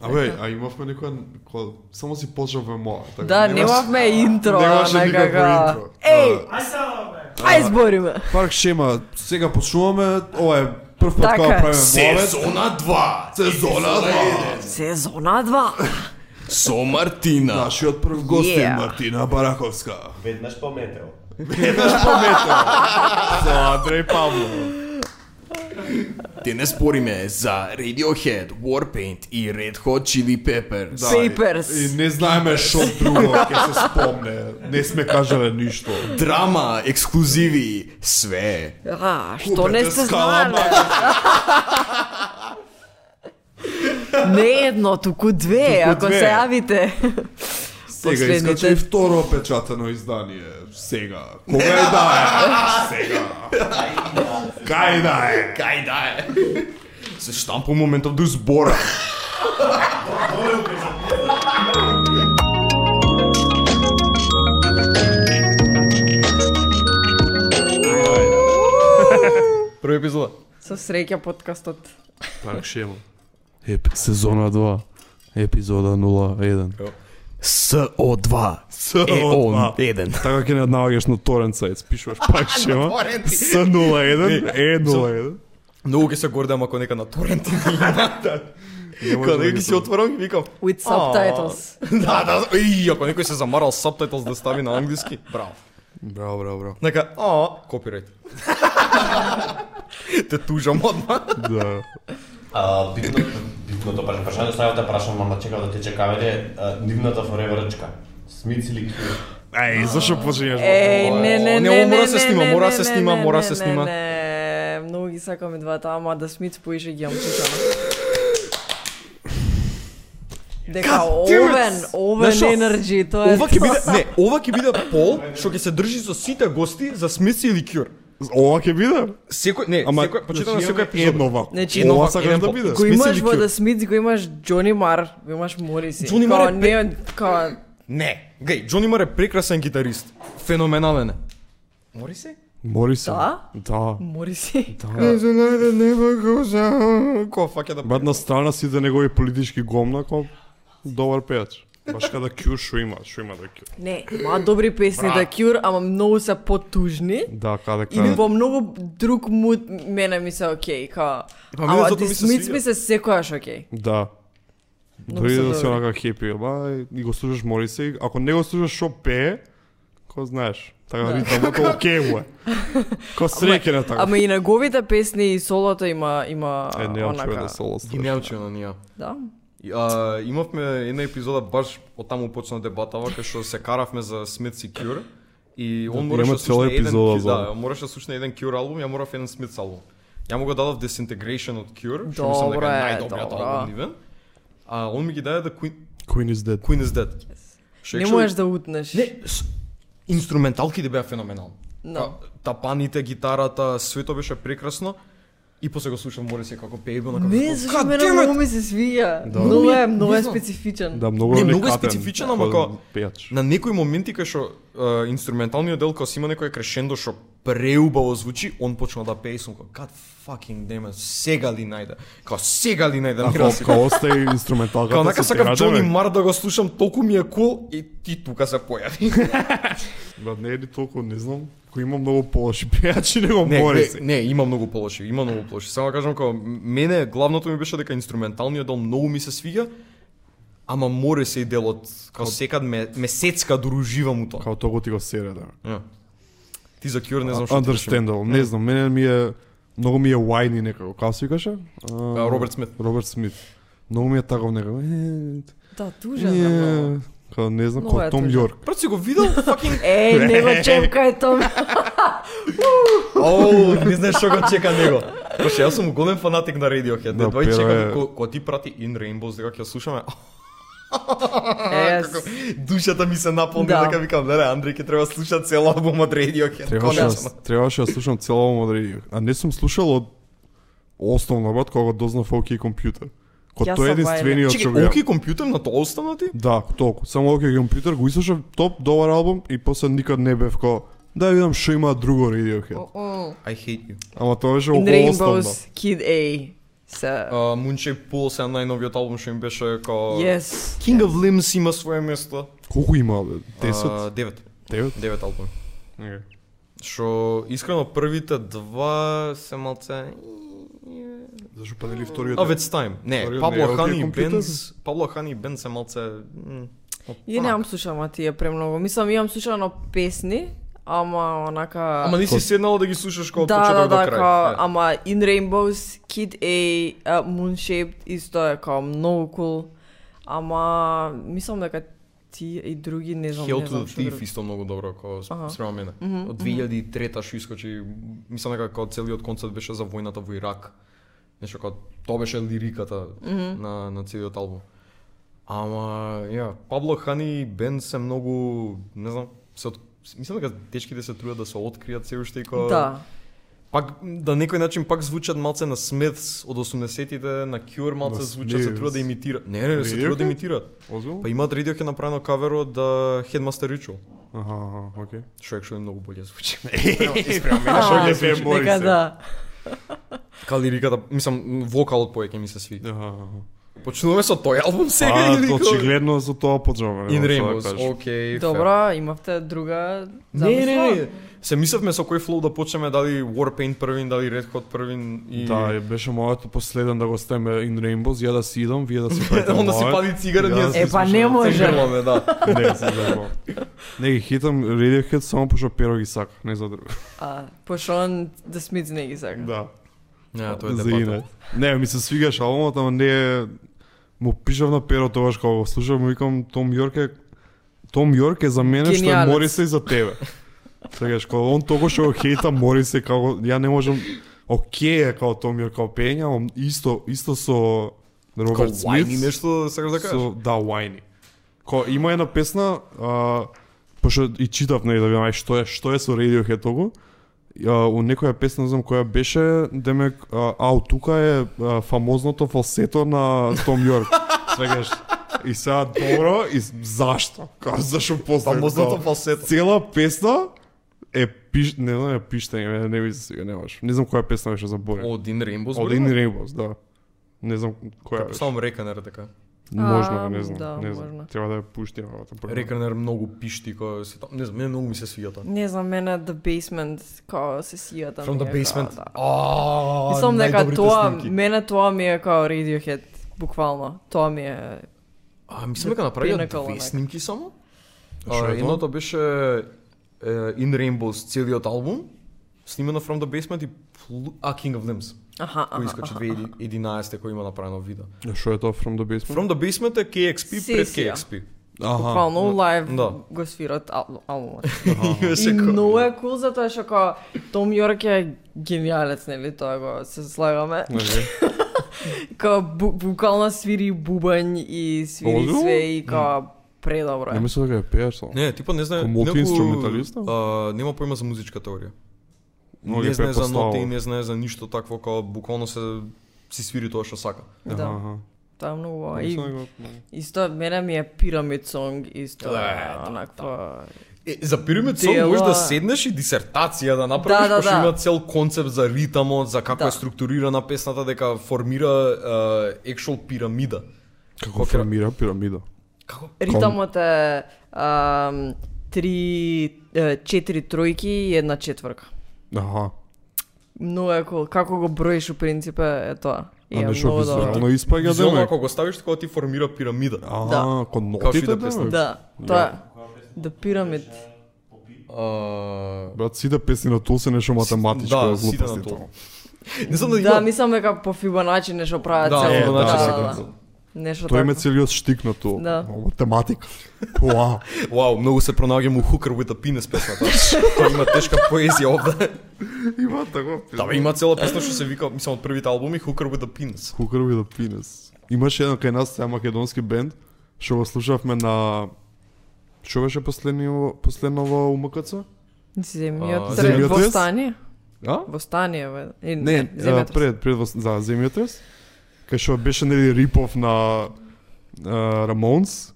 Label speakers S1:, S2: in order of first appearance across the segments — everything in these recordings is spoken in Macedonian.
S1: Абе,
S2: Така.
S1: а имавме некоја кога само си почнав ММА, така.
S2: Да,
S1: немаш-
S2: немавме интро,
S1: немаше никакво
S2: некако.
S1: интро. Да.
S2: Еј,
S3: Ај само бе.
S2: ај збориме.
S1: Парк шема, сега почнуваме, ова е прв пат
S2: Така
S1: кога
S2: е.
S1: правиме болет.
S4: Сезона 2.
S1: Сезона 2.
S2: Сезона 2.
S4: Со Мартина.
S1: Нашиот прв гостин
S2: Yeah.
S1: Мартина Бараковска.
S3: Веднаш пометел.
S1: Еднаш пометал. Со Андреј Павлов.
S4: Денес спориме за Radiohead, Warpaint и Red Hot Chili Peppers.
S1: Да,
S2: Papers.
S1: И, и не знаеме што друго ќе се спомне. Не сме кажале ништо.
S4: Драма, ексклузиви, све.
S2: А, што
S1: Купете
S2: не сте
S1: скала,
S2: знаеле? Не едно, туку две,
S1: Туку
S2: ако
S1: две.
S2: се јавите.
S1: Сега
S2: Последните-
S1: искача и второ печатано издание. Сега. Кога е да е? Сега. Кај да е?
S4: Кај да е. Се штампа моментов до збора.
S5: Први епизода.
S2: Со среќа подкастот.
S5: Парк шема. Еп, сезона 2. Епизода 01.
S4: СО2.
S1: СО2.
S4: Еден.
S5: Така ќе не одналагаш на торент сайт, спишуваш парк шема. С 01 е 01.
S6: Многу ќе се гордам ако нека на торент ги имате.
S1: може
S6: Кога
S1: да ги
S6: нека си
S1: тоа.
S6: отворам и викам.
S2: With subtitles.
S6: Да, да, и ако некој се замарал subtitles да стави на англиски, браво.
S1: Браво, браво, браво.
S6: Нека, а, копирајт. Те тужам одма.
S1: Да.
S3: А битно битното прашање, прашање ставав да прашам мама чекав да тече кавере, а, нивната фореврчка. Смиц или кил?
S5: Ај, зашо почнеш?
S2: Еј, не, не, не,
S6: Не,
S2: не,
S6: мора се
S2: не,
S6: снима,
S2: не,
S6: мора
S2: не,
S6: се
S2: не,
S6: снима,
S2: не,
S6: мора
S2: не,
S6: се
S2: не,
S6: снима.
S2: не. Многу ги сакаме двата, ама да смиц поише ги јам читано. Дека овен, овен
S6: Знаеш што?
S2: енерджи, тоа е...
S6: Ова ќе биде, не, ова ќе биде пол што ќе се држи со сите гости за смиси или кјур.
S1: Ова ќе биде?
S6: Секој, не,
S1: Ама
S6: секој, почитам на
S1: значи,
S6: секој
S1: имаме едно
S6: епизод.
S1: вако.
S2: Значи,
S1: ова
S6: едно
S1: сакаш да
S6: вако, еден
S1: биде.
S6: по-
S2: Го
S6: Смисли
S2: имаш
S6: ли
S2: во
S6: кјур?
S2: да смиц, го имаш Джони Мар, го имаш Мориси.
S6: Джони Мар
S2: Као
S6: е
S2: не, као
S6: Не, геј, Джони Мар е прекрасен гитарист. Феноменален е. Мори се?
S5: Мори се.
S2: Да?
S5: Да.
S2: Мориси.
S6: Не знае да не могу за... Ко фаќа да...
S5: Бат на страна си за негови политички гомна, ком добар пејач. Баш када кју шо има, шо има да кју.
S2: Не, има добри песни да Кјур, ама многу се потужни.
S5: Да, каде
S2: И
S5: каде.
S2: во многу друг мут мене ми се окей, као.
S6: Па, мене
S2: Ама
S6: зато
S2: ти
S6: ми се
S2: смиц
S6: свиѓа.
S2: ми се секојаш окей.
S5: Да.
S2: Многу
S5: Дори
S2: се
S5: да си
S2: добри.
S5: онака хепи, ба, и го слушаш мори се, ако не го слушаш шо пее, ко знаеш, така
S2: Да.
S5: ритамото окей му е. Ко среќен е така.
S2: Ама и неговите песни и солото има има
S5: Е, не чуе
S2: онака.
S5: да соло
S6: Ги
S5: слушаш.
S6: немам чуја на нија.
S2: Да.
S6: И, А, имавме една епизода баш од таму почна дебатава кај што се каравме за Smith и Cure и он мораше
S5: имаме
S6: да
S5: цела
S6: слушне еден
S5: епизода
S6: Cure,
S5: за
S6: да,
S5: ова.
S6: мораше да слушне еден Cure албум, ја морав еден Smith албум. Ја му го дадов Disintegration од Cure, што мислам дека
S2: Добро е,
S6: е најдобриот
S2: добро.
S6: албум нивен. А он ми ги даде да Queen,
S5: Queen is dead.
S6: Queen is Dead. Што
S2: Не
S6: actually-
S2: можеш да утнеш.
S6: Не, с- инструменталките беа феноменални.
S2: No.
S6: Тапаните, гитарата, свето беше прекрасно. И после го слушам море се како пее на како.
S2: Не, зашто мене многу ми се свиѓа.
S6: Да.
S2: Многу е, многу е специфичен.
S5: Да, многу
S6: Не,
S5: е
S6: многу е
S5: уникатен
S6: специфичен,
S5: кој
S6: ама ко-
S5: пејач.
S6: На некои моменти кај што е, инструменталниот дел кога си има некој крешендо што преубаво звучи, он почна да пее и сум како god fucking damn, it, да сега ли најде? Као сега ли најде
S5: Ако
S6: мирас?
S5: ако остаи инструменталката,
S6: Као нака
S5: се
S6: сакав
S5: пригажаме.
S6: Джони Мар да го слушам, толку ми е кул и ти тука се појави.
S5: Брат, не е ни толку, не знам, кој има многу полоши пејачи него
S6: не,
S5: мори
S6: не,
S5: се.
S6: не, има многу полоши, има многу полоши. Само да кажам како мене главното ми беше дека инструменталниот дел многу ми се свиѓа, ама море се и делот, као секад ме, ме сецка доруживам у тоа.
S5: Као тоа ти го сере да.
S6: Ја. Ти за Кјур не знам што ти кажам.
S5: Understandable, не знам, мене ми е многу ми е whiny некако, како се викаше? А,
S6: А, Роберт Смит.
S5: Роберт Смит. Многу ми е таков некако. е,
S2: Да, тужен е. многу.
S5: е, Као не знам,
S2: Многу
S5: као
S2: е
S5: Том
S2: тужен.
S5: Јорк.
S6: Брат си го видел, fucking
S2: Еј, не го чепкај тоа.
S6: Оу, не знаеш што го чека него. Пошто јас сум голем фанатик на Radiohead. Не
S5: Да,
S6: дој
S5: пера
S6: чека
S5: е-
S6: ко, ко ти прати In Rainbows дека ќе ја слушаме.
S2: Е,
S6: Како душата ми се наполни
S2: Да.
S6: дека викам, леле, Андреј ќе треба да слуша цел албум од Radiohead.
S5: Требаше,
S6: Конечно.
S5: да- требаше да слушам цела ова модери. А не сум слушал од основно брат кога го дознав OK компјутер. Ко
S2: Јас
S5: тој е
S2: сам
S5: единствениот
S6: Чеки,
S5: што го ја-
S6: оки компјутер на тоа остана ти?
S5: Да, толку. Само OK компјутер го изслушав топ добар албум и после никад не бев ко да видам што има друго Radiohead.
S2: О, о.
S6: I hate you.
S5: Ама тоа беше
S2: In
S5: околу основно.
S2: Rainbows, Kid A. Се...
S6: Uh, Moonshade Pool сега најновиот албум што им беше као...
S2: Yes.
S6: King of Limbs има свое место.
S5: Колку има, бе? 10?
S6: А, Девет.
S5: 9?
S6: Девет албуми. Шо, искрено, првите два се малце...
S5: Зашо па нели вториот?
S6: Of It's Time. Не,
S5: Вториот
S6: Пабло
S5: не е од
S6: Хани
S5: тие
S6: и
S5: компјутер?
S6: Бенз... Пабло Хани и Бенз се малце... м, па,
S2: Ја немам слушама тие премногу. Мислам, имам слушано песни, ама онака...
S6: Ама не си седнала да ги слушаш као од
S2: да, да,
S6: почеток до
S2: да, као,
S6: крај. Е.
S2: ама In Rainbows, Kid A, uh, Moonshaped, исто е као многу cool. Ама, мислам дека ти и други, не знам,
S6: Hell
S2: не
S6: to
S2: знам
S6: the
S2: што
S6: Thief
S2: други.
S6: исто многу добро, као
S2: Аха.
S6: спрема мене. Од 2003-та што искочи, мислам дека као целиот концерт беше за војната во Ирак. Нешто као, тоа беше лириката на, на целиот албум. Ама, ја, Пабло Хани и Бен се многу, не знам, се од... Мислам дека дечките се трудат да се откријат се уште и као...
S2: Да,
S6: Пак, да некој начин пак звучат малце на Смитс од 80-тите, на Кюр малце
S5: На
S6: звучат, се
S5: Smiths.
S6: трудат да имитираат. Не, не, не, се
S5: Radiohead?
S6: трудат да имитираат.
S5: Озбил?
S6: Па имаат Radiohead направено кавер од а, Headmaster Ritual,
S5: Аха, аха, окей.
S6: што екшо е многу боле звучи.
S5: Па,
S6: Па
S2: А,
S5: Шо ќе пеем
S2: нека да.
S6: Ка лириката, мислам, вокалот поеќе ми се свиѓа.
S5: Аха, аха.
S6: Почнуваме со тој албум сега
S5: А,
S6: или кој?
S5: очигледно да, за тоа поджама.
S6: In Rainbows, океј. fair.
S2: Добро, имавте друга
S6: Не, не,
S2: замисла?
S6: не. Се мислевме со кој флоу да почнеме, дали Warpaint првин, дали Red Hot првин и
S5: Да, е, беше моето последен да го ставиме In Rainbows, ја да си идам, вие да си правите
S6: Onda си
S5: моје.
S6: пали цигара,
S5: Ја
S6: ние
S5: да си
S6: се
S2: Е, па
S5: слушам.
S2: не може.
S6: Грламе, да.
S5: Не, се заебавам. Не ги хитам Radiohead само пошто перо ги сака, не за друго.
S2: А, пошто он да Смитс не ги сака.
S5: Да.
S6: Не, тоа е
S5: За
S6: дебата.
S5: ине. Не, ми се свигаш албумот, ама не е... Му пишав на перо тогаш кога го слушав, му викам Том Йорк е... Том Йорк е за мене што е
S2: Гениалец.
S5: Морисе и за тебе. Сегаш, кога он тогаш го хејта Морисе, како... Ја не можам... Океј е као Том Йорк, као пење, ама исто, исто со...
S6: Као
S5: Роберт
S6: whiny
S5: Смит.
S6: нешто сакаш да кажеш?
S5: Со, да, Whiny. Ко, има една песна, а, пошто и читав, нели, да видам, ај, што е, што е со Radiohead того, а, у некоја песна, не знам која беше, демек, а, ау, тука е а, фамозното фалсето на Том Йорк. Свегаш. И сега добро, и с- зашто? Као, зашо после?
S6: Фамозното
S5: као,
S6: фалсето.
S5: Цела песна е пиш, не знам, е пиштење, не ми се сега, немаш. Не знам која песна беше заборен.
S6: Один Rainbows.
S5: Од In Rainbows, да. Не знам која беше.
S6: Само Реканер така.
S5: Можна,
S2: Ам,
S5: не знам,
S2: да,
S5: не знам.
S2: можна.
S5: Треба да ја пушти новата прва.
S6: Реканер многу пишти кој се тоа. Не знам, мене многу ми се свија тоа.
S2: Не знам, мене The Basement, као се сијата
S6: From
S2: ми
S6: the
S2: е, као,
S6: basement.
S2: да.
S6: А,
S2: Мислам дека
S6: најдобрите
S2: тоа,
S6: снимки.
S2: мене тоа ми е као Radiohead, буквално. Тоа ми е...
S6: А, мислам дека направија
S2: Pinnacle,
S6: две
S2: онака.
S6: снимки само.
S5: Што
S6: А,
S5: е тоа?
S6: едното беше е, In Rainbows целиот албум, снимено From the Basement и Plu- а, King of Limbs,
S2: Аха,
S6: кој
S2: аха,
S6: искачи
S2: аха.
S6: 2011 кој има направено видео.
S5: А Што е тоа From the Basement?
S6: From the Basement е KXP пред
S2: Сесија.
S6: KXP.
S2: Буквално лайв
S6: да.
S2: го свират ал- албумот.
S6: Имаше
S2: И
S6: кој-
S2: многу е кул затоа што као Том Йорк е гениалец, нели, тоа го се слагаме.
S5: Аха.
S2: Као бу- буквално свири бубањ и свири
S5: Озбилно?
S2: све и као предобро
S5: Не
S2: е.
S5: мислам дека ја пееш тоа.
S6: Не, типа не знае
S5: Ко
S6: некој
S5: мултиинструменталист, а?
S6: а, нема појма за музичка теорија.
S5: Многу
S6: не
S5: ја
S6: знае за
S5: препоставува.
S6: ноти, не знае за ништо такво како буквално се си свири тоа што сака.
S2: Да,
S5: Аха.
S2: тоа е многу
S5: аха.
S2: убаво.
S5: Мислам
S2: Па
S5: дека-
S2: И исто мене ми е пирамид сонг исто
S6: Е, да,
S2: онакво.
S6: Е, за пирамид сон
S2: Дела-
S6: можеш да седнеш и дисертација да
S2: Да,
S6: направиш,
S2: да,
S6: пошто
S2: да.
S6: има цел концепт за ритамот, за како
S2: Да.
S6: е структурирана песната, дека формира е, екшол пирамида.
S5: Како формира пирамида?
S2: Ритамот е ам, три е, четири тројки и една четворка.
S5: Аха.
S2: Многу е кул. Како го броиш у принцип е е тоа. И
S5: А
S2: е
S5: нешто
S2: многу добро.
S5: визуално испаѓа
S6: Визуално,
S5: демек.
S6: ако го ставиш така, ти формира пирамида.
S5: А,
S2: Да.
S5: ко
S6: Како што и
S5: нотите
S6: да песна.
S5: демек.
S2: Да, тоа е. Да, The Pyramid.
S6: А,
S5: Брат, сите песни на Тул се нешто математичко
S6: да,
S5: да,
S6: сите
S5: глупости
S6: на тоа.
S5: тоа.
S6: Не знам да
S2: Да,
S6: има...
S2: мислам дека по Фибоначи нешто прават
S6: Да,
S2: цело.
S6: е,
S5: да,
S6: да,
S5: да,
S6: да.
S2: Нешто
S5: Тој ме
S2: така.
S5: целиот штик на тоа.
S2: Да.
S5: О, Математика. Уа.
S6: Вау, многу се пронаѓам у Hooker with a Penis песната. Тоа има тешка поезија овде.
S5: Има такова.
S6: Да, бе, има цела песна што се вика, мислам, од првите албуми Hooker with a Penis.
S5: Кукрови да пинес. Имаше еден кај нас сега македонски бенд, што го слушавме на... Што беше последниво, последново у МКЦ?
S2: Земјот
S6: А,
S2: трет
S5: земјотрес?
S2: востание.
S5: А?
S2: Востание, бе. И-
S5: Не, а,
S2: земјотрес.
S5: пред, пред, вос- за земјотрес. Кај што беше нели рипов на Рамонс.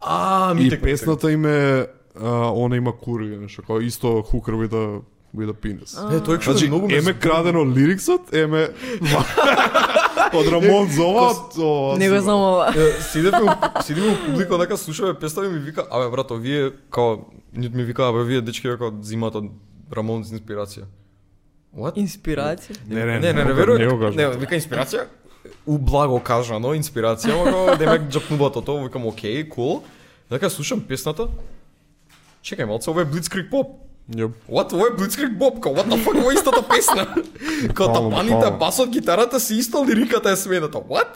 S6: А, ми
S5: И
S6: тека, ми тека.
S5: песната им е... а, Она има кури, нешто, као исто хукрови да with a penis.
S6: Е, тој што
S5: Значи,
S6: многу ме
S5: еме крадено лириксот, еме од Рамон Зова, ова.
S2: Не го знам ова.
S6: Е, Сидевме у- седиме у публика, онака слушаме песната и ми вика, абе брато, вие као нит ми вика, абе вие дечки како зимат од Рамон за инспирација. What?
S2: Инспирација.
S5: Не, не,
S6: не, не, не,
S5: го-
S6: веруј.
S5: Не го кажам.
S6: Не, вика инспирација. Ублаго кажано, инспирација, ама како демек джапнува тоа, викам окей, кул. Дека слушам песната. Чекај малце, ова е Blitzkrieg Pop.
S5: Јоп.
S6: What? Ова е Blitzkrieg Bob, као, what the fuck, ова е истата песна. Као
S5: Буквално,
S6: тапаните,
S5: буквално.
S6: басот, гитарата си иста, лириката е смената. What?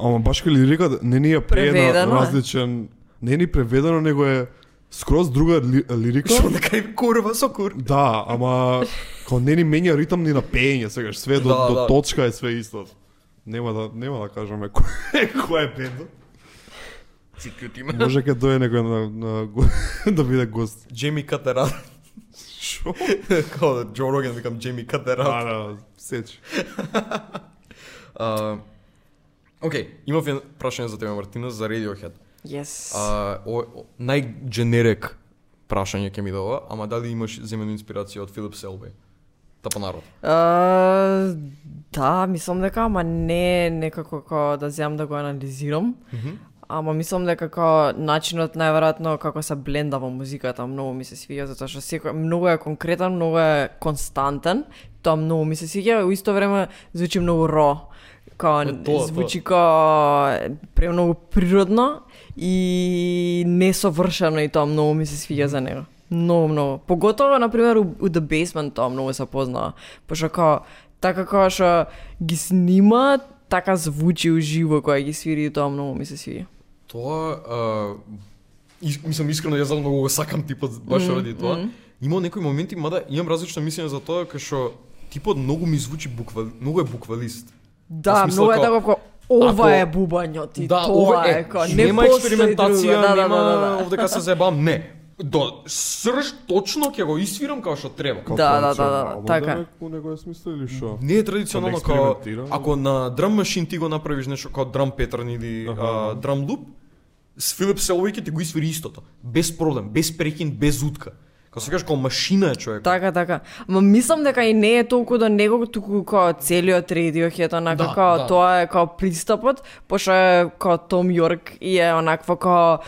S5: Ама баш ка лирика не ни е преведена
S2: Преведено е.
S5: различен. Не е ни преведено, него е скроз друга ли, лирика.
S6: Што дека е курва со кур.
S5: Да, ама као не ни менја ритам ни на пеење, сегаш све до,
S6: Да,
S5: до
S6: да.
S5: точка е све исто. Нема да нема да кажеме кој кој е бендот. Може ке дое некој на, на, го- да биде гост.
S6: Джейми Катера.
S5: Шо?
S6: Као да Джо Роген викам Джейми
S5: Да,
S6: Катера.
S5: да, сеч.
S6: А, Океј, имав едно прашање за тебе Мартина за Radiohead.
S2: Yes.
S6: А, о- о- најгенерек прашање ќе ми да ова, ама дали имаш земена инспирација од Филип Селби? Тапа народ.
S2: А, да, мислам дека, ама не е некако како да земам да го анализирам. Ама мислам дека како начинот најверојатно како се бленда во музиката многу ми се свиѓа затоа што секој многу е конкретен, многу е константен, тоа многу ми се свиѓа, у исто време звучи многу ро. Као
S6: Е, тоа,
S2: звучи као премногу природно и несовршено и тоа многу ми се свиѓа за него. Многу, многу. Поготово, на пример, у, у The Basement тоа многу се познава. Пошто како, така како што ги снима, така звучи уживо кога ги свири и тоа многу ми се свиѓа.
S6: Тоа, а, ис- мислам искрено јас знам многу го сакам типот баш ради тоа. Има некои моменти мада имам различно мислење за тоа кај што типот многу ми звучи буква, многу е буквалист.
S2: Да,
S6: смисла,
S2: многу е
S6: као,
S2: така како ова
S6: ако-
S2: е бубањот и
S6: да,
S2: тоа
S6: ова
S2: е, како не
S6: нема
S2: постои друго.
S6: експериментација,
S2: Да, да,
S6: нема
S2: да, да, да.
S6: овде кај се заебам, не. До срж точно ќе го isfiram како што треба.
S5: Као
S2: Да, да, да, да,
S5: традиционално,
S2: да, така е.
S5: демек, У него е смисло или шо?
S6: Не е традиционално
S5: Кога
S6: како
S5: експериментира.
S6: ако на драм машин ти го направиш нешто како драм петерн или а, драм луп, с Филип Селови ќе ти го isfiri истото, без проблем, без прекин, без утка. Како се кажеш како машина е човек.
S2: Така, така. Ма мислам дека и не е толку до него, туку као целиот Radiohead, онака
S6: Да,
S2: као
S6: да.
S2: тоа е као пристапот, пошто е као Том Јорк и е онакво као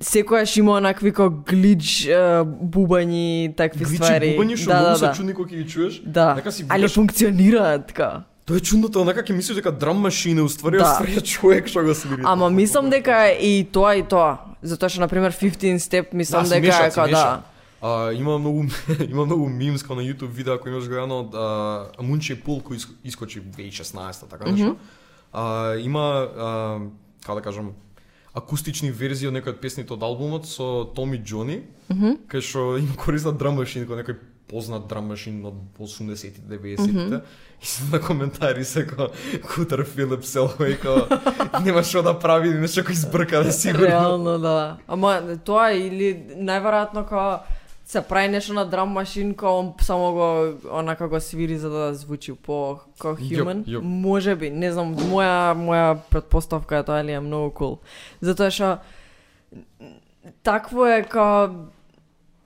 S2: секојаш има онакви као глич е, бубањи, такви
S6: Гличи
S2: ствари.
S6: бубања што
S2: да,
S6: многу
S2: да,
S6: се
S2: да.
S6: чудни кога ќе ги чуеш.
S2: Да,
S6: Нека си
S2: але
S6: викаш,
S2: функционираат така.
S6: тоа е чудното, онака ќе мислиш дека драм машина уствари
S2: Да.
S6: да. свирија човек што го свири.
S2: Ама мислам дека и тоа и тоа. Затоа што, например, 15 Step мислам
S6: се
S2: дека
S6: мешаат,
S2: е
S6: се
S2: као да.
S6: мешаат. А, има многу има многу мимс као на YouTube видеа ако имаш гледано од а, Мунче Пул кој иск- искочи 2016 така нешто. А, има а, како да кажам акустични верзии од некои од песните од албумот со Томи Джони, кај што им користат драм машин, кој некој познат драм машин од 80-тите, 90-тите. И се на коментари се како Кутер Филип Селвей како нема што да прави, нешто кој избрка да сигурно.
S2: Реално, да. Ама тоа или најверојатно као се прави нешто на драм машин као он само го онака го свири за да звучи по како human.
S6: јоп.
S2: Може би, не знам, моја моја предпоставка е тоа или е многу кул. Cool. Затоа што такво е као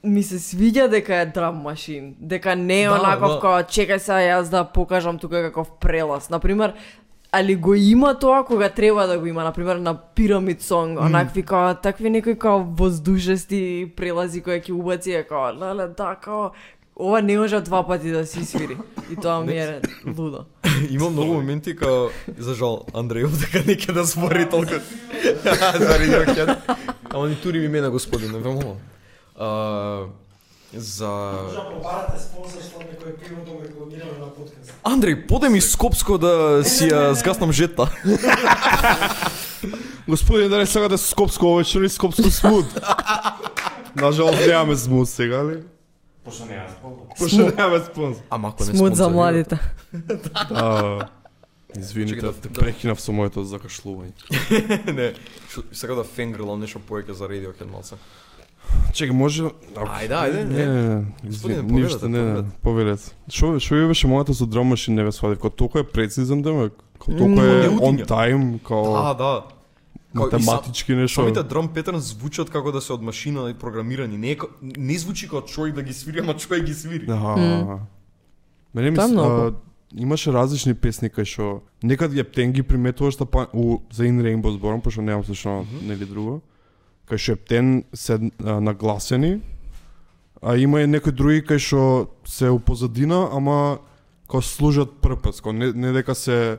S2: ми се свиѓа дека е драм машин, дека не е
S6: Да,
S2: онаков
S6: да.
S2: као чекај сега јас да покажам тука каков прелаз. Например, али го има тоа кога треба да го има, например на Pyramid Song, онакви као такви некои као воздушести прелази кои ќе убаци е као леле да као ова не може два пати да се свири. И тоа ми е лудо.
S6: Има многу моменти као за жал Андрејов дека не ќе да збори толку. За Radiohead. Ама ни тури ми мена господине, ве молам. А, за
S7: Можам пропарате Да спонсорство некој пиво да го рекламираме на подкаст.
S6: Андреј, поде ми Скопско да си ја згаснам жетта.
S5: Господине, да не сакате скопско овечер и скопско смут. Нажалост немаме смут сега, ли?
S3: Пошто не јас полу.
S5: Пошто немаме спонзор.
S6: Ама ако не
S2: Смут за
S6: спонзорира-
S2: младите.
S5: А, Извините, те прекинав со моето закашлување.
S6: не, шо- сакам да фенгрлам нешто повеќе за Radiohead малце.
S5: Чека, може...
S6: Ајде, ајде,
S5: Не,
S6: е.
S5: не, не, извини,
S6: поведете,
S5: ништо, не, не, поведете. Шо, шо ја беше мојата со драм машин не ве свадив, као толку е прецизен демек, као толку е
S6: М,
S5: on
S6: јутиња.
S5: time, као...
S6: А, да. Као и сам-
S5: Математички нешто.
S6: Самите драм петерн звучат како да се од машина и програмирани. Не, е ка- не звучи како човек да ги свири, ама човек ги свири.
S5: Аха. Мене ми
S2: Тоа е
S5: с-
S2: многу.
S5: а, имаше различни песни кај што некад Ептен ги приметуваш да па у за In Rainbow зборам, пошто немам слушано нели друго. Кај што Ептен се а, нагласени, а има и некои други кај што се у позадина, ама као служат прпес, као не, не дека се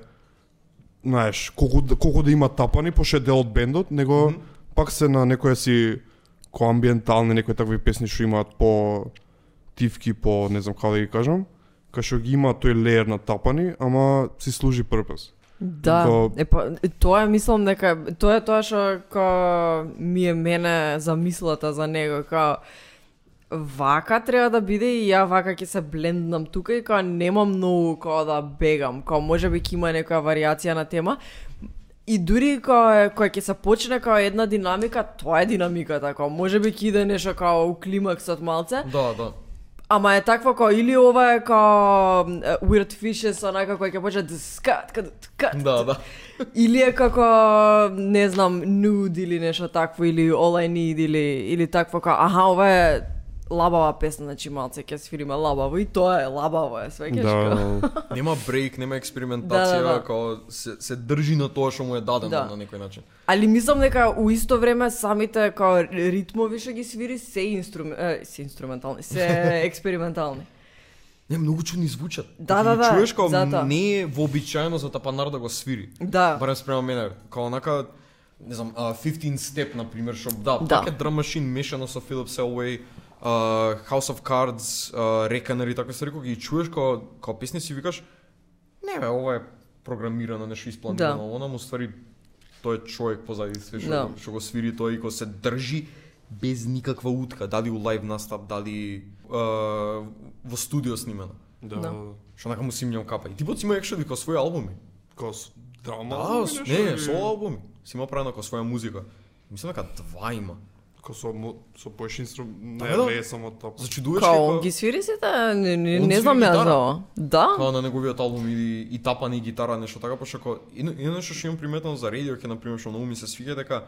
S5: знаеш, колку да- колку да има тапани, пошто е дел од бендот, него пак се на некоја си ко амбиентални некои такви песни што имаат по тивки по не знам како да ги кажам, кај што ги има тој леер на тапани, ама си служи пurpose.
S2: Да,
S5: Како-
S2: е па тоа е мислам дека тоа е тоа што ка ми е мене замислата за него као вака треба да биде и ја вака ќе се бленднам тука и као немам многу као да бегам, као можеби ќе има некоја варијација на тема. И дури као е- кога ќе се почне као една динамика, тоа е динамиката, као можеби ќе иде нешто као у климаксот малце,
S6: Да, да.
S2: Ама е такво као или ова е као м, е, Weird Fishes, онака кој ќе почне да скат, кад, кат,
S6: Да, да.
S2: Или е како, не знам, Nude или нешто такво, или All I Need, или, или такво као, аха, ова е лабава песна, значи малце ќе свириме лабаво и тоа е лабаво е, свеќаш да.
S5: Да.
S6: Нема брейк, нема експериментација,
S2: Да, да, да.
S6: као се, се држи на тоа што му е дадено
S2: Да.
S6: на некој начин.
S2: Али мислам дека у исто време самите као ритмови што ги свири се инструмент, е, се инструментални, се експериментални.
S6: Не, многу чудни звучат.
S2: Да,
S6: Кога
S2: да,
S6: ги
S2: да,
S6: Чуеш као
S2: затоа.
S6: не е вообичаено за тапанар да го свири.
S2: Да.
S6: Барем спрема мене, као онака не знам, а, 15 Step на пример, што да,
S2: Да.
S6: пак е драм машин мешано со Philip Selway, а, House of Cards, а, Reckoner и такви стари кога ги чуеш као као песни си викаш не бе, ова е програмирано, нешто
S2: Да.
S6: испланирано, да. она му ствари тој е човек позади све што,
S2: Да.
S6: го- што го свири тој и го се држи без никаква утка, дали у лайв настап, дали а, во студио снимено.
S2: Да.
S6: Што нака му симњам капа. И типот си има екшен како своји албуми.
S5: Кос драма.
S6: Да, с- не, соло албуми. Си има правено како своја музика. Мислам дека два има.
S5: Кос со му- со пош инструмент,
S6: Да, да.
S5: не е само тапани.
S6: Зачудуваш
S2: Као,
S6: како
S2: ги свири сите? Не, не,
S6: Он
S2: не знам
S6: свири
S2: ја за
S6: гитара.
S2: ова. Да?
S6: као Па на неговиот албум и, и тапани и гитара нешто така, пошто како и, и нешто што имам приметено за Radiohead на пример што многу ми се свиѓа дека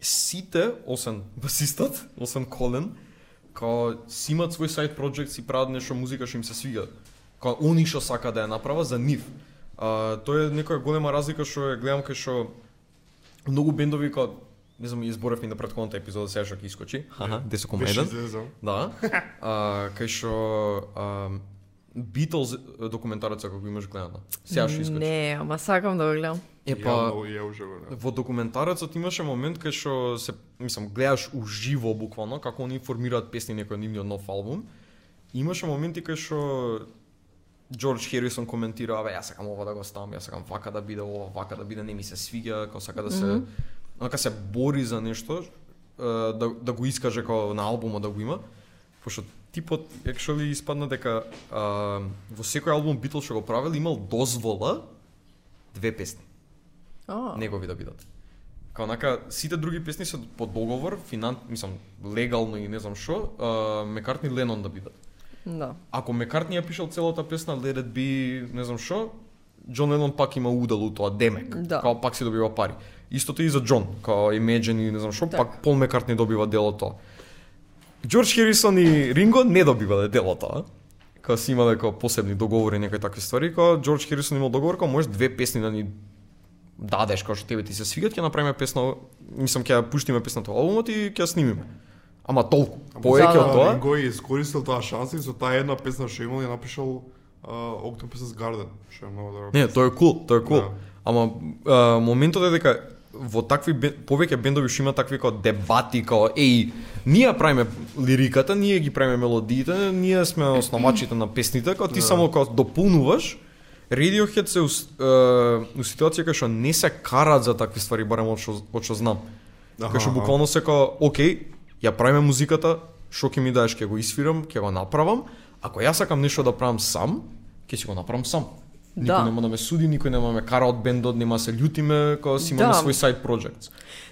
S6: сите освен басистот, освен Колен, као си имаат свој сайт проект си прават нешто музика што им се свиѓа. Као они што сака да ја направа за нив. А, тоа е некоја голема разлика што ја гледам кај што многу бендови као не знам, изборев и на претходната епизода сега што ќе искочи. Аха, 10,1.
S5: излезам.
S6: Да. А, кај што а, Beatles е, документарец ако го имаш гледано. Сега што искаш.
S2: Не, ама сакам да го гледам.
S6: Е
S5: Ја
S6: па
S5: многу ја уживам.
S2: Да.
S6: во документарецот имаше момент кај што се мислам гледаш уживо буквално како они формираат песни некој нивниот нов албум. Имаше моменти кај што Джордж Херисон коментира, абе, јас сакам ова да го ставам, јас сакам вака да биде ова, вака да биде, не ми се свиѓа, како сака да се, mm се бори за нешто, е, да, да го искаже како на албума да го има, пошто типот, actually, испадна дека а, во секој албум Битл што го правил, имал дозвола две песни
S2: А,
S6: негови да бидат. Као нака, сите други песни се по договор, финан, мислам, легално и не знам што, а, Мекартни Ленон да бидат.
S2: да.
S6: Ако Мекартни ја пишел целата песна Let it be, не знам што, Джон Ленон пак има удел у тоа, демек.
S2: Да.
S6: Као пак се добива пари. Истото и за Джон, као Imagine и не знам што,
S2: Така.
S6: пак Пол Мекартни добива дел од тоа. Джордж Херисон и Ринго не добивале дел од тоа. Као си имале као посебни договори, некои такви ствари, као Джордж Херисон имал договор, као можеш две песни да ни дадеш као што тебе ти се свигат, ќе направиме песна, мислам ќе ја пуштиме песната во албумот и ќе ја снимиме. Ама толку, повеќе од тоа.
S5: Го Па, е искористил таа шанса и со таа една песна што имал ја напишал а, Octopus's Garden, што е многу добра.
S6: Не, тоа е кул, тоа е кул.
S5: Да.
S6: Ама а, моментот е дека во такви бен- повеќе бендови што има такви како дебати како еј, ние ја правиме лириката, ние ги правиме мелодиите, ние сме основачите на песните, како
S5: Да.
S6: ти само како дополнуваш. Radiohead се ус- е, у ситуација кај што не се карат за такви ствари, барем од што од што знам. Кај што
S5: Аха, аха.
S6: буквално се како, окей, ја правиме музиката, што ќе ми даеш, ќе го исвирам, ќе го направам. Ако ја сакам нешто да правам сам, ќе си го направам сам. Никој
S2: Да.
S6: нема да ме суди, никој нема да ме кара од бендот, нема да се љутиме, кога си имаме
S2: Да.
S6: свој сайд projects.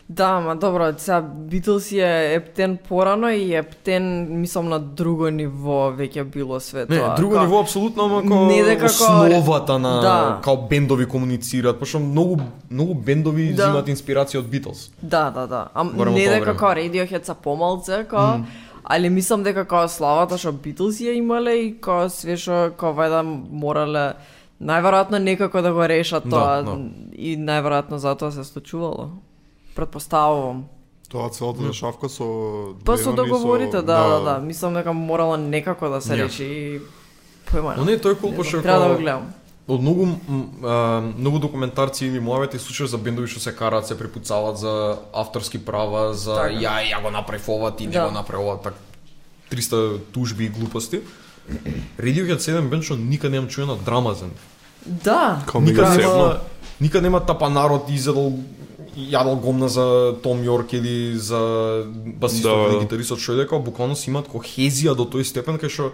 S2: Да, ма добро, сега Beatles е ептен порано и ептен, мислам, на друго ниво веќе било све
S6: Не,
S2: тоа.
S6: друго
S2: Као-
S6: ниво апсолутно, ама како
S2: Не дека како-
S6: основата на
S2: Да.
S6: као бендови комуницираат, пошто многу многу бендови
S2: Да.
S6: земат инспирација од Beatles.
S2: Да, да, да. А
S6: Барем
S2: не
S6: од тоа
S2: дека
S6: време.
S2: како Radiohead са помалце, како, али мислам дека како славата што Beatles ја имале и како све што како вајда морале најверојатно некако да го решат тоа
S6: да.
S2: и најверојатно затоа се случувало. Предпоставувам.
S1: Тоа целата шавка со
S2: Да. Па со
S1: Ленон и со-
S2: договорите, да, да, да. Мислам дека морало некако да се
S6: Ја.
S2: реши и појма.
S6: Но не, тој е кул,
S2: Не
S6: пошто
S2: знам,
S6: е
S2: Треба да
S6: како-
S2: го гледам.
S6: Од многу м, а, многу документарци или муавети слушаш за бендови што се караат, се препуцаваат за авторски права, за
S2: Така.
S4: Да,
S6: ја ја го направив ова, ти не
S2: Да.
S6: го направи ова, так 300 тужби и глупости. Radiohead 7 бенд што никад немам чуена драма за нив.
S2: Да.
S6: Никад
S2: Мега
S6: нема,
S2: Севно.
S6: никад нема тапа народ изедал јадал гомна за Том Йорк или за басистот
S5: Да,
S6: или
S5: да.
S6: гитаристот што е дека буквално си имаат кохезија до тој степен кај што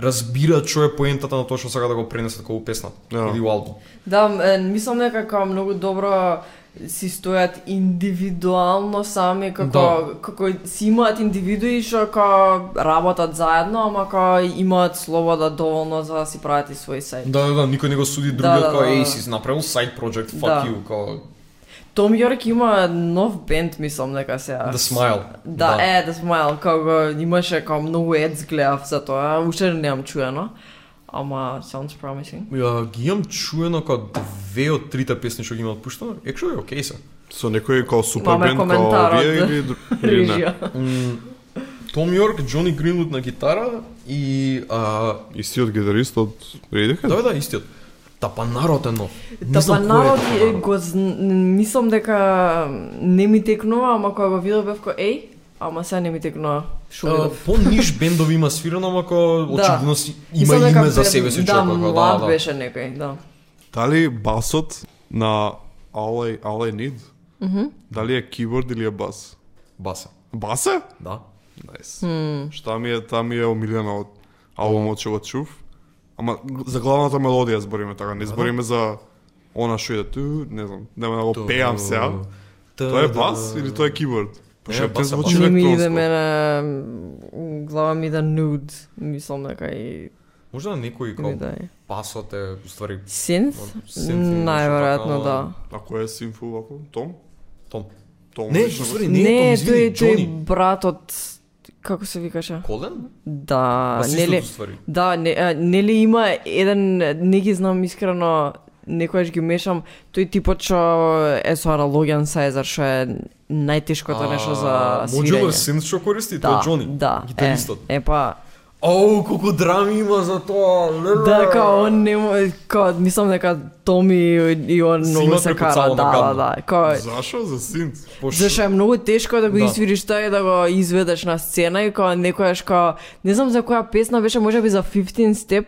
S6: разбираат што е поентата на тоа што сака да го пренесат како песна
S5: Да.
S6: или у албум.
S2: Да, м, е, мислам дека како многу добро си стојат индивидуално сами како
S6: Да.
S2: како си имаат индивидуи што како работат заедно, ама како имаат слобода доволно за да си прават и свој сајт.
S6: Да, да, да, никој не го суди
S2: Да,
S6: другиот
S2: да,
S6: како
S2: да,
S6: еј
S2: да.
S6: си направил сайт project, fuck
S2: Да.
S6: you, како
S2: Том Јорк има нов бенд, мислам дека сега.
S6: the smile.
S2: Да, е, да смајал, како го имаше како многу едс гледав за тоа, уште немам чуено. Ама sounds promising.
S6: Ја ги имам чуено како две од трите песни што ги имаат пуштено. Actually, е окей се.
S5: Со некој као
S2: Маме
S5: супербенд као
S2: коментар од
S5: овие или, или не?
S2: Рижија.
S6: Том Йорк, Джони Гринвуд на гитара и а,
S5: И си од гитаристот Radiohead?
S6: да бе, да истиот. Тапанарот е нов. Не
S2: Тапа
S6: знам кој е
S2: народ е,
S6: Тапанарот.
S2: го зн- мислам дека не ми текнува, ама кога го видов бев ко еј, ама сега не ми текнува. Шо
S6: А,
S2: видов?
S6: Пониш бендови има свирено, ама ко
S2: Да.
S6: очигледно си има
S2: Мислам дека
S6: име за
S2: бе-
S6: себе си
S2: Да,
S6: човекот. како, Да,
S2: млад
S6: да.
S2: беше некој, да.
S5: Дали басот на All I, All I Need? Дали е киборд или е бас?
S6: Баса.
S5: Бас е?
S6: Да.
S5: Најс. Шта ми е, таа ми е омилена од албумот
S6: Да.
S5: што го чув. Ама за главната мелодија збориме така,
S6: Да.
S5: не збориме за она што иде ту, не знам, нема да го пеам сега. Тоа е бас или тоа е киборд? Пошто
S6: Е,
S5: те
S6: бас е
S5: звучи
S6: бас.
S2: Не ми иде
S5: електронско.
S2: мене м, глава ми да нуд, мислам дека и
S6: Можда некој
S2: или да
S6: како
S2: е.
S6: басот е уствари
S2: Синт?
S6: Синт или нешто
S2: Најверојатно
S6: така,
S2: да.
S5: Ако е симфу вако, Том?
S6: Том.
S5: Том.
S6: Не,
S5: лично.
S6: уствари не е
S2: Не,
S6: Том, извини,
S2: тој тој
S6: Джони.
S2: братот како се викаше?
S6: Колен?
S2: Да,
S6: Басистот
S2: нели?
S6: уствари.
S2: Да, не, а, нели има еден, не ги знам искрено, некојаш ги мешам, тој типот што е со аналоген сајзар, што е најтешкото нешто за
S6: Моджулар
S2: свирење.
S6: синт што користи, тоа
S2: Да,
S6: е Джони.
S2: да, е,
S6: Гитаристот.
S2: е па,
S6: Оу, колку драми има за тоа. леле.
S2: да, као, он не мо- као, мислам дека Томи и, и он
S6: Си
S2: многу
S6: има
S2: се
S6: препуцало
S2: кара, да,
S6: на гадно.
S2: да, да, као,
S5: Зашо за синт?
S6: Пошто-
S2: Зашто е многу тешко да го
S6: Да.
S2: изсвириш тоа и да го изведеш на сцена и кога некојаш као, не знам за која песна беше, може би за 15 Step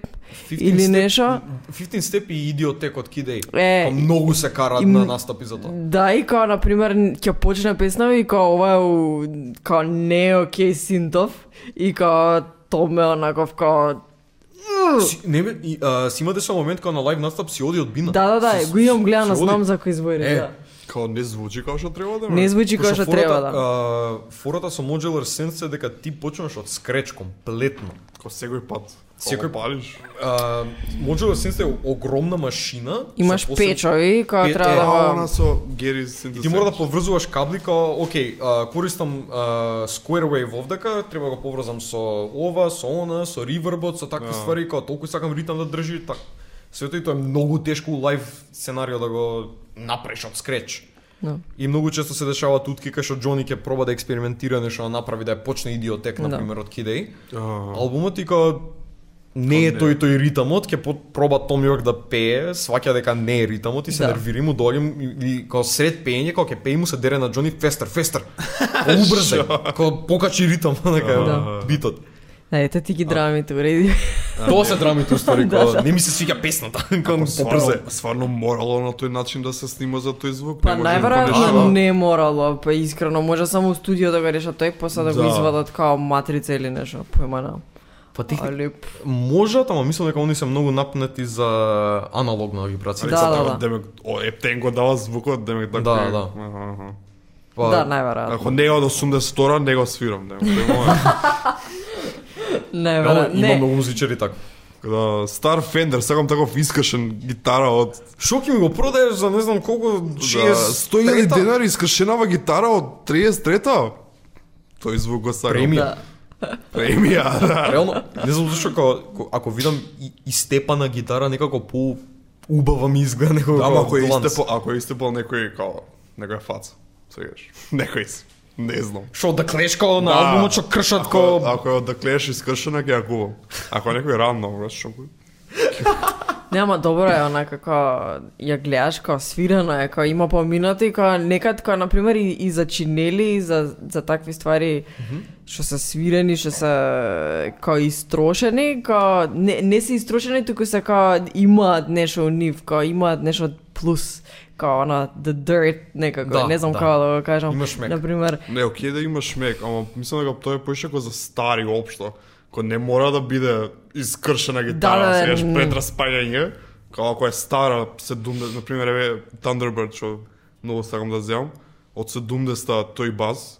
S6: 15
S2: или
S6: степ-
S2: нешо.
S6: 15 степи и идиотек од Kid A.
S2: Е,
S6: Па многу се карат
S2: им-
S6: на настапи за тоа.
S2: Да, и као, например, ќе почне песна и као ова е у, као не е окей синтов и као Томе онаков
S6: Да.
S2: као
S6: Си, не бе, и, а, си имате со момент кога на лайв настап си оди од бина.
S2: Да, да, да, го имам гледано,
S6: се оди.
S2: знам за кој збори,
S6: Е,
S2: да.
S5: Као не звучи као што треба да
S2: Не звучи
S6: Пошто
S2: како што
S6: фората-
S2: треба да.
S6: а, Фората со Modular Sense е дека ти почнеш од скреч комплетно.
S5: Ко секој пат.
S6: Секој-
S5: Секој палиш.
S6: А, Modular Sense е огромна машина.
S2: Имаш
S6: со посеб-
S2: печови кога
S6: Пе-
S2: треба
S6: е,
S2: да
S5: А
S2: го...
S5: она со Гери
S6: И
S5: синтесет.
S6: ти мора да поврзуваш кабли као, окей, а, користам а, square wave овдека, треба да го поврзам со ова, со она, со ревербот, со такви ствари, као толку сакам ритам да држи, так. Свето и тоа е многу тешко у лайв сценарио да го направиш од скреч.
S2: Да.
S6: И многу често се дешава тутки кај што Џони ќе проба да експериментира нешто да направи да ја почне идиотек на
S2: Да.
S6: пример од Kid A.
S5: А.
S6: Албумот и као не е тој тој ритамот, ќе по- проба Том Јорк да пее, сваќа дека не е ритамот и се
S2: Да.
S6: нервири му доаѓа му и, и као сред пеење кога ќе пее му се дере на Џони фестер, фестер. Као убрзај, као покачи ритам
S2: Да.
S6: дека битот.
S2: Да, ете ти ги драмите, уреди.
S6: Тоа се драмите уствари, као не ми се свиѓа песната, као
S5: Ама
S6: побрзај.
S5: Сварно, сварно Па, морало на тој начин да се снима за тој звук.
S2: Па
S5: не може да го
S2: најверојатно
S5: решава.
S2: не морало, па искрено, може само у студио да го решат тој, после да го
S5: Да.
S2: извадат као матрица или нешто, појма на.
S6: Па
S2: А,
S6: техни...
S2: леп.
S6: Можат, ама мислам дека они се многу напнати за аналогно да ги прават.
S2: Да, да, да.
S5: Така, Демек, о, ептен го дава звукот, демек така.
S6: Да,
S5: е.
S6: да.
S5: Аха, аха.
S6: Па,
S2: Да, најверојатно.
S5: Ако не е од 82-ра, не го свирам, демек. Тоа е моја.
S6: Ама
S2: Најверојатно.
S6: има
S2: Не,
S6: многу музичари така.
S5: Да, стар Fender, сакам таков искашен гитара од
S6: Шо ќе ми го продаеш за не знам колку
S5: Да, 100.000
S6: трета?
S5: денари искашенава гитара од 33-та. Тој звук го сакам.
S6: Премија.
S2: да.
S5: Премија, да.
S6: Реално, не знам зашто како ако видам и, истепана гитара некако по убава ми изгледа некако.
S5: Да, Ама
S6: како
S5: ако е
S6: гланц.
S5: истепал, ако е истепал некој као, некоја фаца, сегаш. Некој с- не знам.
S6: Шо да клешко на албумот што кршат
S5: Ако,
S6: ко
S5: ако е од Даклеш искршена, ќе ја губам. Ако е некој рандом, брат, што го...
S2: Нема добро е она како ја гледаш како свирано е, како има поминати, како некад како на пример и, и за чинели и за за такви ствари што се свирени, што се како истрошени, како не, не се истрошени, туку се како имаат нешто у нив, како имаат нешто плюс, како она the dirt некако,
S6: Да,
S2: не знам
S6: да.
S2: како да го кажам.
S6: Има шмек.
S2: На пример,
S5: Не, окей да имаш мек, ама мислам дека тоа е поише како за стари општо. Ко не мора да биде искршена гитара,
S2: Да, да,
S5: да,
S2: да,
S5: сегаш
S2: м.
S5: пред распаѓање. Као ако е стара, 70, например, еве Thunderbird, што многу сакам да земам, од 70-та тој бас,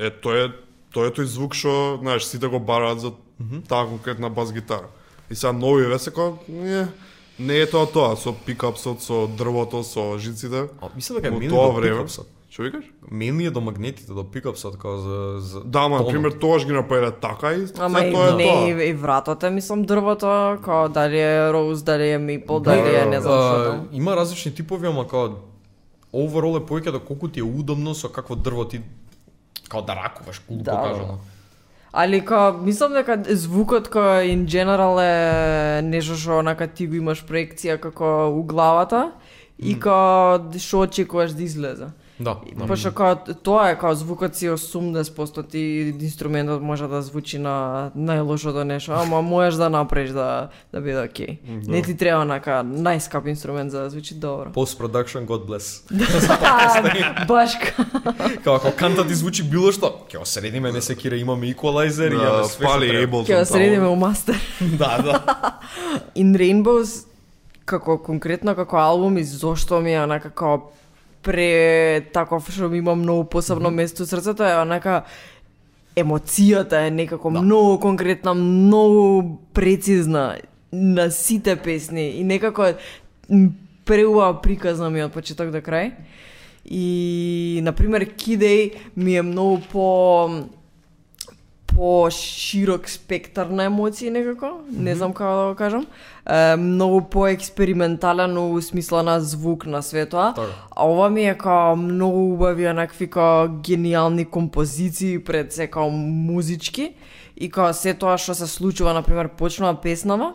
S5: е, тој е, тој е тој звук што, знаеш, сите го бараат за таа конкретна бас гитара. И сега нови еве се како, не, не е тоа тоа, со пикапсот, со дрвото, со жиците.
S6: А, мислам дека е
S5: Во
S6: мене
S5: тоа
S6: до
S5: време-
S6: пикапсот.
S5: Што викаш?
S6: Мени е до магнетите, до пикапсот, како за... за
S5: Да, ама,
S6: тонот.
S5: например, тогаш ги направиле така и сега
S2: Ама и
S5: тоа е тоа.
S2: не, и, и вратата, мислам, дрвото, како дали е роуз, дали е мипл,
S6: Да,
S2: дали Да, е не знам што
S6: А,
S2: таму.
S6: има различни типови, ама како overall е повеќе до колку ти е удобно со какво дрво ти како да ракуваш, глупо
S2: Да,
S6: да,
S2: да.
S6: кажано.
S2: Али ка, мислам дека звукот кој in general е нешто што онака ти го имаш проекција како у главата и ка што очекуваш да излезе.
S6: Да, да.
S2: Пошто као тоа е као звукот си 80% ти инструментот може да звучи на најлошото нешто, ама можеш да направиш да да биде окей. Не ти треба онака најскап инструмент за да звучи добро.
S6: Post production God bless.
S2: Башка.
S6: Како ако канта ти звучи било што, ќе го средиме, не се кире, имаме equalizer и
S5: Да,
S6: имаме све што
S5: пали
S6: треба.
S5: Ableton.
S2: Ќе
S5: таму.
S2: го средиме у мастер.
S6: Да, да.
S2: In Rainbows како конкретно како албум и зошто ми е онака како пре таков што ми има многу посебно место у срцето е онака емоцијата е некако да. многу конкретна, многу прецизна на сите песни и некако м, преубава приказна ми од почеток до крај. И на пример Kidey ми е многу по по широк спектар на емоции некако, не знам како да го кажам. Е, многу поекспериментален у смисла на звук на све тоа.
S6: Така.
S2: А ова ми е као многу убави онакви као гениални композиции пред се као музички и као се тоа што се случува, например, почнува песнава,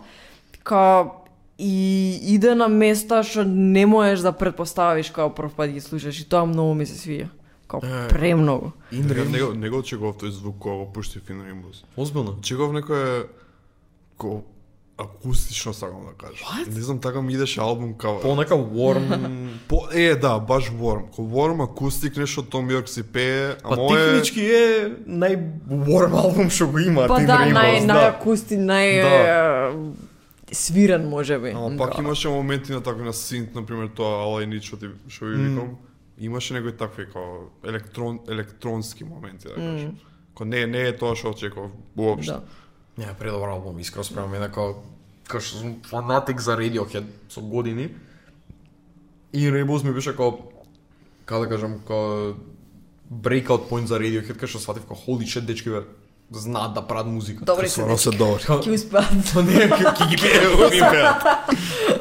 S2: као и иде на места што не можеш да предпоставиш као прв пат ги слушаш и тоа многу ми се свија. Као премногу.
S5: Дека Не го, не го очекував тој звук кога го пушти Фин Rainbows.
S6: Озбилно.
S5: Очекував некое ко акустично сакам да кажам. Не знам така ми идеше албум кава. По,
S6: Понека warm,
S5: по, е, да, баш Warm. Ко Warm акустик нешто Том Йорк си пее,
S6: па
S5: ама е
S6: технички е нај-warm албум што го има
S2: Па
S6: Tin
S2: да,
S6: Rainbows,
S2: нај, нај акусти, нај
S6: Да.
S2: е, свирен може би. Да.
S5: Ама пак имаше моменти на такви на синт, например тоа All I Need што ти што ви викам. Имаше некои такви како електрон електронски моменти да кажам. Ко не не е тоа што очекував
S2: Да.
S5: воопшто.
S6: Не, предобар албум, искрено спрема мене како како што сум фанатик за Radiohead со години. И Rainbows ми беше како како да кажам, како breakout point за Radiohead, кај што сфатив како holy shit, дечки бе, знаат да прават музика.
S2: Добре се
S5: се добро.
S2: Ќе успеат.
S6: Па не, ќе ќе ги пеат.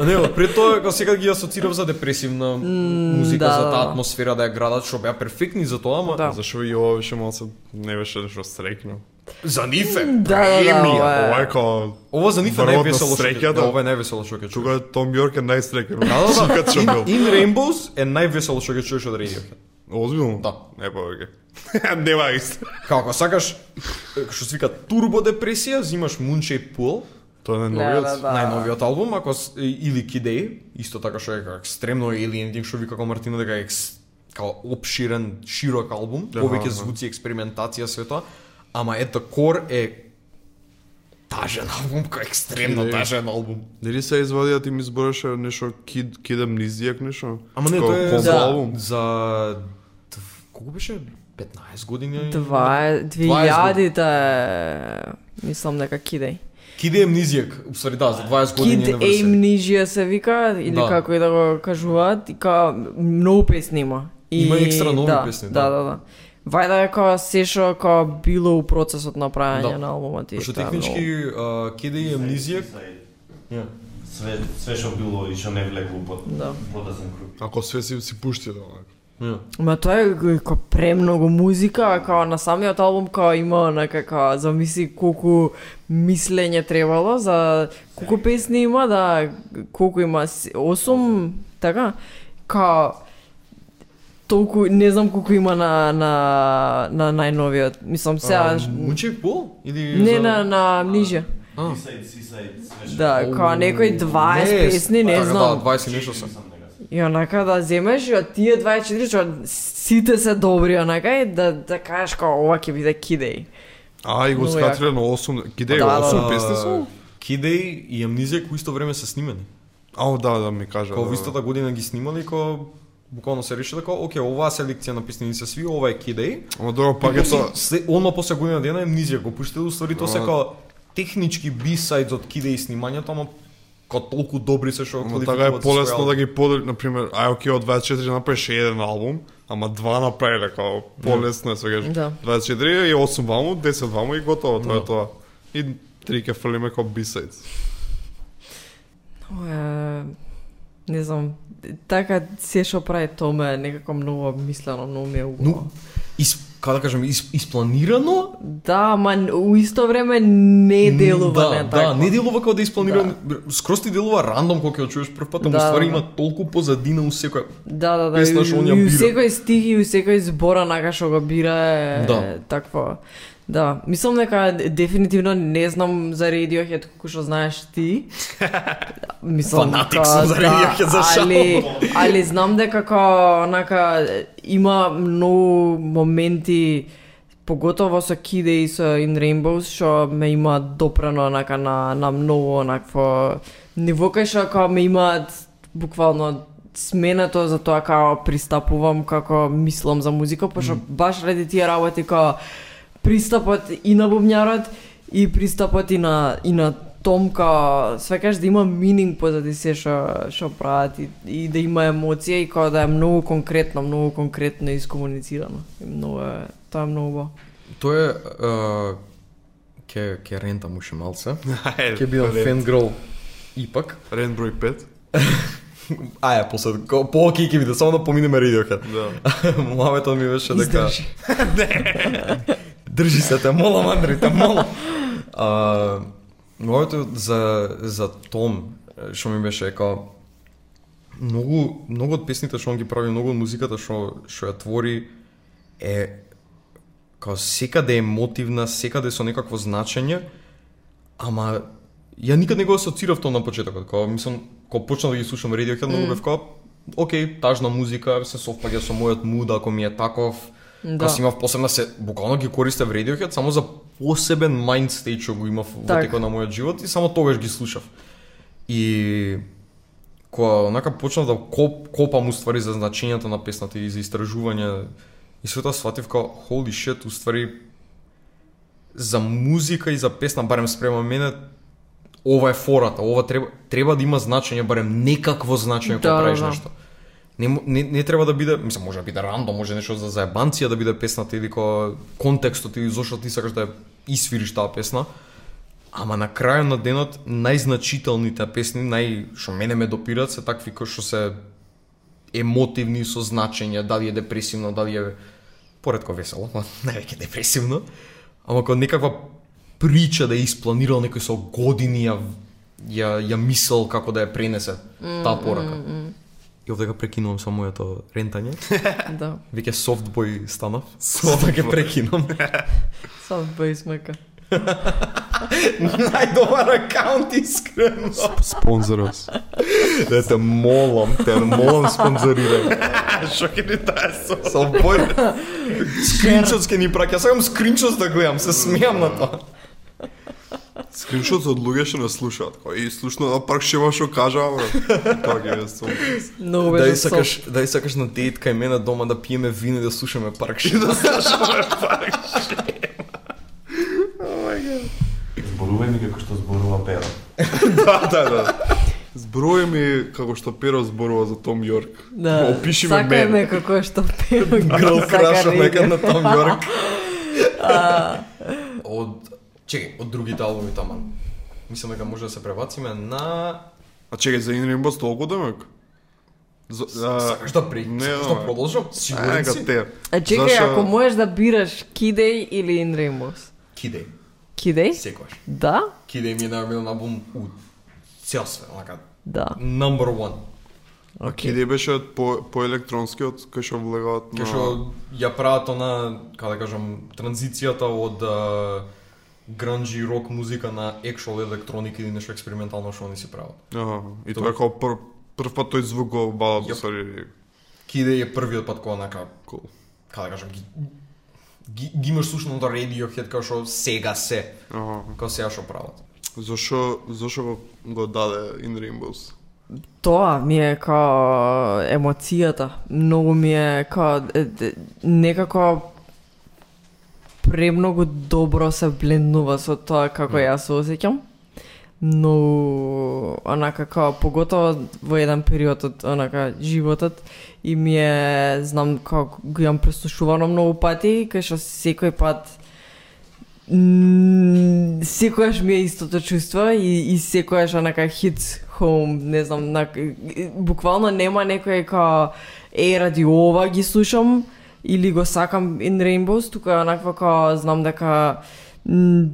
S6: Не, бе, пред тоа како сега ги асоцирав за депресивна музика,
S2: да,
S6: за
S2: да,
S6: таа
S2: да.
S6: атмосфера да ја градат, што беа перфектни за тоа, ама
S2: Да.
S5: Зашо и ова беше малце не беше нешто среќно.
S6: за нив е.
S2: Да, да, да,
S6: премија.
S2: ова е.
S5: Ова е као
S6: Ова за нив е
S5: Врвот на
S6: највесело што ќе
S5: среќа, да.
S6: да, ова е највесело што ќе чуеш.
S5: Тука Том Йорк е најсреќен.
S6: Да, да, да.
S5: Кад што бил.
S6: In Rainbows е највесело што ќе чуеш од Radiohead.
S5: Озбилно? па,
S6: Да.
S5: Не повеќе. Нема исто.
S6: Како сакаш, е, што се вика турбо депресија, взимаш Moonshaped Pool,
S5: Тоа е
S2: Да, да,
S5: новиот.
S2: да.
S6: најновиот албум, ако с- или Kid A, исто така што е како екстремно Alien Thing, што вика како Мартина дека е екс, како обширен, широк да, албум, повеќе звуци, експериментација, све тоа, ама ето кор е тажен албум, кој екстремно тажен албум.
S5: Дали се извади да ти ми збореше нешто кид кид амнизијак нешто?
S6: Ама не,
S5: Како
S6: тоа е
S5: комбо
S6: за,
S2: Да.
S5: албум.
S6: за тв- колку беше 15 години.
S2: Два е, двијадите, мислам дека Кидеј.
S6: Киде Емнизијак, усвари да, за 20 години
S2: Кид
S6: не врсе.
S2: Amnesia се вика, или
S6: Да.
S2: како и да го кажуваат, и ка многу песни има. И,
S6: Има екстра нови
S2: да,
S6: песни,
S2: да.
S6: да.
S2: Да, да, Вајда е као се што као било у процесот на
S6: Да.
S2: правење на албумот и
S6: Што
S2: тоа е многу.
S6: технички а, Киде и Емнизијак, Ја.
S3: Све, све што било и што не влегло под
S2: Да.
S3: подасен круг.
S1: Ако све си, си пушти тоа.
S6: ја.
S2: Ма тоа е г- као премногу музика, а као на самиот албум као има онака као замисли колку мислење требало за колку песни има, да, колку има с- осум, така? Као толку не знам колку има на на на најновиот. Мислам сега
S6: А, Мучек пол или
S2: не
S6: за-
S2: на на ниже.
S6: А.
S3: Сисајд, сисајд, све што...
S2: Да, као некои 20
S6: Не,
S2: Па, песни, не
S6: така,
S2: знам.
S6: Да, 20 нешто се.
S3: Сам дека се.
S2: И онака да земеш и од тие 24 што сите се добри онака и да да кажеш као ова ќе биде кидеј.
S5: А, и го
S2: Многу
S5: скатриле на 8, киде е
S2: Да, да,
S5: 8
S2: да.
S5: песни
S6: А,
S5: се?
S6: Кидеј и Емнизијак во исто време се снимени.
S5: Ао, да, да ми кажа.
S6: Као во
S5: да, да.
S6: истата година ги снимали, као буквално се реши дека, оке, оваа селекција на песни се сви, ова е Кидеј.
S5: Ама добро, пак е Така, тоа. Да.
S6: Се, одма после година дена Емнизија го пуштиле, устvari тоа се као технички бисайдс од Кидеј снимањето, ама као толку добри се што
S5: Ама така е полесно да ги подели, на пример, ај оке од 24 направиш еден албум, ама два направиле као полесно е сега.
S2: Да.
S5: 24 и 8 ваму, 10 ваму и готово, тоа е тоа. И три ке фрлиме као бисайдс.
S2: Е, не знам, така се што прави Томе е некако многу обмислено, многу ми е убаво.
S6: Ну, из, како да кажам, из, испланирано,
S2: Да, ма н- у исто време не делува
S6: да,
S2: не
S6: да,
S2: така.
S6: не делува како да е испланирано, скроз ти делува рандом кога ќе го чуеш прв пат, ама
S2: Да,
S6: ствари
S2: да, да.
S6: има толку позадина у секој.
S2: Да, да, да, и,
S6: Песна што он ја
S2: и у
S6: бира.
S2: секој стих и у секој збор онака што го бира е
S6: Да.
S2: такво. Да, мислам дека дефинитивно не знам за Radiohead колку што знаеш ти. Мислам
S6: Фанатик
S2: дека,
S6: сум за Radiohead, за шал.
S2: али, али знам дека како онака има многу моменти поготово со Kide и со In Rainbows што ме има допрано онака на на многу онакво ниво кај што како ме имаат буквално сменато за тоа како пристапувам како мислам за музика пошто баш ради тие работи како пристапот и на бубњарот и пристапот и на и на томка свекаш да има мининг позади се што што прават и, и да има емоција и као да е многу конкретно, многу конкретно искомуницирано. И Многу е, тоа е многу убаво.
S6: Тоа е а, ке ке рентам уште малце. Ке бидам фенгрол ипак.
S5: Рен број 5.
S6: Ајде, после ко- по окей ќе биде, само да поминеме Radiohead.
S5: Да.
S6: Мамето ми беше дека
S2: Издржи.
S6: држи се те, молам Андри, те молам. А мамето за за Том е, што ми беше како многу многу од песните што он ги прави, многу од музиката што што ја твори е као секаде емотивна, секаде со некакво значење, ама ја никад не го асоцирав тоа на почетокот, као мислам, кога почнав да ги слушам Radiohead, многу бев као, окей, тажна музика, се совпаѓа со мојот муд, ако ми е таков,
S2: Да.
S6: да. си имав посебна се, буквално ги користев Radiohead, само за посебен mind state што го имав во
S2: Так.
S6: текот на мојот живот и само тогаш ги слушав. И кога онака почнав да коп, копам уствари за значењето на песната и за истражување и све тоа сватив како holy shit уствари за музика и за песна барем спрема мене ова е фората, ова треба треба да има значење барем некакво значење
S2: Да,
S6: кога правиш
S2: да, да.
S6: нешто. Не, м- не, не треба да биде, мислам, може да биде рандом, може нешто за заебанција да биде песната или ко контекстот или зошто ти сакаш да ја исвириш таа песна. Ама на крајот на денот најзначителните песни, нај што мене ме допираат се такви кои што се емотивни со значење, дали е депресивно, дали е поредко весело, ама највеќе депресивно. Ама кога некаква прича да е испланирал некој со години ја ја, ја мисел како да ја пренесе таа порака. И овде го прекинувам со моето рентање.
S2: Да,
S6: Веќе софтбој станав. Ова ќе прекинувам.
S2: сам без мака.
S6: Најдобар акаунт искрено.
S5: Спонзорос.
S6: Да те молам, те молам спонзорирај. Шо ќе ни таа со? Со бој. Скриншот ќе ни праќа. Сакам скриншот да гледам, се смеам на тоа.
S1: Скриншот од луѓе што не слушаат. Кој и слушно на парк шева што кажа, бре. Тоа ги е сум.
S2: Много
S6: Да и
S2: беше сок.
S6: сакаш, да и сакаш на дет кај мене дома да пиеме вино и да слушаме паркши да слушаме.
S3: Зборувај ми како што зборува Перо.
S1: Да, да, да. Зброј ми како што Перо зборува за Том Јорк.
S2: Да.
S1: Опиши ме
S2: Сакаме
S1: мен.
S2: како што пева
S6: Грл краша нека на
S2: Сакарига.
S6: Том Йорк. од чекај, од другите албуми таман. Мислам дека може да се пребациме на
S1: А чекај за Инрим Бос толку демек. За, а,
S6: Сакаш да при...
S1: не,
S6: Сакаш
S1: бе.
S6: да продолжам? Сигурен
S1: ајка
S6: си?
S1: те.
S2: А чекај,
S1: Зашо-
S2: ако можеш да бираш Кидеј или Ин Реймос?
S6: Кидеј,
S2: Кидеј?
S6: секојаш.
S2: Да?
S6: Кидеј ми е најмилен албум у цел све, онака,
S2: Да.
S6: number one.
S2: Океј.
S1: Киде беше по, по електронскиот кај што влегаат на...
S6: Кај што ја прават она, како да кажам, транзицијата од а, гранџи и рок музика на екшол електроника или нешто експериментално што они си прават.
S1: Аха, и тоа е како пр, прв пат тој звук го бала
S6: Јап.
S1: по сари.
S6: Киде е првиот пат кога онака,
S1: Cool.
S6: како да кажам, ги, ги, ги имаш слушано на Radiohead како што сега се,
S1: Аха.
S6: како сега што прават.
S1: Зошо зошо го, го даде In Rainbows?
S2: Тоа ми е као емоцијата. Многу ми е као е, е, некако премногу добро се блендува со тоа како јас се осеќам. Но онака како поготово во еден период од онака животот и ми е знам како го имам преслушувано многу пати, кај што секој пат М, секогаш ми е истото чувство и, и секогаш онака hits home, не знам, на, буквално нема некој као е ради ова ги слушам или го сакам in Rainbows, тука е онаква као знам дека м,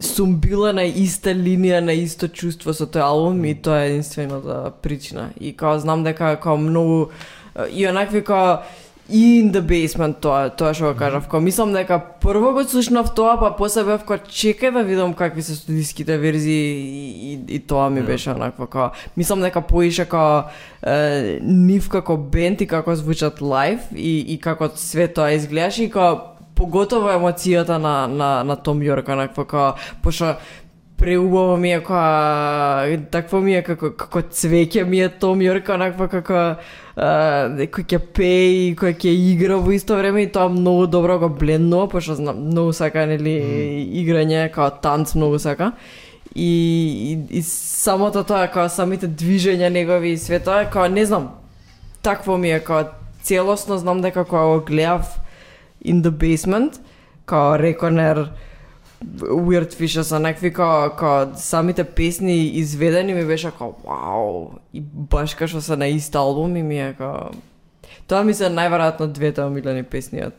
S2: сум била на иста линија, на исто чувство со тој албум и тоа е единствената причина. И као знам дека као многу э, и онакви као и in the basement тоа, тоа што го кажав. Као мислам дека прво го слушнав тоа, па после бев као чекај да видам какви се студиските верзии и, и, и тоа ми беше онаква као мислам дека поише као е, нив како бенд и како звучат лайв и, и како све тоа изгледаше и као поготово емоцијата на, на, на Том Јорк, онакво како, пошо преубаво ми е која, такво ми е како, како цвеќе ми е Том Јорк, онакво како, а, кој ќе пее и кој ќе игра во исто време и тоа многу добро го блендува, пошо знам, многу сака, нели, играње, као танц многу сака. И, и, и самото тоа, као самите движења негови и све тоа, као не знам, такво ми е, као целосно знам дека кога го гледав in the basement, као Реконер, Weird Fishes, онакви као, као самите песни изведени ми беше као вау, и баш као што се на ист албум и ми е као... Тоа ми се најверојатно двете омилени песни од...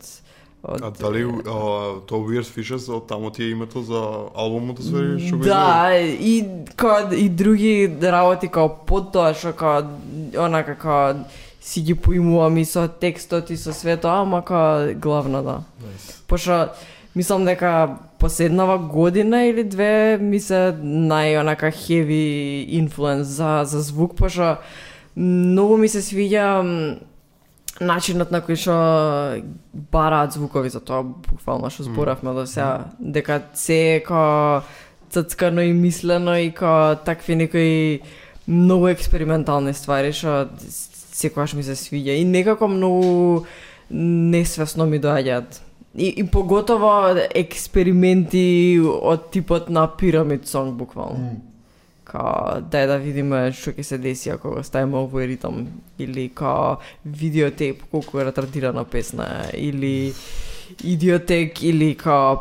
S2: од...
S1: А
S6: Да.
S1: дали а, тоа Weird Fishes, од тамо ти е името за
S5: да
S1: албумот свери што го издаде?
S2: Да, и као, и други работи као под тоа што као онака као си ги поимувам и со текстот и со све тоа, ама као главно да. Nice. Пошто мислам дека последнава година или две ми се нај онака хеви инфлуенс за за звук, пошто многу ми се свиѓа м, начинот на кој што бараат звукови за тоа буквално што зборавме до сега дека се е као цацкано и мислено и као такви некои многу експериментални ствари што секогаш ми се свиѓа и некако многу несвесно ми доаѓаат. И, и поготово експерименти од типот на пирамид сонг буквално. Као, дај да видиме што ќе се деси ако го ставиме овој ритм или као видеотеп колку е ретардирана песна е, или идиотек или као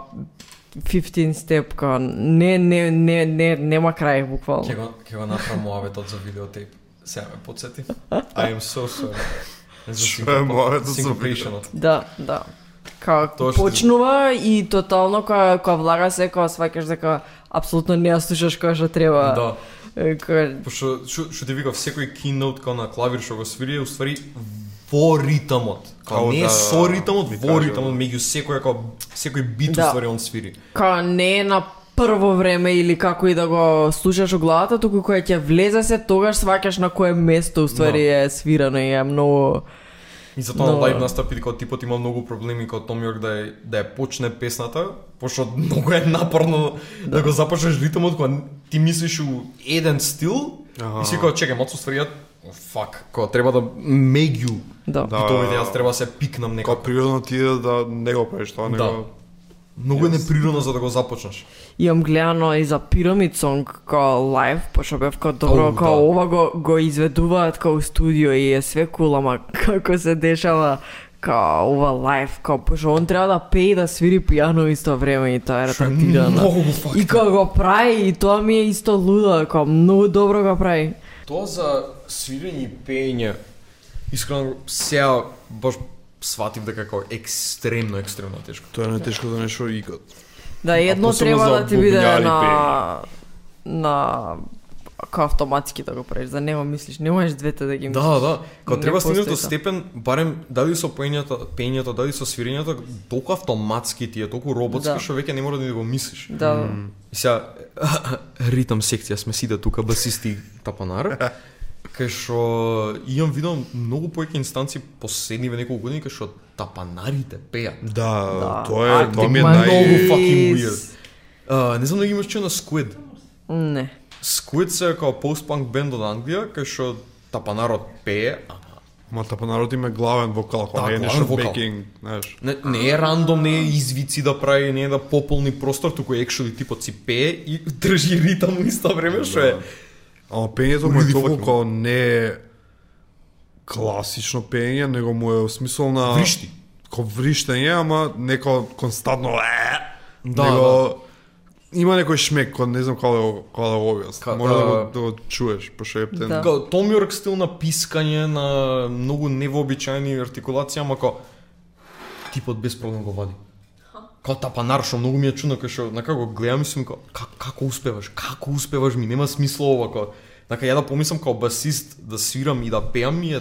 S2: 15 step као не не не не нема крај буквално.
S6: Ќе го ќе го направам муабетот за видеотейп. Сега ме подсети. I am so sorry.
S1: Што е моето за
S6: синкопрейшенот?
S2: Да, да. Као
S6: Точно.
S2: почнува и тотално кога кога влага се кога сваќаш дека апсолутно не ја слушаш кога што треба.
S6: Да,
S2: Е, Кога
S6: пошто што што ти викав секој keynote као на клавир што го свири е уствари во ритамот. Као
S1: Као
S6: не е
S1: да,
S6: со ритамот,
S1: ми
S6: во
S1: кажа,
S6: ритамот меѓу секој како секој бит
S2: Да.
S6: уствари он свири.
S2: као не е на прво време или како и да го слушаш во главата, туку
S6: Да.
S2: кога ќе влезе се тогаш сваќаш на кое место уствари е свирано и е многу
S6: И затоа на
S2: Но-
S6: лайв настапи дека типот има многу проблеми као Том Йорк да ја, да ја почне песната, пошто многу е напорно да, го започнеш ритмот кога ти мислиш у еден стил и си као чекај, мацу свират, фак, као треба да make you
S2: Да.
S5: Да.
S6: битовите, јас треба да се пикнам некако.
S5: Као природно ти е да не го правиш тоа,
S6: Да.
S5: него...
S6: Многу е неприродно за да го започнеш.
S2: Имам гледано и за Pyramid Song као лайв, пошто бев као добро,
S6: Оу,
S2: као
S6: да.
S2: ова го, го изведуваат као у студио и е све кул, ама како се дешава као ова лайв, као пошто он треба да пее и да свири пијано исто време и тоа е
S6: Шо е
S2: ретардирано.
S6: многу факт.
S2: И као го прави и тоа ми е исто лудо, као многу добро го прави.
S6: Тоа за свирење и пеење, искрено сега баш сватив дека како екстремно, екстремно тешко.
S5: Тоа е најтешко да нешо игот.
S2: Да, едно
S5: посебно
S2: треба
S5: за
S2: да ти биде
S5: бубњари
S2: на на као автоматски да го правиш, за него мислиш, не можеш двете да ги мислиш.
S6: Да, да, кога
S2: Не
S6: треба стигнеш до
S2: постои тоа.
S6: степен, барем дали со пењето, пењето, дали со свирењето, толку автоматски ти е, толку роботски,
S2: Да.
S6: што веќе не мора ни да го мислиш.
S2: Да,
S6: И сега, ритам секција сме сиде тука, басисти и тапанар. Кај што имам видам многу повеќе инстанци последниве неколку години кај што тапанарите пеат.
S5: Да,
S2: да.
S5: тоа е,
S2: Arctic
S5: тоа ми е
S2: Monkeys.
S5: нај...
S6: Многу fucking weird. А, не знам дали ги имаш чуо на Squid.
S2: Не.
S6: Squid се како пост-панк бенд од Англија, кај што тапанарот пее, ама
S5: Ма тапанарот има главен вокал,
S6: Да,
S5: кога не е
S6: главен
S5: нешто
S6: вокал.
S5: бекинг, знаеш.
S6: Не, не е рандом, не е извици да прави, не е да пополни простор, туку екшоли типот си пее и држи ритам во исто време, што е
S5: Ама пењето му е
S6: Really
S5: толку
S6: fucking-
S5: као не е класично пење, него му е во смисол на...
S6: Вришти.
S5: Ко вриштење, ама неко константно... Е,
S6: Да,
S5: Има некој шмек, кој не знам како да го- како да го објас.
S6: Ка-
S5: Мора да го,
S6: а-
S5: да го чуеш, пошто е ептен.
S2: Да.
S6: Као Така, Том Йорк стил на пискање, на многу невообичаени артикулации, ама као типот без проблем го води. Као тапанар, што па многу ми е чудно, кај што, на како гледам и сум као, как, како успеваш, како успеваш ми, нема смисло ова, као, Така, ја да помислам као басист да свирам и да пеам ми е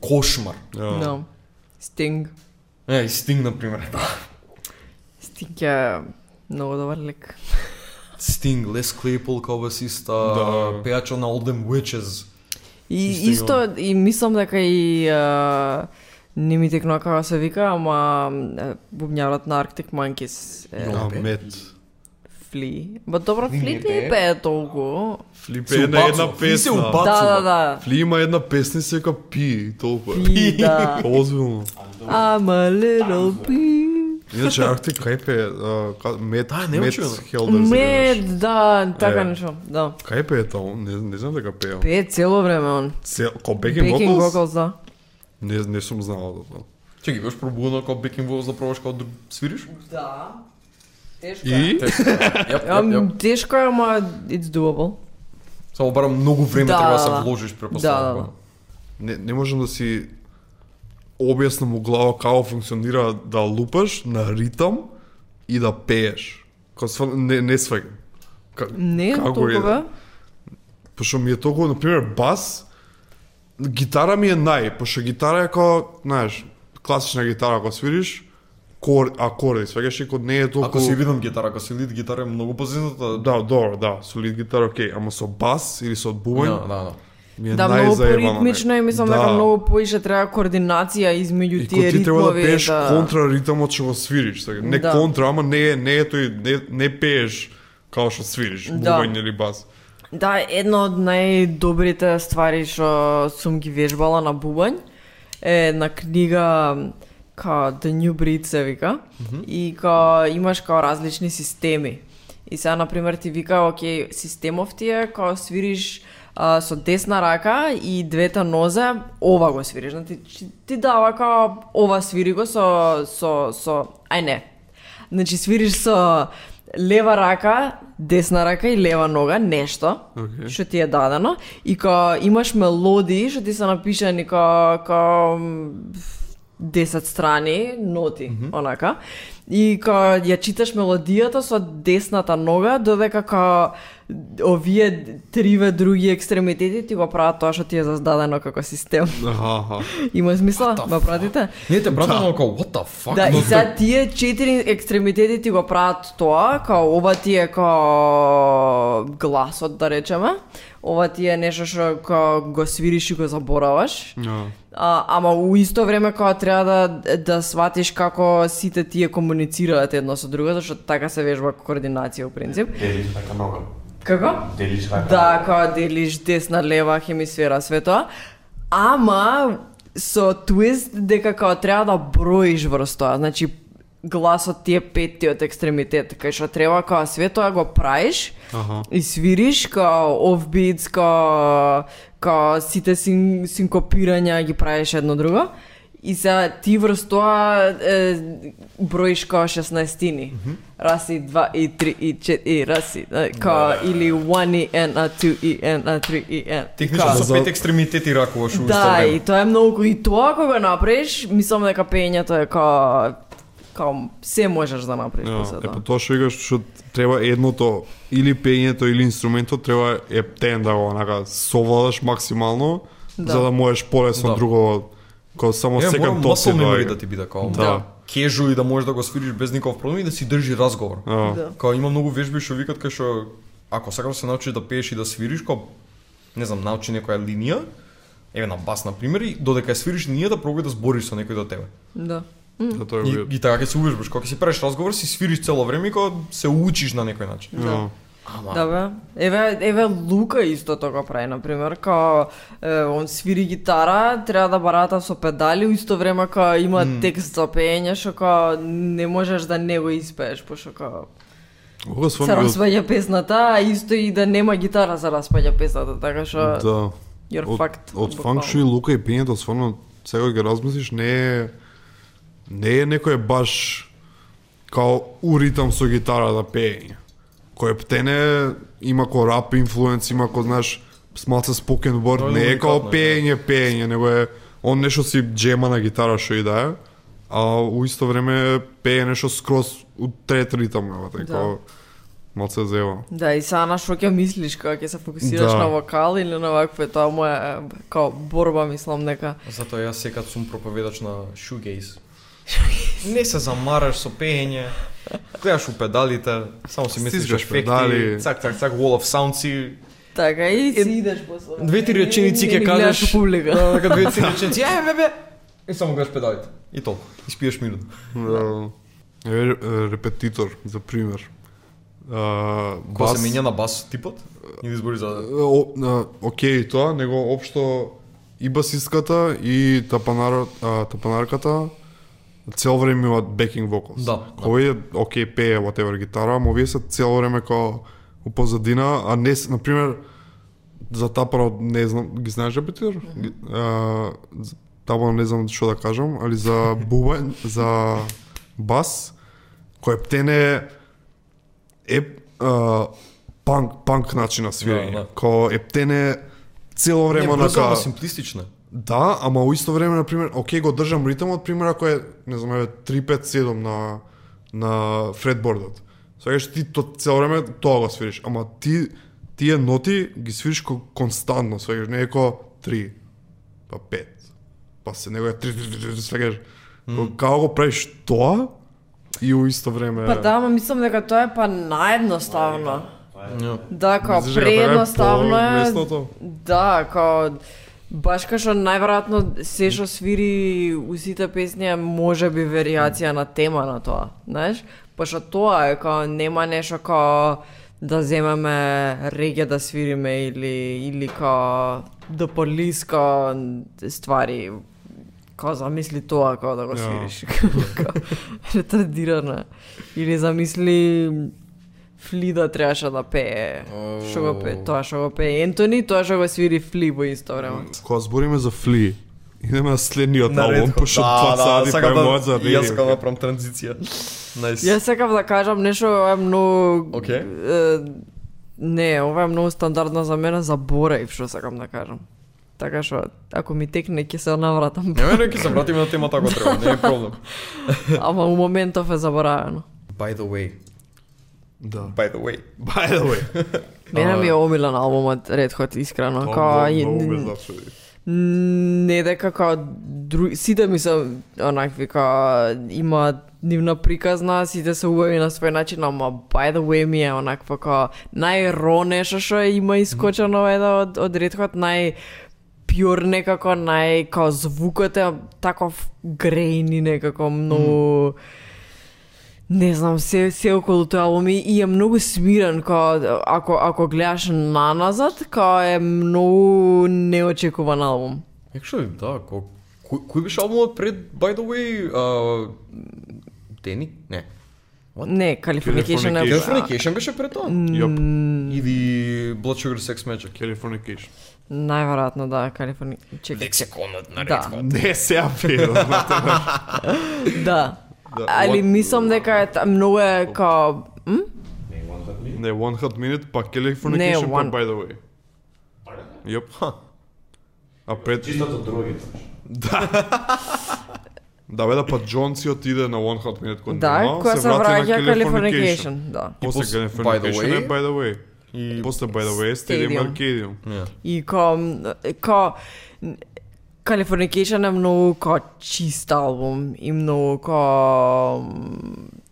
S6: кошмар.
S2: No. да. Sting.
S6: Е, и Стинг, например.
S2: Sting е многу добар лик.
S6: Стинг, Лес Клейпол као басиста,
S5: Да.
S6: пејачо на All Them Witches.
S2: И исто, и мислам дека и а, не ми текнува како се вика, ама е, бубњарот на Arctic Monkeys е
S5: Да, мет.
S2: Фли. Ба добро Фли не пее толку.
S5: Фли
S6: Се
S5: пее на една
S6: убацува, Фли се
S5: песна.
S6: убацува.
S2: Да, да, да.
S5: Фли има една песна и се вика пи, и толку е.
S2: Фли, да.
S5: Озбилно.
S2: I'm a little bee.
S5: Иначе Арктик Кај пее, а, ка- мет,
S6: Да, не
S5: мет
S6: учила.
S5: Хелдерс.
S2: Мед, да, така
S5: Е.
S2: нешто, да.
S5: Кај пее тоа? Не, не знам дека пее.
S2: Пее цело време он.
S5: Се, ко бекинг
S2: Backing
S5: вокалс?
S2: vocals, да.
S5: Не, не сум знал за тоа.
S6: Чеки, беш пробудено као Бекин Волос да пробаш као друг свириш?
S2: Да. Тешко
S5: И?
S6: Јап, јап, јап.
S2: Ам, тешко е, ама it's doable.
S6: Само бара многу време
S2: Да,
S6: треба да се
S2: да, да.
S6: вложиш па. препоставувам.
S2: Да, да,
S5: Не, не можам да си објаснам у глава како функционира да лупаш на ритам и да пееш. Ко свр... не, не сваќам. Ка-
S2: Не,
S5: како
S2: толку
S5: е?
S2: бе.
S5: Пошто ми е толку, например, бас, гитара ми е нај, пошто гитара е како, знаеш, класична гитара, ако свириш, кор, акорди, свегаш и код не е толку...
S6: Ако си ритм гитара, ако си лид гитара е многу позитната.
S5: Да, добро, да, со лид гитара, окей, ама со бас или со
S6: да,
S5: бубањ,
S6: да. да.
S5: ми е
S2: Да, многу
S5: најзаебано.
S2: поритмично и мислам
S5: да.
S2: дека многу поише треба координација измеѓу
S5: И
S2: тие
S5: кој ти треба да
S2: ритмови.
S5: пееш контра ритамот што го свириш, сега не
S2: Да.
S5: контра, ама не е не е тој не, не пееш како што свириш,
S2: Да.
S5: бубањ или бас.
S2: Да, една од најдобрите ствари што сум ги вежбала на бубањ е на книга ка The New Breed се вика и ка имаш као различни системи. И сега на пример ти вика, окей, системов ти е као свириш а, со десна рака и двете нозе ова го свириш. Значи ти, ти дава као ова свири го со со со ај не, Значи свириш со лева рака, десна рака и лева нога, нешто,
S5: Океј.
S2: што ти е дадено, и ка имаш мелодии што ти се напишани ка, ка м, 10 страни ноти, mm -hmm. онака. И ка ја читаш мелодијата со десната нога, додека ка овие триве други екстремитети ти го прават тоа што ти е зададено како систем.
S5: Аха, аха.
S2: Има смисла? Ма пратите?
S6: Не те брата, но као what the fuck.
S2: Да, и
S6: но
S2: сега тие четири екстремитети ти го прават тоа, као ова ти е као гласот, да речеме. Ова ти е нешто што као го свириш и го забораваш.
S5: Да.
S2: А, ама у исто време кога треба да, да сватиш како сите тие комуницираат едно со друго, зашто така се вежба координација у принцип.
S3: Делиш рака нога.
S2: Како?
S3: Делиш така рака.
S2: Да, кога делиш десна, лева, хемисфера, све тоа. Ама со твист дека као треба да броиш врз тоа. Значи гласот ти е петтиот екстремитет, кај што треба као све тоа го праиш
S5: Аха.
S2: и свириш као offbeats, као, као сите син, синкопирања ги правиш едно друго. И се ти врз тоа е, броиш као 16-тини. Раз и два и три и чет и раз и
S6: Да,
S2: е, као или 1 и n а 2 и n а 3 и n.
S6: Технички со пет екстремитети ракуваш у исто
S2: Да, и
S6: време.
S2: тоа е многу и тоа кога го направиш, мислам дека пењето е као као се можеш да направиш
S5: Ја,
S2: после
S5: Е, па
S2: тоа.
S5: тоа што игаш, што треба едното, или пењето, или инструментот, треба ептен да го онака совладаш максимално,
S2: Да.
S5: за да можеш полесно
S6: Да.
S5: друго, кога само
S6: Е, мора
S5: секам топ
S6: мусл
S5: си
S6: мемори
S5: доаѓа.
S6: да ти биде као.
S5: Да.
S6: Кежу и да можеш да го свириш без никаков проблем и да си држи разговор.
S5: А,
S2: Да.
S6: Као има многу вежби што викат кај што ако сакаш да се научиш да пееш и да свириш, као не знам, научи некоја линија, еве на бас на пример, и додека ја свириш линијата, пробај да збориш со некој до тебе.
S2: Да.
S5: Да, тоа е
S6: И,
S5: weird.
S6: и така ќе се увежбаш, кога ќе си правиш разговор, си свириш цело време и кога се учиш на некој начин.
S5: Ја.
S6: Ама
S2: Да бе. Еве, еве Лука исто тоа го прави на пример, као е, он свири гитара, треба да барата со педали, у исто време као има текст за пеење што као не можеш да не го испееш, пошто као
S5: Кога
S2: се
S5: свам
S2: распаѓа песната, а исто и да нема гитара за распаѓа песната, така што
S5: Да.
S2: you're
S5: Од,
S2: fucked.
S5: од
S2: буквално.
S5: фанк шо и лука и пињето, сварно, сега кога ги размислиш, не е... Не е некој баш као у ритам со гитара да пеење. Кој птене има ко рап инфлуенс, има ко, знаеш, смалце спокен word,
S6: Тоа е да.
S5: не е као
S6: уникатно,
S5: пеење, пеење, него е он нешто си джема на гитара што и да е, а у исто време пее нешто скрос у трет ритам, ева,
S2: Да.
S5: така, малце зева.
S2: Да, и сега на што ќе мислиш, кога ќе се фокусираш
S5: Да.
S2: на вокал или на вакве, тоа му е е, као борба, мислам, дека.
S6: затоа јас секад сум проповедач на shoegaze. Не се замараш со пеење. Гледаш у педалите, само си мислиш
S5: Стискаш
S6: ефекти,
S5: педали.
S6: цак цак цак wall of sound си
S2: Така, и си идеш после.
S6: две-три реченици ќе
S2: Или
S6: кажеш.
S2: гледаш у публика.
S6: Да, дека две три реченици. Е, бе, бе. И само гледаш педалите. И толку. И спиеш минут.
S5: Да. Е, е, репетитор, за пример. А,
S6: Ко
S5: бас...
S6: се менја на бас типот? Или збори за
S5: О, а, Океј тоа, него општо и басистката и тапанар, а, тапанарката цел време имаат бекинг вокалс.
S6: Да,
S5: Кој е океј пее whatever гитара, ама овие се цело време као у позадина, а не на пример за тапано не знам, ги знаеш репетитор? Ги- А, за тапано не знам што да кажам, али за бубен, за бас кој птене е а, панк панк начин на свирење.
S6: Да, да.
S5: Кој ептене цело време
S6: Не,
S5: на
S6: брзо, ама симплистична.
S5: Да, ама у исто време на пример, окей, го држам ритмот, пример ако е, не знам, еве 357 на на фредбордот. Сакаш ти то цело време тоа го свириш, ама ти тие ноти ги свириш ко, константно, сакаш не е ко 3 па 5. Па се него е 3 3 3, сакаш. Како го правиш тоа и у исто време
S2: Па да, ама мислам дека тоа е па наедноставно. Да, као
S5: Мислиш дека тоа е
S2: преедноставно е.
S5: полулесното?
S2: Да, као баш кај што најверојатно се што свири у сите песни е може би варијација на тема на тоа, знаеш? Па што тоа е као нема нешто као да земеме реге да свириме или или као да полиска ствари Као замисли тоа као да го свириш. Као, Ретардирано. е. Или замисли Флида требаше да пее. Што го пее? Тоа што го пее Ентони, тоа што го свири Фли во исто време.
S5: Кога збориме за Фли, идеме на следниот
S6: На Да,
S5: албум,
S6: Red Hot.
S5: пошто два сади па е мојот за
S6: и Јас сакам да
S5: Radiohead.
S6: направам транзиција. Најс.
S2: Јас сакав да кажам нешто е многу
S6: Океј.
S2: е, не, ова е многу стандардно за мене, заборав што сакам да кажам. Така што ако ми текне ќе се навратам,
S6: Не, не, ќе се вратиме на темата ако треба, не е проблем.
S2: ама у моментов е заборавено.
S6: By the way.
S5: Да.
S6: By the way.
S5: By the way.
S2: Мене ми е омилен албумот Red Hot, искрено. Као, Така, и- Не дека као други, сите ми се онакви као има нивна приказна, сите се убави на свој начин, ама by the way ми е онаква као најро нешто што има искочено mm. од, од Red Hot, нај pure некако, нај, као звукот е таков грејни некако, многу... Не знам, се, се околу тој албум и, и е многу смирен, као, ако, ако гледаш наназад, као е многу неочекуван албум.
S6: Actually, да, ко... кој, кој беше албумот пред, by the way, а, Дени? Не.
S2: Не, Californication е...
S6: Californication беше пред тоа?
S5: Јоп,
S6: Или Blood Sugar Sex Magic?
S5: Californication.
S2: Најверојатно да, California. Чекај.
S4: Лексиконот на
S2: Да,
S5: Не се апел.
S2: да. Али мислам дека е та- многу е као м?
S5: Не, One Hot Minute, па
S2: Не,
S5: Californication,
S2: One-
S5: па By the Way. Јоп. А пред...
S3: Чистото другите.
S5: Да, бе, да, па Джон си отиде на One Hot Minute кон
S2: Да,
S5: Дима,
S2: која
S5: се
S2: се
S5: врати
S2: враќа
S5: на Californication.
S2: Californication, да.
S5: И После
S6: после By the
S5: Californication
S6: Way.
S5: е By the Way. И после By the Way, Stadium
S2: Stadium.
S5: Arcadium.
S2: И као м, као н- Californication е многу као чист албум и многу као м,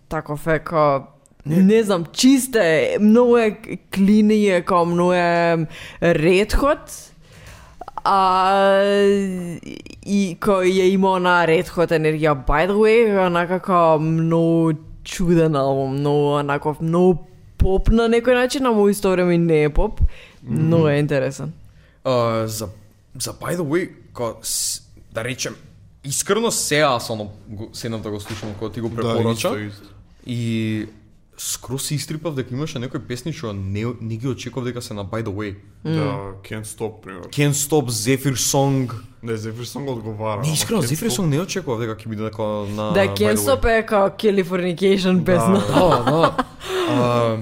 S2: таков е као не знам, чист е, многу е клини е, као многу е редхот, а и кој ја има она Red Hot енергија by the way, онака како многу чуден албум, многу онаков, многу поп на некој начин, ама исто време и не е поп. Многу е интересен.
S6: А, за, за by the way, ко, с, да речем, искрено сега само го, седнав да го слушам кога ти го препорача.
S5: исто, Да, исто.
S6: И скрос се истрипав дека имаше некои песни што не, не ги очекував дека се на by the way.
S5: Да, Can't Stop, пример.
S6: Can't Stop, Zephyr Song.
S5: Не, Зефир Сонг одговара.
S6: Не,
S5: ама
S6: искрено,
S5: Can't
S6: Zephyr
S5: Stop-
S6: Song не очекував дека ќе биде дека на
S2: Да,
S6: by the
S2: Can't
S6: way.
S2: Stop е како Californication песна.
S6: Да, да. А,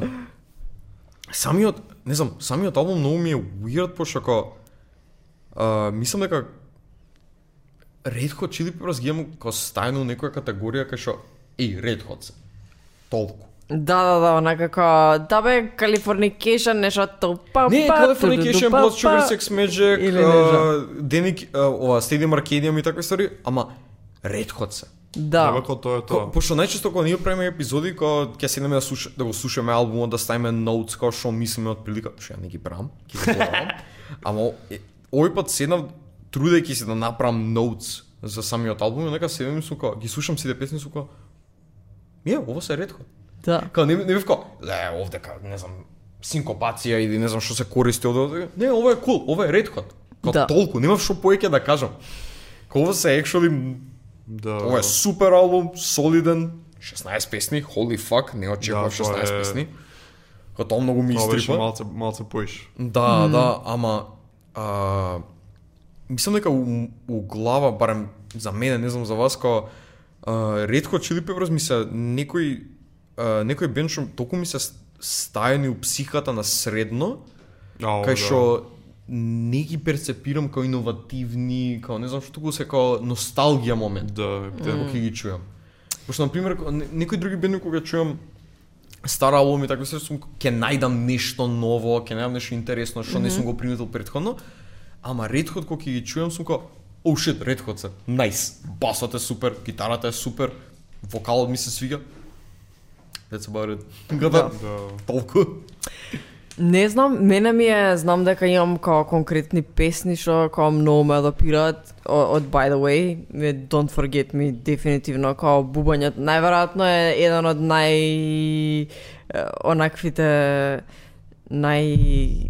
S6: самиот, не знам, самиот албум многу ми е weird пошто како а, мислам дека Red Hot Chili Peppers ги имам како стајно у некоја категорија кај што еј, Red Hot се. Толку.
S2: Да, да, да, онака како, да бе, Californication, нешто тупа, па,
S6: Не, Californication, Blood Sugar Sex Magic,
S2: Или
S6: а, Деник, а, ова, Stadium Arcadium и такви ствари, ама Red Hot се.
S2: Да,
S5: Ева ко тоа е
S6: Ко,
S5: тоа.
S6: пошто најчесто кога ние правиме епизоди, кога ќе седнеме да, слуш, да го слушаме албумот, да ставиме ноутс, кога што мислиме од прилика, што ја не ги правам, ќе ги правам. Ама е, овој пат седнав трудејќи се да направам ноутс за самиот албум, и нека седнем и сум као, ги слушам сите песни сум као, Е, ова се ретко.
S2: да.
S6: Као не, не бев као, е, овде као, не знам, синкопација или не знам што се користи од овде. Не, ова е кул, cool, ова е ретко. Као
S2: Да.
S6: толку, немав што поеќе да кажам. Као ова се actually
S5: Да.
S6: Ова е супер албум, солиден, 16 песни, holy fuck, не очекував
S5: Да, тоа
S6: 16
S5: е-
S6: песни. Кога тоа многу ми
S5: Тоа беше
S6: истрипа.
S5: да, малце, малце поиш.
S6: Да, да, ама а, мислам дека у, у глава, барем за мене, не знам за вас, кога а, ретко Chili Peppers ми се некој а, некој бенд што толку ми се с- стајани у психата на средно,
S5: Ау, да.
S6: кај што не ги перцепирам како иновативни, како не знам што туку се како носталгија момент
S5: Да, те-
S6: ден кога ги чујам. Пошто на пример ко- не- некои други бенди кога чујам стар албум и такви се сум ќе најдам нешто ново, ќе најдам нешто интересно што не сум го приметил претходно, ама ретхот кога ќе ги чујам сум како Оу oh shit, Red Hot се, најс, басот е супер, гитарата е супер, вокалот ми се свига. That's about it. Гада, толку.
S2: Не знам, мене ми е, знам дека имам као конкретни песни што као многу ме адопираат о- од By the Way, е Don't Forget Me дефинитивно као бубањето најверојатно е еден од нај е, онаквите нај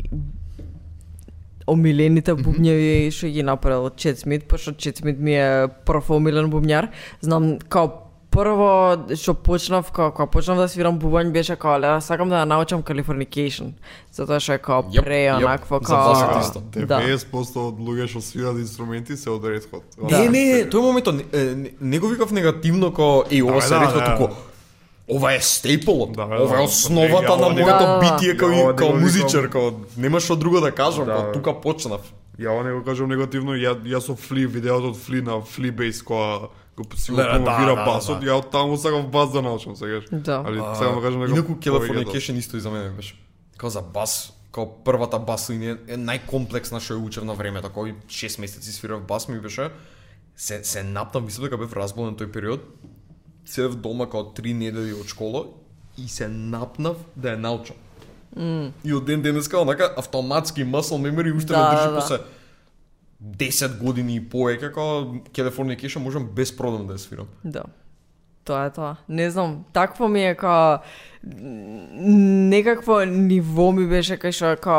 S2: омилените бубњеви што ги направил Чет Смит, пошто Чет Смит ми е прв омилен бубњар. Знам као прво што почнав, као кога почнав да свирам бубањ беше као ле, сакам да ја научам Californication, затоа што е као
S6: Јеп,
S2: пре
S6: јеп,
S2: онакво
S6: за
S2: као
S6: басот исто.
S2: да.
S5: 90% од луѓе што свират инструменти се од Red Hot.
S2: Да.
S6: Не, не, тој момент не, е, не, не го викав негативно како еј ова
S5: Да,
S6: се
S5: да,
S6: Red Hot,
S5: да.
S6: туку ова е стейплот,
S5: Да, да,
S6: ова е
S5: да.
S6: основата
S5: Ја,
S6: на
S5: ова не-
S6: моето
S2: Да, да, да.
S6: битие
S5: Ја, ова
S6: како
S5: не
S6: како
S5: го
S6: музичар,
S5: викам.
S6: како нема што друго да кажам,
S5: Да.
S6: па тука почнав.
S5: Ја ова не го кажам негативно, ја ја со Фли видеото од Фли на Фли Бейс која го си го
S6: Да, да,
S5: промовира
S6: да,
S5: басот,
S6: да.
S5: ја од таму сакам бас да научам сега.
S2: Да.
S5: Али сега да кажам
S6: Инаку Californication исто и за мене беше. Као за бас, као првата бас линија е најкомплексна што ја учев на времето, кој 6 месеци свирав бас ми беше се се напнав, мислам дека бев разболен тој период. Седев дома као 3 недели од школа и се напнав да ја научам. И од ден денеска онака автоматски muscle memory уште
S2: Да,
S6: ме држи
S2: да, да.
S6: после 10 години и повеќе како Californication можам без проблем да ја свирам.
S2: Да. Тоа е тоа. Не знам, такво ми е ка н- некакво ниво ми беше кај што ка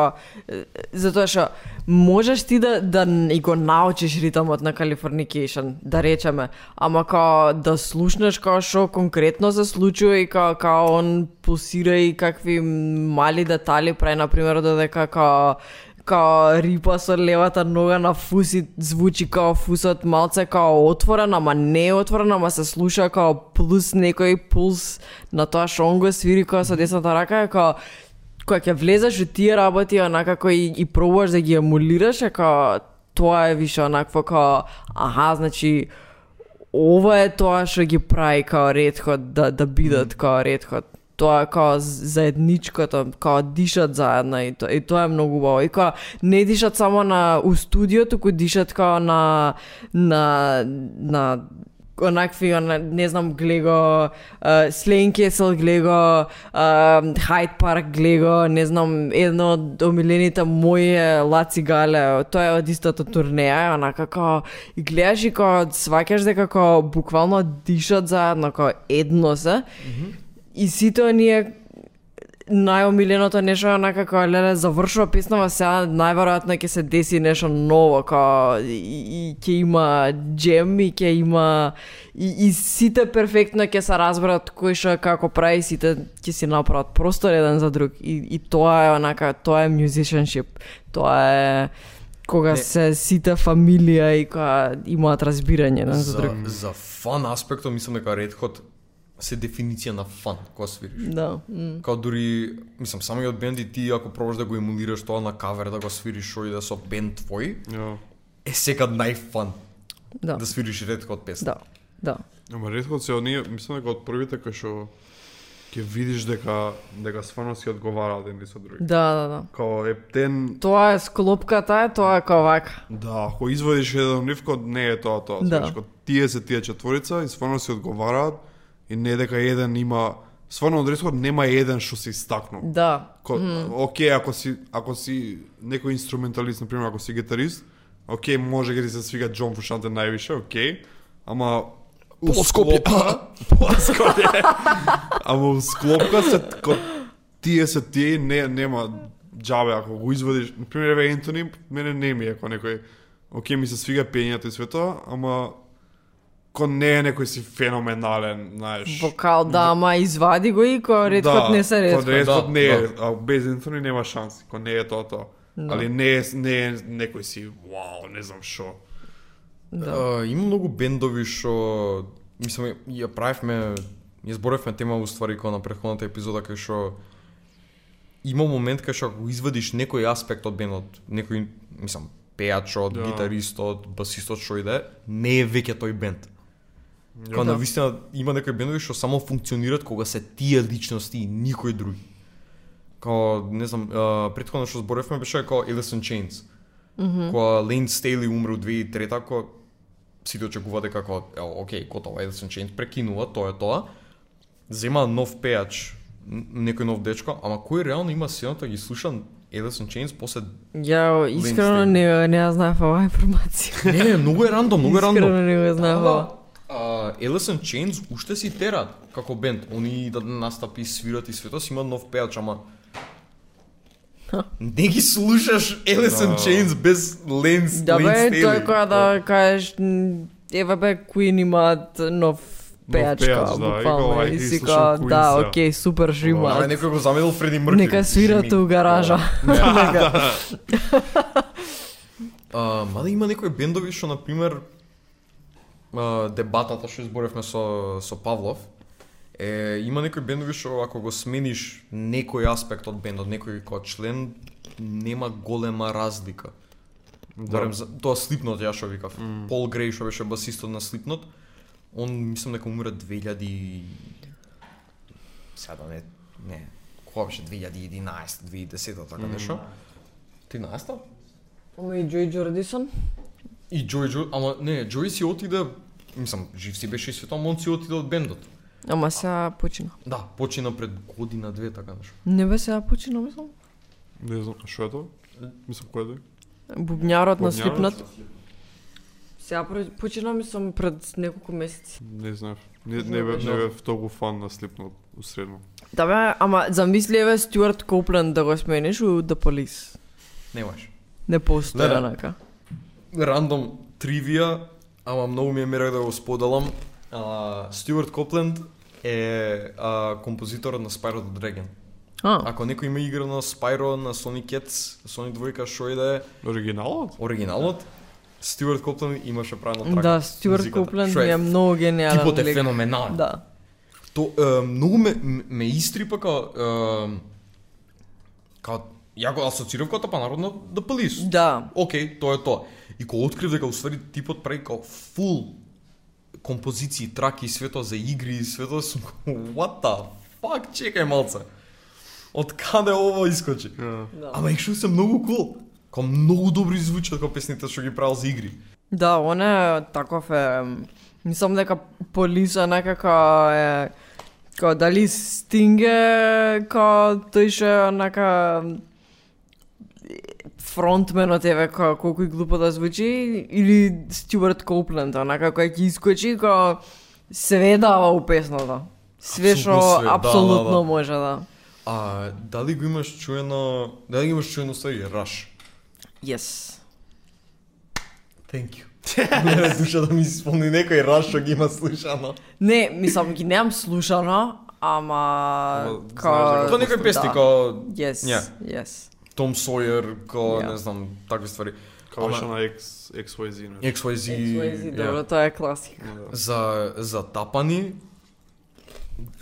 S2: е, затоа што можеш ти да да н- и го научиш ритамот на Californication, да речеме, ама ка да слушнеш ка што конкретно се случува и ка ка он пулсира и какви мали детали прави на пример додека ка као рипа со левата нога на фуси звучи као фусот малце као отворен, ама не е отворен, ама се слуша као плюс некој пулс на тоа што он го свири као со десната рака е као кога ќе влезеш у тие работи онака кои и пробуваш да ги емулираш е као тоа е више онакво као аха значи ова е тоа што ги прави као ретхот да да бидат као ретхот тоа е као заедничкото, као дишат заедно и тоа, и тоа е многу убаво. И као не дишат само на у студио, туку дишат као на на на онакви, она, не знам, глего, uh, Слейн Кесел глего, uh, Хайд Парк глего, не знам, едно од омилените мои е Лаци Гале, тоа е од истата турнеја, онака како, и гледаш и као, сваќаш дека као, буквално дишат заедно, као, едно се, И сите оние најомиленото нешто е онака како леле завршува песнава сега најверојатно ќе се деси нешто ново како и, и ќе има джем и ќе има и, и сите перфектно ќе се разберат кој што е како прави сите ќе си направат простор еден за друг и, и тоа е онака тоа е musicianship тоа е кога
S6: Не.
S2: се сите фамилија и кога имаат разбирање еден за
S6: За,
S2: друг
S6: за фан аспектот мислам дека Red Hot се дефиниција на фан кога свириш.
S2: да м.
S6: Као дури, мислам, само и од бенди ти ако пробаш да го емулираш тоа на кавер, да го свириш шо и да со бенд твој,
S5: да. Ја.
S6: е секад најфан
S2: да
S6: да свириш Red Hot песна.
S2: да да
S5: Ама ретко се оние, мислам дека од првите кои што ќе видиш дека дека стварно си одговараат едни со други.
S2: да да да
S5: Као ептен,
S2: Тоа е склопката, е тоа е како вака.
S5: да, ако извадиш еден нив код не е тоа тоа,
S2: Да.
S5: знаеш, код тие се тие четворица и стварно си одговараат и не е дека еден има Стварно од Ретхот нема еден што се истакнува.
S2: Да.
S5: Ко, Океј, ако си ако си некој инструменталист, на пример, ако си гитарист, океј, може ќе ти се свига Џон Фушанте највише, океј, ама у
S4: Полоскопје.
S5: склопка- ама у склопка се ко, тие се тие и не нема џабе ако го извадиш, на пример, еве Ентони, мене не ми е ако некој океј ми се свига пењето и све тоа, ама кон не е некој си феноменален, знаеш.
S2: Вокал, да, ама извади го и кој
S5: Да,
S2: редкот не се
S5: Кон
S2: редкот.
S5: редкот
S6: Да,
S5: не е,
S6: да.
S5: а без Ентони нема шанси, кон не е тоа тоа. Али не е, не е некој си, вау, не знам шо.
S6: Да. има многу бендови што мислам ја правевме, ја зборевме тема уствари кога на претходната епизода кај што има момент кај што ако го извадиш некој аспект од бендот, некој мислам пејачот,
S5: Да.
S6: гитаристот, басистот што и да е, не е веќе тој бенд. Кога
S2: Да.
S6: на вистина Па има некои бендови што само функционираат кога се тие личности и никој други. Као, не знам, а, претходно што зборевме беше као Alice in Chains. Кога Лейн Стейли умре у 2003 кога сите очекува дека како ео, окей, готово, Alice in Chains прекинува, тоа е тоа. Зема нов пејач, н- некој нов дечко, ама кој реално има силната ги слуша Alice in Chains после
S2: Ја искрено
S6: Линстен.
S2: не не ја знаев оваа информација.
S6: Не, не, многу е рандом, многу е рандом.
S2: Искрено не ја знаев ова.
S6: А, Alice in Chains уште си терат како бенд. Они да настапи, свират и свето си има нов пејач, ама не ги слушаш Alice in Chains без Lance
S2: Да
S6: Lance
S2: бе,
S6: Staley.
S2: тоа кога
S5: Па.
S2: да кажеш м, еве бе Queen имаат нов
S5: пејач,
S2: пејачка,
S5: да, и
S2: буквално.
S5: као, ај,
S2: И
S5: ти
S2: си
S5: слушам
S2: као,
S5: Queen
S2: да,
S5: сега.
S2: окей, супер што
S6: Абе,
S2: имаат.
S6: некој го заменил Фреди Меркюри.
S2: Нека свират
S6: Жми.
S2: у гаража. Нека.
S6: А, мада има некои бендови што, например, а, дебатата што изборевме со, со Павлов, е, има некои бендови што ако го смениш некој аспект од бендот, некој кој член, нема голема разлика. Да. Барем, за, тоа Слипнот ја што викав. Mm. Пол Грей што беше басистот на Слипнот, он мислам дека умира 2000 и- сега да не не кога беше 2011, 2010 така нешто. 13
S2: Ама и Джој Джордисон?
S6: И Джој Джо, ама не, Джој си отиде, мислам, жив си беше и свето, ама он си отиде од бендот.
S2: Ама сега почина.
S6: Да, почина пред година две така нешто.
S2: Не бе сега почина, мислам.
S5: Не знам, шо е тоа? Мислам, кој е тој?
S2: Бубњарот на Слипнат. Сега про- почина ми сум пред неколку месеци.
S5: Не знаев. Не, не, бе, не бев толку фан на Slipknot усредно.
S2: Да бе, ама замисли еве Стюарт Коплен да го смениш у The Police.
S6: Не можеш.
S2: Не постои
S6: Гледа.
S2: онака.
S6: рандом тривија, ама многу ми е мерак да го споделам. А, Стюарт Копленд е а, композиторот на Spyro the Dragon.
S2: А,
S6: Ако некој има игра на Spyro, на Sonic Cats, Sonic 2, што и да е
S5: Оригиналот?
S6: оригиналот, Стюарт Копленд имаше правилно трак.
S2: да, Стюарт
S6: музиката.
S2: Коплен
S6: Шо е
S2: ми е многу гениален.
S6: Типот е
S2: лик.
S6: феноменален.
S2: Да.
S6: То е, многу ме ме- ме истрипа као е, као ја го асоцирав како тапанародно да палис.
S2: Да.
S6: Океј, тоа е тоа. И кога открив дека усвари типот прави као фул композиции, траки и свето за игри и свето, сум као, what the fuck, чекај малце. Од каде ова искочи? Ама екшо се многу кул. Као многу добри звучат као песните што ги правил за игри.
S2: Да, он е таков е... м, Мислам дека полиса некако е... Као дали Стинг е... Као тој ше онака... м, фронтменот еве као колку и глупо да звучи или Стюарт Копленд онака кој ќе искочи као све дава у песната. Све што
S6: Апсолутно све, да, да, да.
S2: апсолутно може да.
S6: А дали го имаш чуено, дали го имаш чуено стари Rush?
S2: Yes.
S6: Thank you. Мене душа да ми исполни некој Rush што ги има слушано.
S2: Не, мислам ги немам слушано, ама као
S6: Тоа некој песни
S2: да.
S6: као
S2: Yes,
S6: Ја.
S2: yes.
S6: Том Сойер, као
S2: Ја.
S6: не знам, такви ствари.
S5: Као
S6: Ама-
S5: што на X, XYZ. не? да.
S6: XYZ,
S2: XYZ,
S6: ја.
S2: добро, тоа е класик.
S6: за за тапани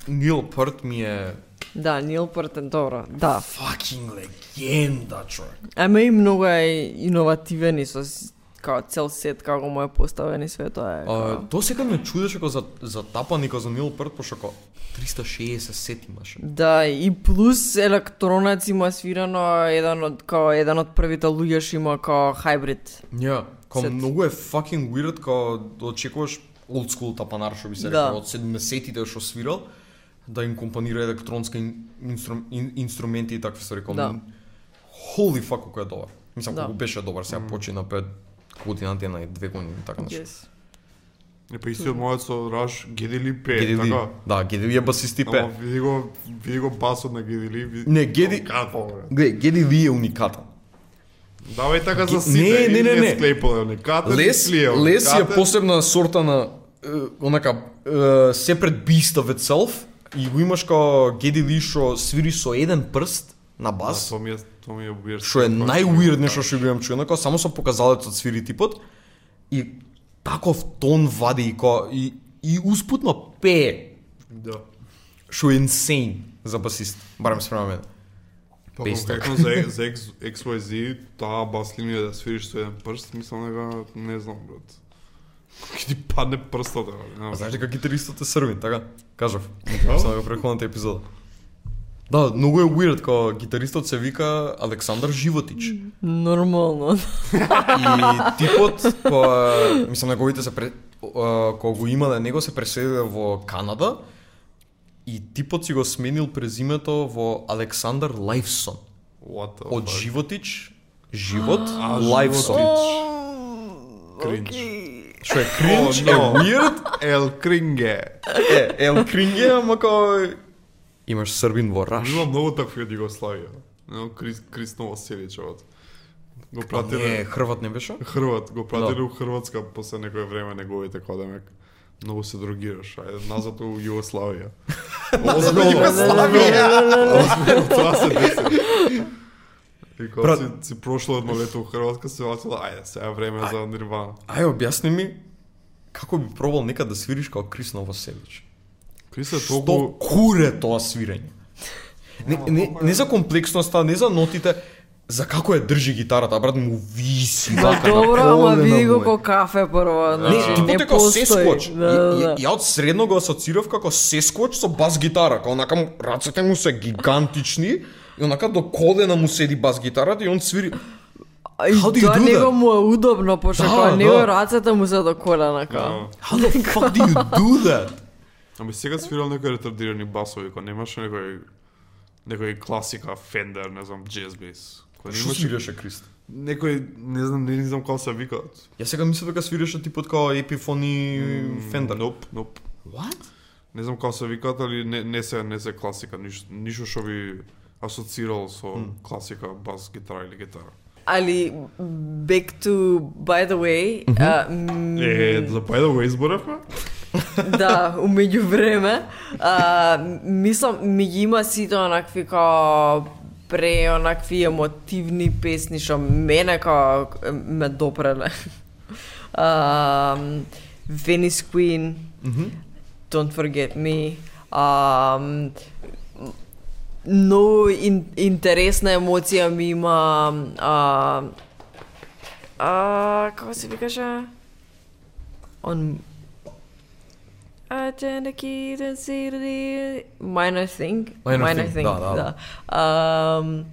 S6: Нил Пърт ми е
S2: Да, Нил Портен, добро, да.
S6: fucking легенда, човек.
S2: Ама и многу е иновативен и со с- као цел сет како му е поставен и све тоа е.
S6: А,
S2: као-
S6: то сега ме чудеше како за, за тапани, како за Нил Пърт, пошто како 360 сет имаше.
S2: Да, и плюс електронец има свирано еден од као еден од првите луѓе што има као хајбрид.
S6: Ја, како
S2: Сет.
S6: многу е fucking weird, како да очекуваш old school тапанар, што би се
S2: Да.
S6: рекол, од 70-тите што свирал, да им компонира електронска ин, инструм, ин, инструменти и такви ствари. Како,
S2: Да.
S6: Holy fuck, колку е добар. Мислам,
S2: Да.
S6: колку беше добар, сега почина пред година, тена и две години, така нешто.
S2: Yes.
S5: Не па истиот мојот со Rush Gedili P,
S6: Гедели,
S5: така?
S6: да, Гедели е басист и
S5: Ама
S6: пе.
S5: види го, види го басот на Gedili. ви-
S6: Не, Геди-
S5: Како, бе?
S6: Гле, Гедели е уникатен.
S5: Давај така за
S6: Ги-
S5: сите.
S6: не, не,
S5: и
S6: не, не.
S5: Лес Клейпол е уникатен.
S6: Лес,
S5: Ли е
S6: лес е
S5: уникатен.
S6: посебна сорта на е, онака е, separate beast of itself и го имаш како Гедели што свири со еден прст на
S5: А,
S6: бас.
S5: Тоа ми е, тоа ми е weird.
S6: што е најуирд
S5: да.
S6: нешто што го имам чуено, кога само со показалецот свири типот и таков тон вади и ко и, и успутно пее.
S5: Да.
S6: Што е insane за басист, барем спрема мене.
S5: Па
S6: Based
S5: конкретно за, за X, XYZ, таа бас линија да свириш со еден прст, мислам дека не знам, брат. Ке ти падне прстот, брат.
S6: А
S5: Нема.
S6: знаеш дека гитаристот е срвин, така? Кажав, само во претходната епизода. Да, многу е weird кога гитаристот се вика Александар Животич.
S2: Нормално.
S6: И типот, кој, мислам, неговите се пре, а, кога го има на него се преселиле во Канада и типот си го сменил презимето во Александар Лайфсон.
S5: What the
S6: Од
S5: fuck?
S6: Животич, Живот,
S5: Па А,
S6: Лайфсон.
S5: Кринч.
S6: Што е кринч,
S5: О,
S6: е
S5: но.
S6: weird,
S5: Ел Кринге.
S6: е, ел кринге, ама као... Имаш србин во Раш.
S5: Има многу такви од Југославија. Едно Крис, Крис Новоселич, брат. Го
S6: Не,
S5: пратиле
S6: Хрват не беше?
S5: Хрват, го пратиле
S6: Да.
S5: у Хрватска после некое време неговите кодемек. Многу се дрогираш, ајде назад у Југославија. Озбилно, озбилно, тоа се деси. И кога
S6: Брат.
S5: си, си прошло едно лето у Хрватска, се вратила, ајде, сега е време за Нирвана.
S6: Ај, објасни ми, како би пробал некад да свириш као Крис Новоселич?
S5: Крис е
S6: Што
S5: толку...
S6: куре тоа свирење? Не, не, не за комплексноста, не за нотите, за како ја држи гитарата, брат, му виси
S2: Ба
S6: вака на
S2: добро, ама
S6: колена
S2: види го
S6: му е.
S2: ко кафе прво,
S6: Не,
S2: значи
S6: типот
S2: не
S6: е како сескоч.
S2: постои. Да, да, да.
S6: Ја од средно го асоцирав како сескоч со бас гитара, како онака му- рацете му се гигантични и онака до колена му седи бас гитарата и он свири.
S2: А И
S6: How do you
S2: тоа
S6: do
S2: него
S6: that?
S2: му е удобно, пошто
S6: Да,
S2: кога него
S6: да.
S2: рацете му се до колена
S5: Да.
S2: као.
S6: How the fuck do you do that?
S5: Ами сега свирал некои ретардирани басови, кој немаше некој... Некој класика, Fender, Па не знам, Jazz Bass. Кој
S6: Што
S5: немаше...
S6: свиреше Крист?
S5: некој, не знам, не, не знам како се викаат.
S6: Ја сега мислам дека свиреше типот како Epiphony
S2: Да.
S6: Fender.
S5: Ноп, ноп.
S6: What?
S5: Не знам како се викаат, али не, не се не се класика, ниш, ништо што би асоцирал со класика, бас, гитара или гитара.
S2: Ali back to by the way, а, м,
S5: Е, за by the way изборавме?
S2: да, у меѓувреме, а, мислам, ми ги има сите онакви као пре онакви емотивни песни што мене као ме допреле. А, Venice Queen, Don't Forget Me, а, но ин, интересна емоција ми има а, а, како се викаше? On I tend to keep and see the minor thing.
S6: Minor thing, да, да, да.
S2: Um,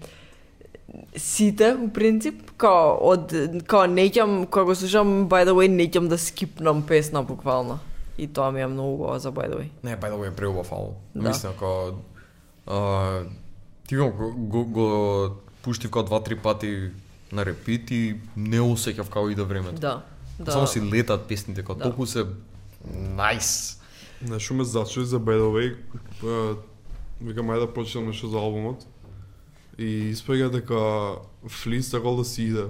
S2: сите, у принцип, као, од, као неќам, кога го слушам, by the way, неќам да скипнам песна, буквално. И тоа ми е многу убаво за by the way.
S6: Не, па by the way, преубав албум.
S2: Да.
S6: Мислам како а, ти го, го, го пуштив како два-три пати на репит и не усеќав како иде времето.
S2: Да, да.
S6: Само си летат песните, како
S2: Да.
S6: толку се најс.
S5: Не, што ме зачуди за by the way, е, викам ајде да прочитам нешто за албумот. И испега дека Флис сакал да си иде.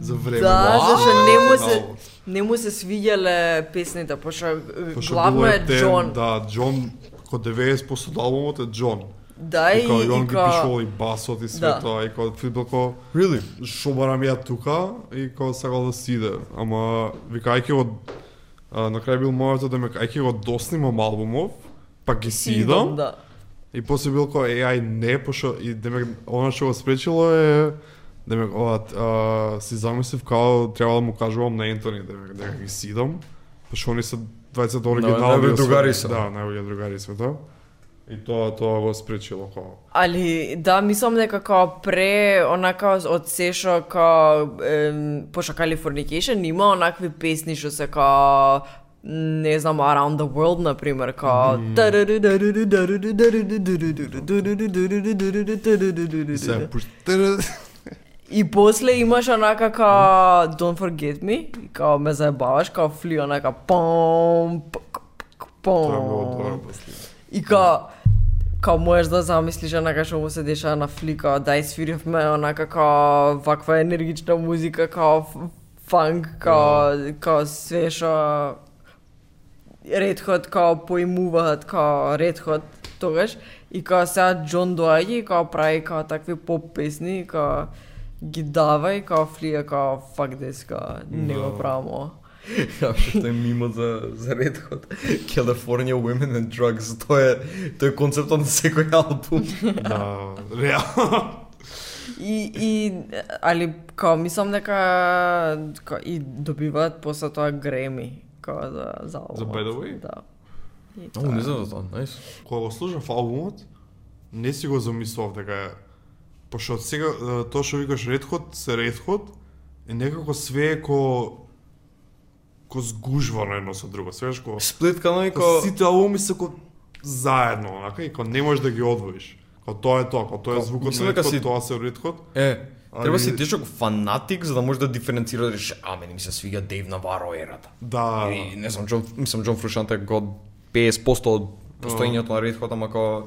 S5: За време.
S2: Да,
S5: на-
S2: зашто не му се
S5: албумот.
S2: не му се свиѓале песните, пошто е,
S5: Пошто
S2: главно
S5: било
S2: е
S5: тем,
S2: Джон. Да,
S5: Да, Джон, ко 90% од албумот е Джон.
S2: и,
S5: И као и он
S2: и
S5: ги
S2: као,
S5: пишувал и басот и све
S2: Да.
S5: тоа, и као Фил бил као
S6: Really?
S5: што барам ја тука и као сакал да си иде, ама викајќи го а, на крај бил мојата да ме ајќи го доснимам албумов, па ги
S2: си
S5: си
S2: идам,
S5: идам,
S2: да.
S5: и после бил као е, ај не, пошо и демек она што го спречило е демек ова а, си замислив као треба да му кажувам на Ентони демек дека ги си идам, пошо они се 20 оригинални
S6: најболи
S5: освен-
S6: другари се.
S5: Да, најболи другари се тоа. И тоа тоа го спречило као
S2: Али, да, мислам дека као пре, онака од се што као, ем, пошто Californication има онакви песни што се као, не знам, Around the World, например, као...
S5: И се пуш...
S2: И после имаш онака као Don't Forget Me, као ме заебаваш, као фли онака пом, пк, пк,
S5: Тоа е многу добро
S2: пом.
S5: после.
S2: И као, као можеш да замислиш онака што му се деша на да фли, као дај свиривме онака као ваква енергична музика, као ф- фанк, као, као све што Red Hot као поимуваат као Red Hot тогаш и као сега Джон доаѓа и као прави као такви поп песни и као ги дава и као флија као fuck this као не го правимо.
S6: Ја што е мимо за за Red Hot. California Women and Drugs. Тоа е тој е концептот на секој албум.
S5: Да, реално.
S2: И, и али као мислам дека као, и добиваат после тоа Греми као за за албумот.
S5: За By the Way?
S2: Да. И
S6: О,
S2: тоа е.
S6: не знам за тоа. Најс.
S5: Кога го слушав албумот, не си го замислував дека е пошто од сега е, тоа што викаш Red Hot се Red Hot е некако све е ко ко згужвано едно со друго, свеш ко
S6: Сплиткано и
S5: ко
S6: ко
S5: сите албуми се ко заедно, онака и ко не можеш да ги одвоиш. Ко тоа е тоа, ко тоа е
S6: Ко,
S5: звукот
S6: мислам
S5: на
S6: дека
S5: Red Hot,
S6: си-
S5: тоа се Red Hot.
S6: Е, треба
S5: Али-
S6: си тежок фанатик за да можеш да диференцира да речеш, а мене ми се свиѓа Дейв Наваро ерата.
S5: Да.
S6: И не знам, Джон, мислам Џон Фрушант е год 50% од постоењето на Red Hot, ама како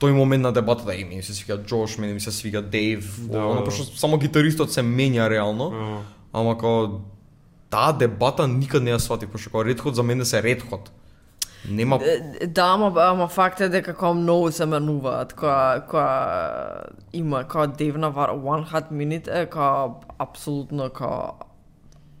S6: тој момент на дебатата, е, мене ми се свиѓа Джош, мене ми се свиѓа Дейв,
S5: Да,
S6: да, оно,
S5: да.
S6: пошто само гитаристот се менја реално,
S5: Е,
S6: ама како таа дебата никад не ја сватив, пошто како Red Hot за мене се Red Hot. Нема
S2: Е, Да, ама, ама факт е дека као многу се менуваат, која, која има, која девна вар, One Hot Minute е као апсолутно као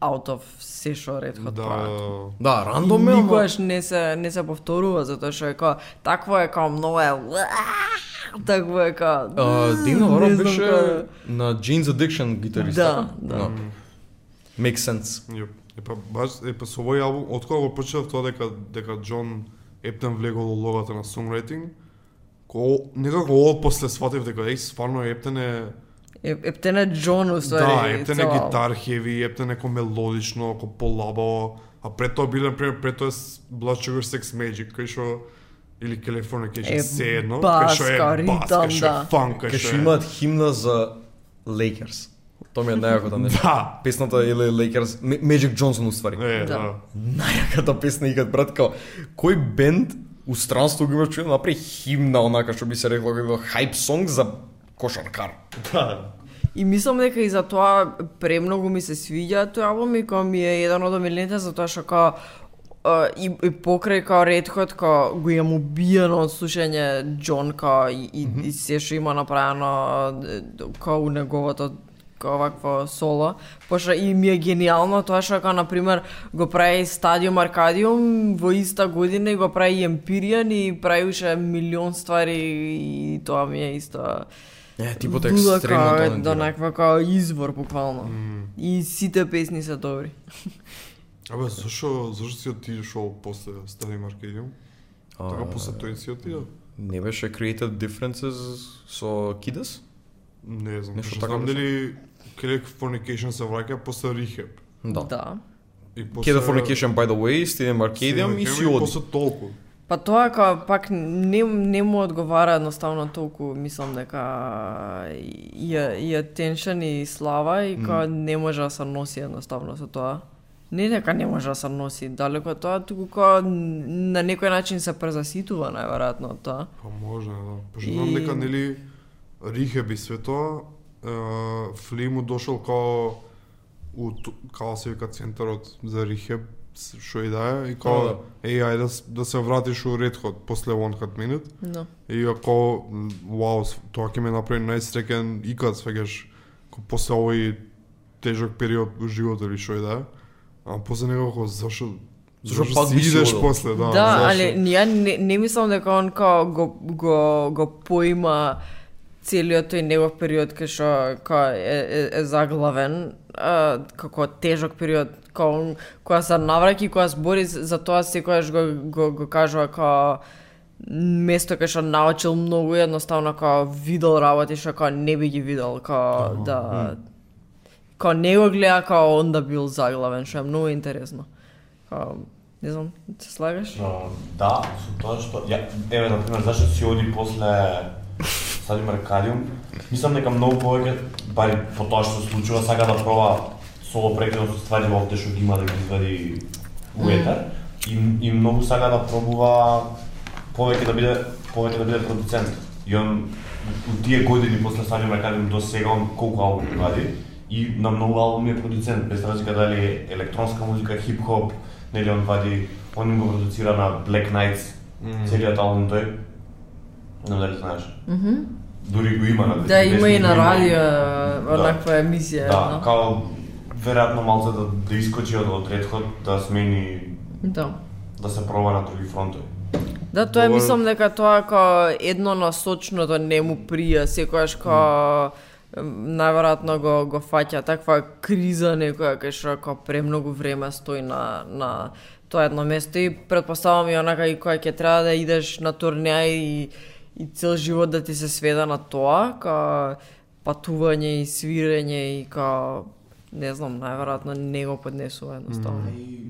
S2: out of се што Red
S6: па
S2: Hot прават.
S5: Да.
S6: Да,
S2: И
S6: рандом е, ама
S2: Никогаш не се, не се повторува, затоа што е као, такво е као многу е, уаа, такво е као,
S6: а, Дейв Наваро
S2: не знам
S6: беше
S2: кој
S6: на Jane's Addiction гитарист.
S2: Да,
S6: така? да. Make sense.
S5: Јоп. Е па баш е па со овој албум од кога го почнав тоа дека дека Џон Ептен влегол улогата на songwriting, ко некако од после сватив дека еј стварно Ептен е
S2: е, ептен е Джон, у ствари,
S5: да, Ептен е
S2: цела-
S5: гитар хеви, Ептен е ко мелодично, ко полабаво, а пред тоа биле например пред тоа е с- Blood Sugar Sex Magic, кај што или Californication
S2: Е,
S5: се едно,
S2: бас,
S5: кај што е
S2: ка,
S5: бас, кај
S2: ритам,
S5: што е
S2: да.
S5: фанк,
S6: Кај
S5: кај
S6: што
S5: што е
S6: имаат химна за Лейкерс. Тоа ми е најакото нешто.
S5: Да.
S6: Песната или Lakers, М- Magic Johnson уствари.
S5: Е,
S2: Да.
S5: да.
S6: Најаката песна икад, брат, као, кој бенд у странство го имаш чуја направи химна, онака што би се рекло, како хайп сонг за кошаркар.
S2: И мислам дека и за тоа премногу ми се свиѓа тој албум и кој ми е еден од омилените затоа што као е, и, и покрај као ретхот као го имам убиено од слушање Джон као и, и, и се што има направено е, као у неговото као овакво соло, пошто и ми е гениално тоа што као, например, го прави Стадиум Аркадиум во иста година и го прави и Емпириан и прави уште милион ствари и тоа ми е исто...
S6: Е, типот е
S2: Луда
S6: екстремно
S2: као е да,
S6: талентиран.
S2: до неква као извор буквално. И сите песни се добри.
S5: Абе, зашо, зашо си отидеш ово после Стади Маркедиум? Така после тој си отиде?
S6: Не беше Creative Differences со Кидас?
S5: Не знам,
S6: Нешто
S5: што
S6: така
S5: знам
S6: беше.
S5: дали Californication се враќа после Rehab.
S2: Да.
S5: И после...
S6: Californication by the way, Stadium Arcadium и
S5: Stadium
S6: си оди.
S5: После толку.
S2: Па тоа као пак не, не му одговара едноставно толку, мислам дека и, и attention и слава и као не може да се носи едноставно со тоа. Не дека не може да се носи, далеко од тоа, туку као н- на некој начин се презаситува најверојатно од тоа.
S5: Па може, да. Пошто
S2: И-
S5: знам дека, нели, Rehab и све тоа, е, Фли му дошол као, у, ту- као се вика центарот за Rehab, с- што и да е, и
S6: Да,
S5: као, еј, ајде да, с- да се вратиш у Red Hot после One Hot Minute.
S2: Да.
S5: И ако, м, вау, с- тоа ќе ме направи најсреќен икад, свегаш, после овој тежок период у животот или што и да е. А после некако, зашо,
S6: Зашо
S5: зашо,
S6: пак
S5: си
S6: би си
S5: идеш
S6: одел?
S5: после, да,
S2: Да,
S5: зашо?
S2: али ја не, не мислам дека он као го, го, го поима целиот тој негов период кај што као е, е, е заглавен, а, како тежок период, као он, која се навраќа и која збори з- за тоа секогаш го, го, го кажува као место кај што научил многу и едноставно као видел работи што као не би ги видел, као да као не го гледа као он да бил заглавен, што е многу интересно. Као, не знам, се слагаш?
S3: Но, да, со тоа што ја еве на пример зашто си оди после Стадиум Аркадиум, мислам дека многу повеќе бари по тоа што се случува сака да проба соло прекидот со ствари во овде што ги има да ги извади у етер и, и многу сака да пробува повеќе да биде повеќе да биде продуцент. И он у тие години после Стадиум Аркадиум до сега он колку албуми вади и на многу албуми е продуцент без разлика дали е електронска музика, хип-хоп, нели он вади, он им го продуцира на Black Knights, целиот албум тој. Не знам дали знаеш. Дури го има на
S2: Да,
S3: Десни
S2: има и на
S3: го има.
S2: радио онаква емисија.
S3: Да,
S2: Да.
S3: као веројатно малце да, да искочи од, од ретход, да смени,
S2: да.
S3: да се проба на други фронтови.
S2: Да, тоа е,
S5: Добар.
S2: мислам дека тоа како едно насочното не му прија, секогаш како најверојатно го го фаќа таква криза некоја кај што како премногу време стои на на тоа едно место и предпоставам и онака и која ќе треба да идеш на турнеја и и цел живот да ти се сведа на тоа, како патување и свирење и како не знам, најверојатно не го поднесува едноставно.
S3: И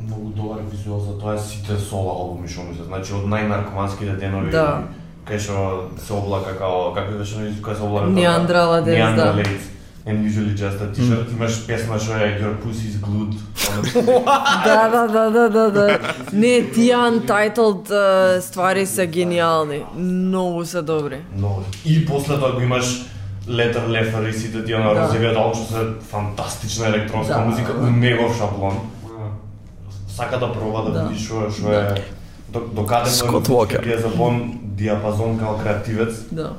S3: многу добар визуал за тоа е сите соло албуми што му се, значи од најнаркоманските денови
S2: Да.
S3: кај што се облака као како беше на кој се облака
S2: Неандрала Dance, да.
S3: Неандралец and usually just a t-shirt имаш песна што е your pussy is glued Она-
S2: Да, да, да, да, да, да. Не, тие untitled uh, ствари се гениални. Многу се добри.
S3: но и после тоа го имаш Letter Leffer и сите тие на
S2: Да.
S3: розевиот албум што се фантастична електронска
S2: Да.
S3: музика у негов шаблон сака да проба да
S2: Да.
S3: види што е- што е до, до каде
S6: Scott
S3: му е
S6: Walker.
S3: диапазон диапазон као креативец
S2: Да.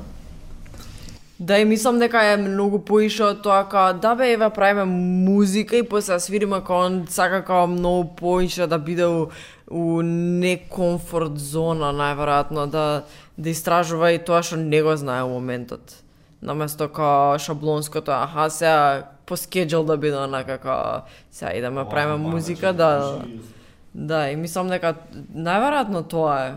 S2: Да, и мислам дека е многу поише од тоа као, да бе, еве, правиме музика и после ја свириме као, он сака као многу поише да биде у, у некомфорт зона, најверојатно, да, да истражува и тоа што не го знае во моментот. Наместо као шаблонското, аха, сега по скеджел да биде онака као, сега идеме, правиме музика,
S3: значи,
S2: да, да, и мислам дека најверојатно тоа е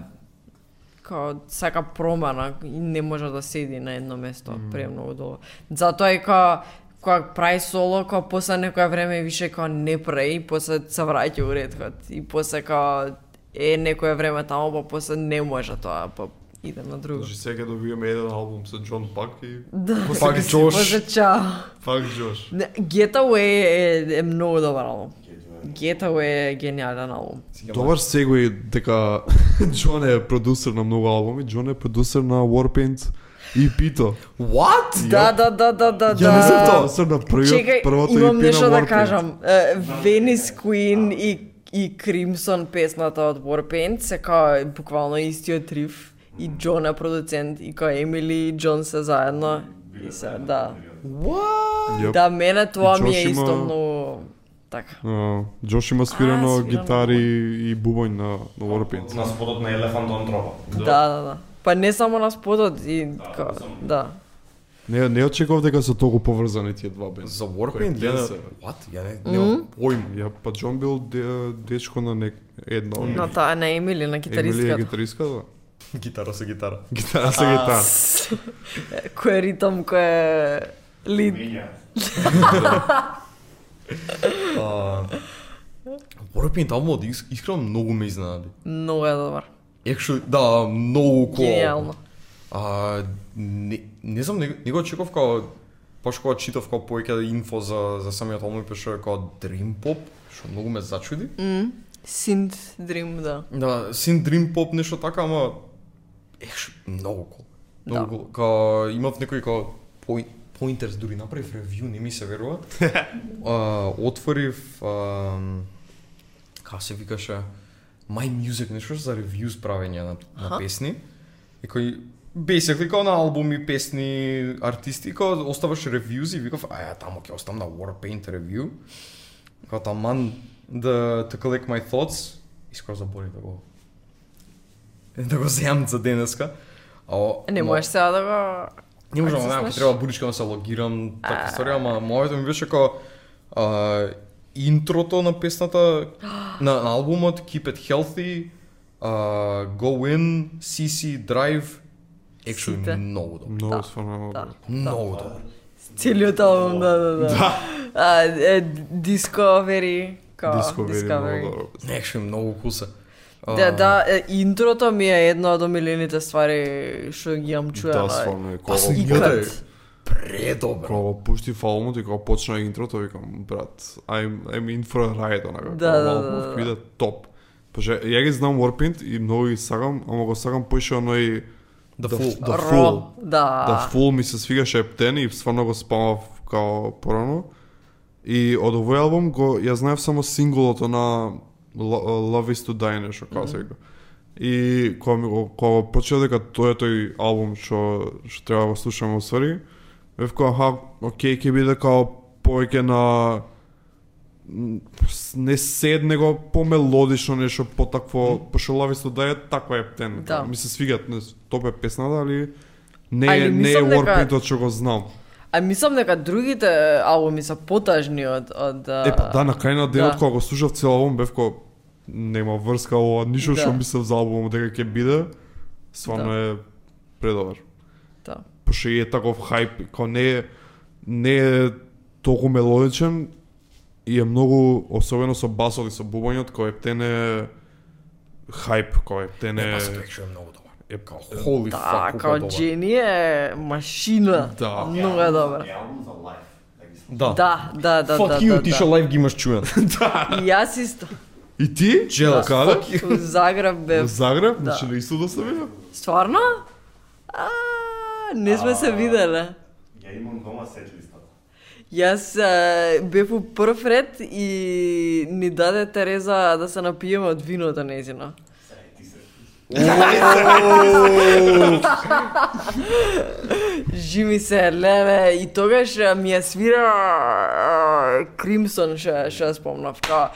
S2: као сака промена и не може да седи на едно место mm. премногу долго. Затоа и као кога прави соло, кога после некоја време више као не прави, после се враќа у ретхот и после као е некое време таму, па после не може тоа, па Идем на друго.
S5: Значи сега добиваме еден албум со Джон Па Пак и
S2: Да.
S6: Пак
S2: сега си
S6: Джош.
S2: Може чао.
S5: Пак Джош.
S2: Не, Getaway е, е много добар албум. Getaway е гениален албум.
S5: Добар сегој дека Джон е продусер на многу албуми, Джон е продусер на Warpaint и Пито.
S4: What?
S2: Да, да, да, да, да.
S5: Ја не знам
S2: да.
S5: тоа, се на првиот
S2: Чекай,
S5: првото EP на
S2: имам нешто да
S5: Warpaint.
S2: кажам. Е, Venice Queen и и Crimson песната од Warpaint се као е буквално истиот риф и Джон е продуцент и као Емили и Джон се заедно и се да.
S5: Јап.
S2: Да мене тоа
S5: И
S2: ми е
S5: Джош
S2: исто
S5: има-
S2: многу така.
S5: А, Джош има свирено
S2: свирено
S5: гитари и бубоњ на, на Warpaint.
S3: На спотот на Елефант он тропа.
S2: Да, да, да. Па не само на спотот и као, да.
S5: Не, не очекував дека се толку поврзани тие два бенда.
S6: За Warpaint
S5: Кој
S6: гледа...
S5: гледа?
S6: What? Ја не... немам
S5: Поим, ја па Джон бил де, дечко на нек, една од
S2: На
S5: нив.
S2: таа на Емили
S5: Емилија
S2: на гитаристката.
S5: гитариска, да.
S6: Гитара со гитара.
S5: Гитара се гитара.
S2: Кој е ритам, кој е лид.
S6: А, Warpaint албумот ис- искрено многу ме изненади.
S2: Многу е добар.
S6: Екшо, да, многу кол.
S2: Гениално.
S6: А, не, не знам, не, не го очеков као, паш кога читав као повеќе инфо за, за самиот албум, пеше као Dream Pop, што многу ме зачуди.
S2: Синт Дрим, да.
S6: Да, син Dream Pop нешто така, ама еш многу кол. Многу
S2: Да.
S6: кол. Ка имав некои као поин- pointers дури направив ревју, не ми се верува. а, отворив а, како се викаше My Music нешто за ревјус правење на, на песни. И кој basically као на албуми, песни, артисти, као оставаш ревјуз и викав, ај, таму ќе оставам на Warpaint ревју. Као таман да to collect my thoughts, и скоро заборив да го да го земам за денеска. А,
S2: Не
S6: ма-
S2: можеш сега да го...
S6: Не можам,
S2: Како се
S6: знам, ако
S2: знаеш?
S6: треба буричка да се логирам, така историја, ама моето ми беше како а, интрото на песната, на, на албумот Keep It Healthy, а, Go In, CC, Drive,
S2: Сите.
S6: Actually, многу добро.
S5: Многу сфанало.
S2: Да.
S6: Многу добро.
S2: Целиот албум, да, да, да. да. А, е, Discovery. Као,
S5: Discovery, многу добро.
S6: Actually, многу куса. А,
S2: Да, да, е, интрото ми е една од омилените ствари што ги јам чуела.
S5: Да, стварно е. Кога,
S6: Аз
S5: го-
S6: ни
S2: Икад.
S6: гледај. Предобро.
S5: кога го пушти фалмот и кога почна интрото, викам, брат, I'm, I'm in for a ride, онака.
S2: Да,
S5: кога
S2: да,
S5: малку
S2: да,
S5: мовка
S2: да.
S5: иде топ. Паже, ја ги знам Warpaint и многу ги сакам, ама го сакам поише оној...
S6: The
S5: да
S6: Fool.
S5: Да Fool.
S2: Ро, да.
S5: Да, фул ми се свигаше ептен и стварно го спамав као порано. И од овој албум го ја знаев само синглото на Lo- Love is to Die нешто како се вика. И кога ми го кога го почео дека тој е тој албум што што треба да го слушаме во ствари, бев кога аха, окей, ќе биде као повеќе на м, с- не сед, него помелодично нешто потакво, пошто Love is to Die е таква ептен.
S2: Да.
S5: Ми се свигат, не, топ е песната, али не,
S2: Али
S5: е- не е
S2: мислам дека-
S5: Warpaint-от што го знам.
S2: А мислам дека другите албуми са потажни од... од
S5: Е, па да, на крај на денот,
S2: да.
S5: кога го слушав цел албум, бев ко нема врска ова, ништо
S2: Да.
S5: што мислев за албумот дека ќе биде, стварно е предобар.
S2: Да.
S5: Пошто и е таков хајп, ко не е, не е толку мелодичен и е многу, особено со басот и со бубањот, кој ептен е хајп, кој ептен е...
S6: Е, пасот actually е многу добар.
S5: е
S6: Holy
S2: Да,
S6: fuck, колку е
S2: као
S6: добар.
S2: Джени е машина.
S5: Да.
S2: Много е добра.
S6: Да.
S2: Да, да, да, да,
S6: Fuck
S2: да,
S6: you, ти што
S2: да.
S6: лайв ги имаш чуен.
S2: И јас исто.
S5: И ти?
S6: Jealous,
S5: Каде?
S6: fuck you.
S2: Во Загреб
S5: Во
S2: бев.
S5: Загреб? Значи на исто да се видам?
S2: Стварно? А, не сме се виделе.
S3: Ја имам дома сет листата.
S2: Јас а, бев у прв ред и ни даде Тереза да се напиеме од виното нејзино. Живи се, леле, и тогаш а, ми ја свира Кримсон, ше, ше ја спомнав, ка,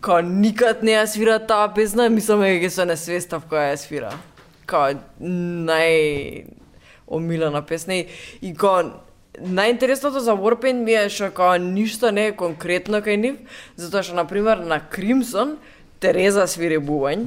S2: ка никад не ја свира таа песна, мислам дека ќе се несвестав која ја свира. Ка, нај омилена песна и, и ка, Најинтересното за Warpaint ми е што као ништо не е конкретно кај нив, затоа што, например, на Кримсон Тереза свири бубањ,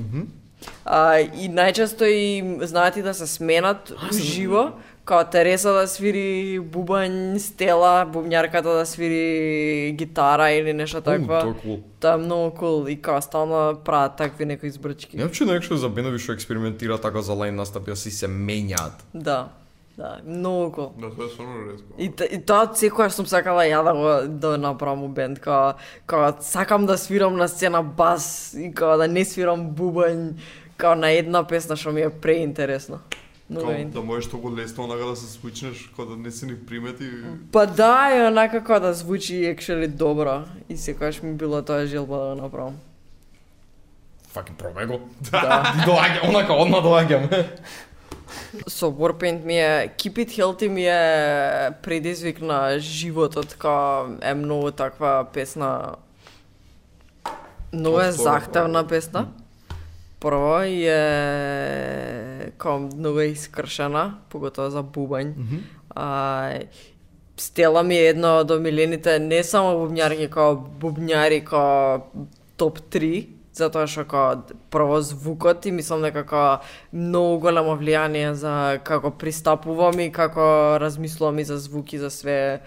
S2: А, и најчесто им знаат и да се сменат уживо, као Тереса да свири бубањ, Стела, бубњарката да свири гитара или нешто такво.
S6: тоа е cool.
S2: Тоа е многу кул и као стално прават такви некои избрачки.
S6: Не обче некој за бендови што експериментира така за лайн настапи, а си се мењаат.
S2: Да. Да, многу кул.
S1: Да, тоа е стварно ретко.
S2: И, т- и тоа секогаш сум сакала ја да го да направам у бенд, као, као сакам да свирам на сцена бас и као да не свирам бубањ, као на една песна што ми е преинтересно. Многу
S1: Као,
S2: е
S1: да можеш толку лесно онага да се свичнеш, као да не се ни примети.
S2: Па да, е онака како да звучи екшели добро. И секогаш ми било тоа желба да го направам.
S6: Факи пробај го.
S2: Да.
S6: Доаѓа, онака одма доаѓам.
S2: Со Warpaint ми е, Keep It Healthy ми е предизвик на животот, као е многу таква песна. Многу е захтевна песна. Прво и е као многу е искршена, поготово за бубањ. А, Стела ми е една од омилените не само бубњарки, као бубњари, као топ 3, затоа што као прво звукот и мислам дека као многу големо влијание за како пристапувам и како размислувам и за звуки, за све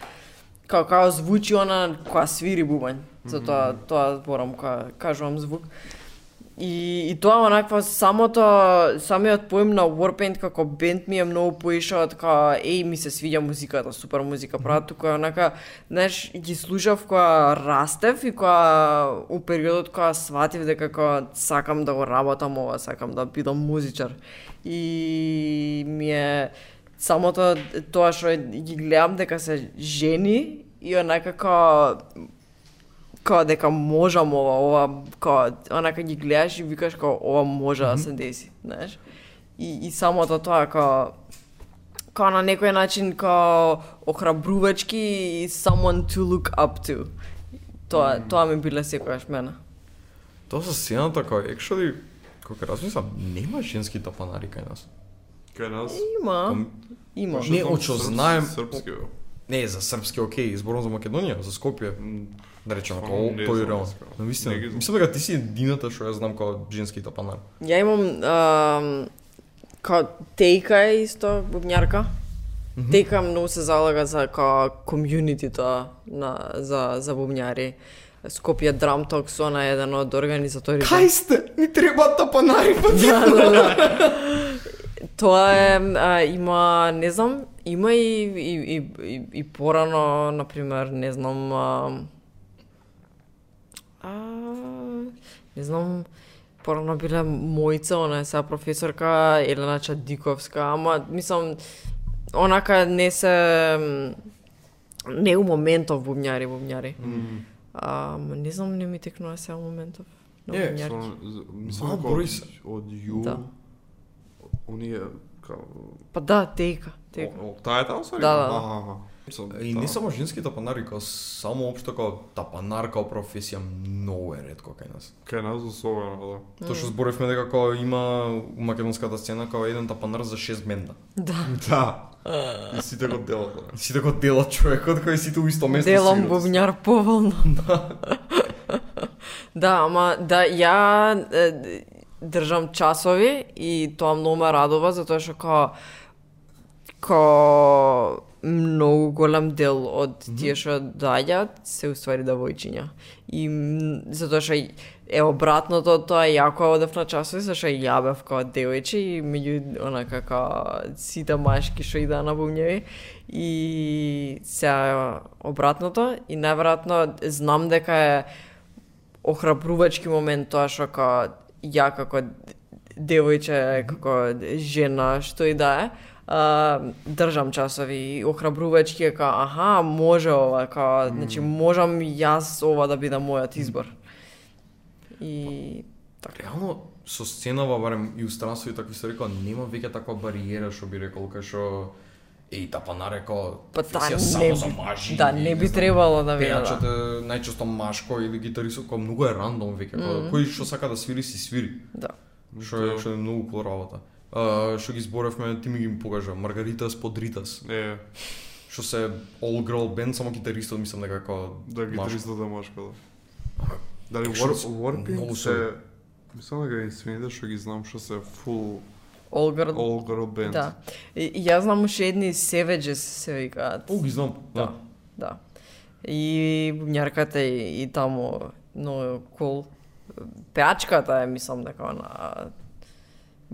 S2: као како звучи она која свири бубањ. Затоа тоа зборам кога кажувам звук. И, и тоа онаква самото самиот поем на Warpaint како бенд ми е многу поишо од као еј ми се свиѓа музиката, супер музика прават, туку е онака, знаеш, ги слушав која растев и која у периодот која сватив дека како сакам да го работам ова, сакам да бидам музичар. И ми е самото тоа што ги гледам дека се жени и онака како као дека можам ова, ова, као, онака ги гледаш и викаш као ова може да се деси, знаеш. И, и самото тоа као, као на некој начин као охрабрувачки и someone to look up to. Тоа, тоа ми биле секогаш мене.
S6: Тоа со сцената како actually кога размислам, нема женски тапанари кај нас.
S1: Кај нас... Па,
S2: Има, има.
S6: Не, од што знаем,
S1: Српски, бе.
S6: не за српски, окей, зборам за Македонија, за Скопје, да речеме,
S1: Па,
S6: тоа
S1: не
S6: тој
S1: знам,
S6: район.
S1: искрено.
S6: На
S1: Не ги
S6: вистина,
S1: знам.
S6: мислам дека ти си едината што ја знам како женски тапанар.
S2: Ја имам ам, као Тейка е исто бубњарка. Тейка многу се залага за као комјунитито на за за бубњари. Скопје Drum Talks она е еден од организаторите.
S6: сте? Ни треба тапанари па
S2: Да, да, да. Тоа е а, има не знам, има и и и, и, и порано на пример, не знам а, а не знам порано биле мојца, она е сега професорка Елена Чадиковска, ама мислам онака не се м, не у моментов бубњари, бубњари. Mm. А, не знам, не ми текнува сега моментов. на
S1: Е,
S2: бубњарки.
S1: со- мислам
S6: Мал
S1: дека
S6: број
S1: од-
S6: се.
S1: од Ју...
S2: Да.
S1: Оние, као...
S2: Па да, тейка, тейка.
S1: о- о, Таа е таму, сори?
S2: Да, да, да.
S1: Аха, мислам, да.
S6: И
S1: таа.
S6: не само женски тапанари, како само општо како тапанар како професија многу е ретко кај нас.
S1: Кај нас особено, да.
S6: Тоа што зборевме дека како има у македонската сцена како еден тапанар за 6 бенда.
S2: Да.
S1: Да. И сите го делат, да.
S6: Сите го делат човекот кој сите у исто место
S2: Делам
S6: свират.
S2: бубњар поволно. да, ама да ја е, д- држам часови и тоа многу ме радува затоа што као ко многу голем дел од тие што доаѓаат се уствари девојчиња. И м, затоа што и- е обратното од тоа јако одев на часови, зашто и ја бев како девојче и меѓу онака како сите машки што ида на бубњеви и се обратното и најверојатно знам дека е охрабрувачки момент тоа што како ја како д- девојче, како жена, што и да е, а, држам часови и охрабрувачки е како, аха, може ова, како, значи, можам јас ова да биде мојот избор. И
S6: Реално со сценава барем и у странство и такви се рекол нема веќе таква бариера што би рекол кај што еј да тапанар е како
S2: Па та
S6: професија
S2: не
S6: само
S2: би-
S6: за мажи.
S2: да,
S6: и
S2: не би
S6: знам,
S2: требало да биде, да.
S6: Пејачот е најчесто машко или гитаристот кој многу е рандом веќе mm кој што сака да свири си свири.
S2: да.
S6: Што е што е многу кул работа. А, што ги зборевме, ти ми ги покажа Маргаритас Подритас,
S1: Е,
S6: што се all girl band само гитаристот мислам дека како
S1: да
S6: машко.
S1: гитаристот е машко, да. Дали
S6: Actually,
S1: Warping
S6: многу
S1: се...
S5: Мислам дека Infinity што ги знам што се full
S2: Олгар.
S5: all girl band.
S2: Да. И, и јас знам уште едни Savages се викаат.
S6: О, ги знам.
S2: Да. Да. И мњарката и, и таму, но кол. Пеачката е, мислам, дека она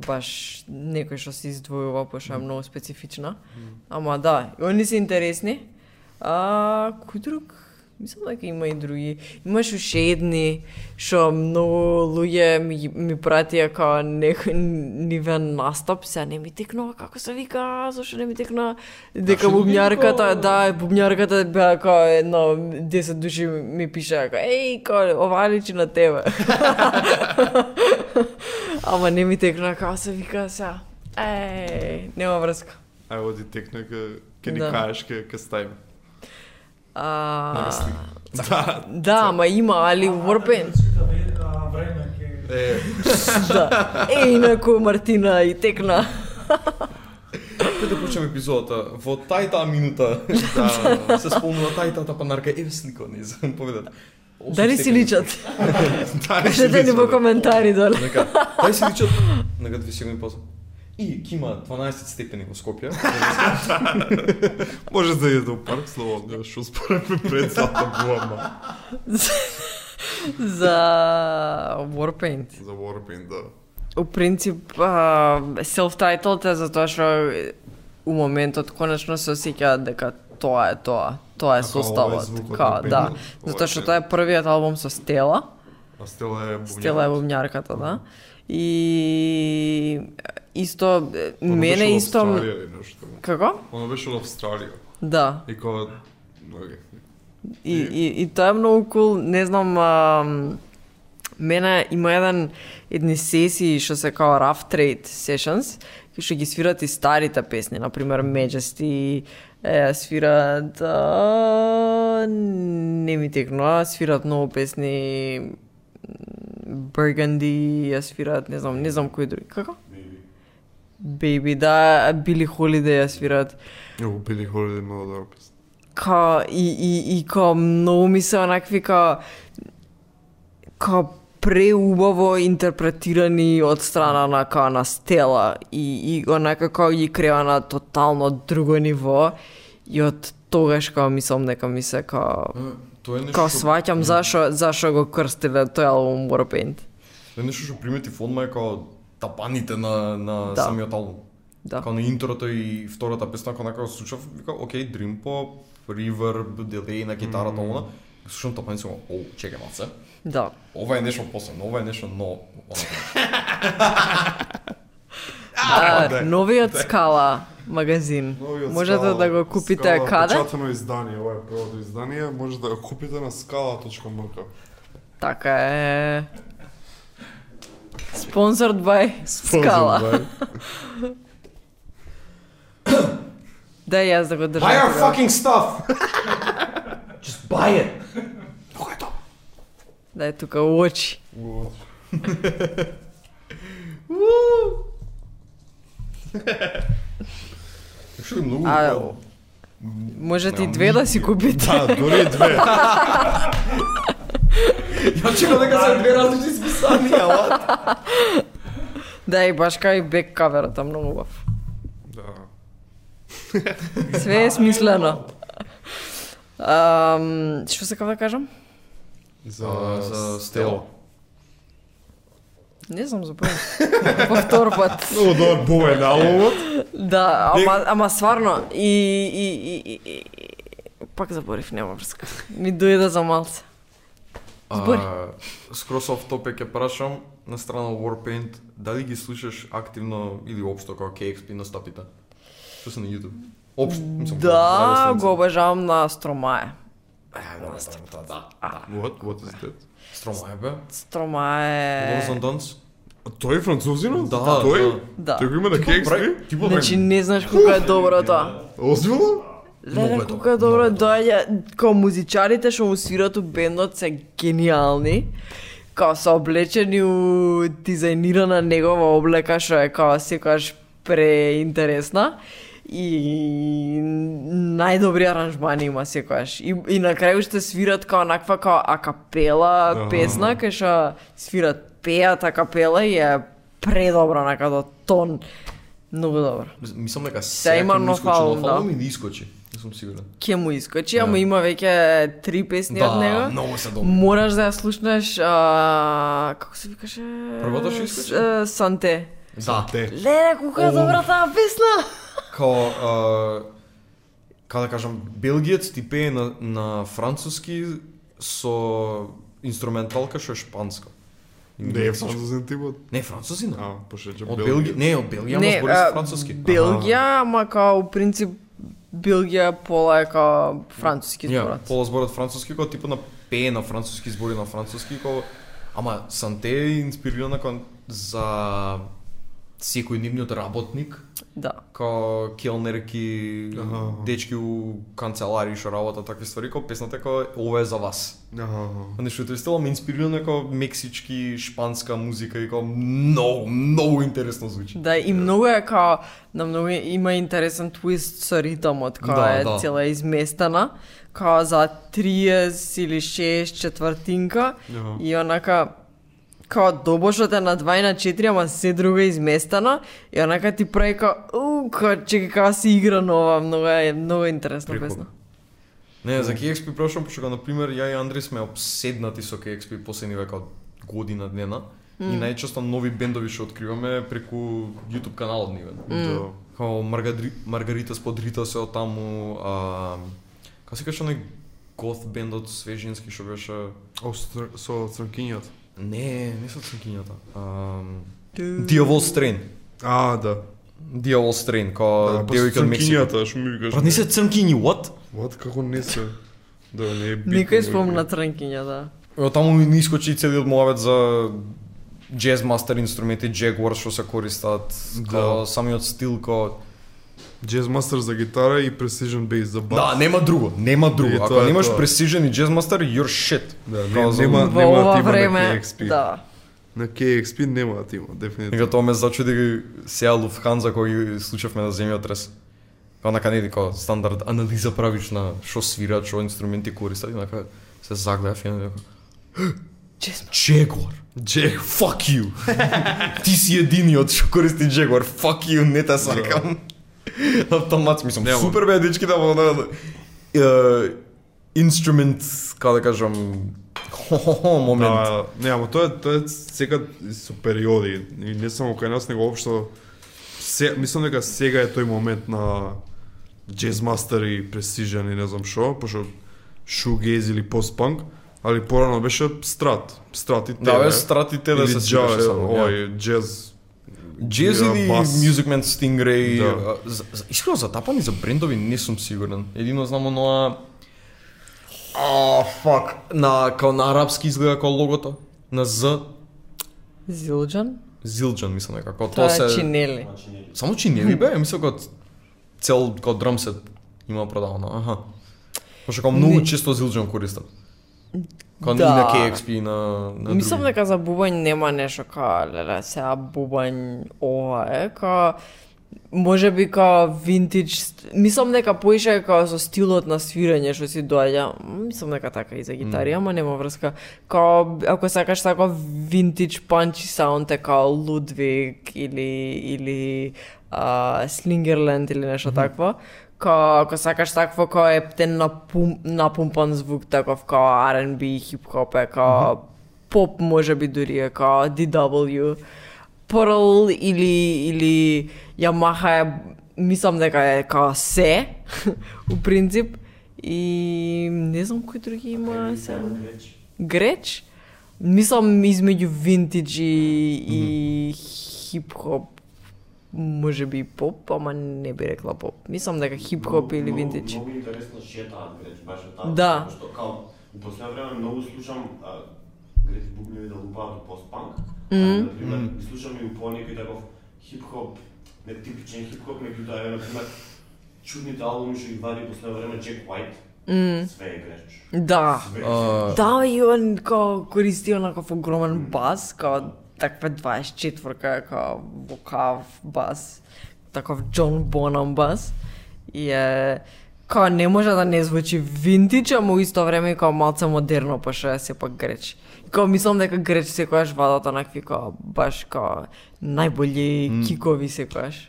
S2: баш некој што се издвојува, пошто е многу специфична. Ама да, и они се интересни. А, кој друг? Мислам дека има и други. Имаш уште едни што многу луѓе ми, ги- ми пратија као некој нивен настап, сега не ми текнува како се вика, зашто не ми текнува дека бубњарката, да, бубњарката беа као едно 10 души ми пишаа као еј, као ова личи на тебе. Ама не ми текнува како се вика сега. Еј, нема врска.
S5: Ај оди текна ке ке ни
S2: Да.
S5: кажеш ке ке ставим.
S2: А,
S5: Да.
S2: да, ама има, али Warpaint.
S7: Време ќе...
S2: да. Е, инаку Мартина и текна.
S6: Кај да почнеме епизодата, во тај таа минута да, се спомнува тај таа панарка, еве слика од неј, поведат.
S2: Дали си личат?
S6: Дали си
S2: Кажете ни во
S6: личат?
S2: коментари доле.
S6: Нека, дали си личат? Нека две секунди после. И кима 12 степени во Скопје.
S5: Може да иде у парк слободно, да што спореме пред сата буама.
S2: За Warpaint.
S5: За Warpaint, да.
S2: У принцип, а, self-titled е затоа што у моментот конечно се осеќа дека тоа е тоа. Тоа
S5: Ако ова е
S2: е составот.
S5: звукот
S2: Ка,
S5: на бендот,
S2: да.
S5: ова е
S2: Затоа
S5: тема.
S2: што тоа е првиот албум со Стела.
S5: А Стела е бубња.
S2: Стела е бубњарката, да. И исто е, мене исто м-
S5: Австралија или нешто.
S2: како?
S5: Оно беше во Австралија.
S2: Да.
S5: И кога Океј.
S2: И, и, и тоа е многу кул, не знам, а, мене има еден, едни сесии што се као Rough Trade Sessions, кај што ги свират и старите песни, например Majesty, е, свират, а, не ми текнува, свират многу песни, м, Burgundy, ја свират, не знам, не знам кои други, како? Baby, да, Billie Holiday ја свират
S5: Јо били холиде многу добра песна.
S2: ка и и и ка многу ми се онакви ка ка преубаво интерпретирани од страна на ка на стела и и онака како ги крева на тотално друго ниво и од тогаш као мислам дека ми се ка
S6: Тоа е нешто.
S2: ка
S6: што-
S2: сваќам зашо зашо го крстиле тој албум Warpaint.
S6: Тоа е нешто што примети фонма е како тапаните на на
S2: Да.
S6: самиот албум.
S2: Да.
S6: Како на интрото и втората песна кога некако слушав, вика, окей, Dream Pop, Reverb, Delay на китарата, она. Слушам тапани само, оу, чекај малце.
S2: Да.
S6: Ова е нешто посебно, ова е нешто ново. Она,
S2: А, новиот скала магазин.
S5: да. Новиот
S2: Можете
S5: Скала-
S2: да го купите
S5: Скала
S2: каде?
S5: Печатено издание, ова е првото издание, може да го купите на skala.mk.
S2: Така е. Sponsored by Скала. Да, јас да го држам.
S3: Buy our
S2: тогава.
S3: fucking stuff! Just buy it! Кога е тоа?
S2: Да е тука у очи.
S6: Што е многу.
S2: А, можете и две да си купите.
S5: А, дури и две.
S6: Ја чекам дека се две различни списанија, ала.
S2: Да, и баш кај бек каверата, многу убав.
S5: Да.
S2: Све е смислено. Ам, што сакав да кажам?
S5: За
S6: За стело.
S2: Не знам, забравам. Повтор пат.
S5: Многу добар бува е на албумот.
S2: Да, ама, ама сварно, и, и, и, и, и, и- пак заборев, нема врска. Ми дојде за малце. Збори.
S6: А, Скрос оф топик ќе прашам на страна Warpaint, дали ги слушаш активно или општо како KXP настапите? Што се на YouTube? Општо, мислам.
S2: Да, го обожавам на Стромае.
S6: Да, да.
S5: What? What is that?
S6: Стромае бе. Loves
S2: Стромае...
S6: and Dance?
S5: А тој е французинот?
S6: Да,
S5: Тој?
S2: Да.
S5: Тој го има на KXP?
S6: Ти бе.
S2: Значи не знаеш кога е добро тоа.
S5: Озбилно?
S2: Леле, кога е добро доаѓа, као музичарите што му свират у бендот се гениални. Као се облечени у дизајнирана негова облека што е као секогаш преинтересна и најдобри аранжмани има секогаш. И, и на крај уште свират као наква као акапела песна кај што свират пеат а капела и е предобро нека до тон. Многу добро.
S6: Мислам дека
S2: Се има
S6: ќе му
S2: нов
S6: искочи нов
S2: албум, да.
S6: албум или искочи? Не сум сигурен.
S2: Ке му искочи,
S6: Да.
S2: ама има веќе три песни од него.
S6: многу се добри.
S2: Мораш да ја слушнеш, а, како се викаше?
S6: Првото што искочи?
S2: С- е, Санте.
S6: Да, те.
S2: Леле, колку е добра таа песна!
S6: Као, а, како да кажам, белгиец ти пее на, на француски со инструменталка што е шпанска.
S1: Не е французен типот.
S6: Не, французина.
S1: А, пошто ќе
S6: Од Белгија, не, од Белгија, ама
S2: Не,
S6: збори
S2: а,
S6: се француски.
S2: Белгија, ама као, у принцип, Белгија пола е као француски
S6: Ја,
S2: зборот.
S6: пола зборот француски, кој типот на пее на француски, збори на француски, кој ама Санте е инспирирана кон за секој нивниот работник,
S2: Да.
S6: као келнерки, дечки у канцелари што работат такви ствари, кој песната кој ова е за вас. Нешто е стило ме инспирирано како мексички, шпанска музика и како многу, многу интересно звучи.
S2: Да, и многу е као, на многу има интересен твист со ритомот, кој
S6: Да,
S2: е
S6: да.
S2: цела изместена, као за 30 или 6 четвртинка, и онака, као добошот е на 2 и на 4, ама се друга е изместена, и онака ти прави као, уу, као, чека, као си игра нова, многу е, многу е интересна
S6: Прикол.
S2: песна.
S6: Не, за KXP прашам, пошто на пример ја и Андри сме обседнати со KXP последни века година дена. И најчесто нови бендови што откриваме преку YouTube каналот нивен.
S1: Да.
S6: Као Маргари... Маргарита Сподрита се од таму, а... Како се кажа оној гот бендот свежински што беше...
S1: О, со- со црнкињата.
S6: Не, не со цинкињата. А... Диавол Стрен.
S1: А, да.
S6: Диавол Стрен, као
S1: Да, па со
S6: девојка од Мексико.
S1: црнкињата, што ми викаш.
S6: Брат, Па не се црнкињи, what?
S1: What, како не се? Да, не е битно.
S2: Некој спомна Транкиња, да.
S6: Од таму ни искочи и целиот муавет за джез мастер инструменти, джегуар што се користат, да. самиот стил ко...
S1: Jazz Master за гитара и Precision Bass за бас.
S6: Да, нема друго, нема друго.
S1: И
S6: Ако
S1: тоа е
S6: немаш
S1: тоа.
S6: пресижен и джез мастер, you're shit.
S1: Да, не-
S6: Као за-
S1: нема-
S2: Во
S1: да
S2: ова
S1: ти има на
S2: време,
S1: KXP.
S2: да.
S1: На KXP нема да ти има,
S6: Нека
S1: дефинитивно.
S6: тоа ме зачуди да сеја Луфханза кој ги случавме на земјотрес. Као нака не како стандард анализа правиш на што свират, што инструменти користат и нака се загледав и нака
S2: Честно.
S6: Jaguar. Jag fuck you. Ти си единиот што користи Jaguar. Fuck you, не те сакам. Автомат, мислам, супер бе дечките, ама да, да, е, инструмент, како да кажам, хо-хо-хо момент.
S1: Да, не, ама тоа е тоа е сега со периоди и не само кај нас, него општо се мислам дека сега е тој момент на Jazz Master и Precision и не знам што, пошто shoegaze или post-punk, али порано беше страт, страт и те.
S6: Да, бе, стратите да се свираше само.
S1: Ој,
S6: ја.
S1: джаз.
S6: Джез
S1: ја,
S6: или
S1: бас.
S6: Music Man Stingray,
S1: Да.
S6: а, за- за- искрено за тапани за брендови не сум сигурен. Едино знам оноа... А, фак. На, као на арапски изгледа као логото. На З,
S2: Зилџан?
S6: Зилџан, мислам дека. Као тоа
S2: Тоа е
S6: се...
S2: чинели.
S6: Само чинели бе, ја мислам као цел као драм се има продавано. Аха. Пошто као многу
S2: Не.
S6: често Зилџан користат. Као
S2: Да.
S6: и на KXP и на, на
S2: Мислам
S6: други.
S2: дека за бубањ нема нешто као, леле, сега бубањ ова е, као, може би као винтидж, мислам дека поише е као со стилот на свирање што си доаѓа, мислам дека така и за гитари, ама нема врска, као, ако сакаш тако винтидж панчи саунд е као Лудвиг или, или а, Слингерленд или нешто такво, Као, ако сакаш такво као ептен напум, напумпан звук таков као R&B, хип-хоп е као поп може би дури е као DW. Pearl или, или Yamaha е, мислам дека е као се, у принцип. И не знам кои други има се. Греч? Мислам измеѓу винтидж и, и хип-хоп може би и поп, ама не би рекла поп. Мислам дека хип-хоп или
S3: Многу-
S2: винтидж.
S3: Многу интересно шета, греч, баш е таа.
S2: Да.
S3: Што као, у последно време многу слушам а, грети бубневи да лупаат постпанк. а, Например, ги слушам и по некој таков хип-хоп, нетипичен хип-хоп, меѓутоа е например чудните албуми што ги вади последно време Джек Уайт. Све е греч.
S2: Да.
S3: Све е
S6: А,
S2: Да, и он као користи онаков огромен бас, као таква 24-ка, као вокав бас, таков Джон Бонам бас. И е Као не може да не звучи винтич, ама у исто време и као малце модерно, па што е сепак греч. И Као мислам дека греч секојаш вадат онакви као баш као најболји кикови секојаш.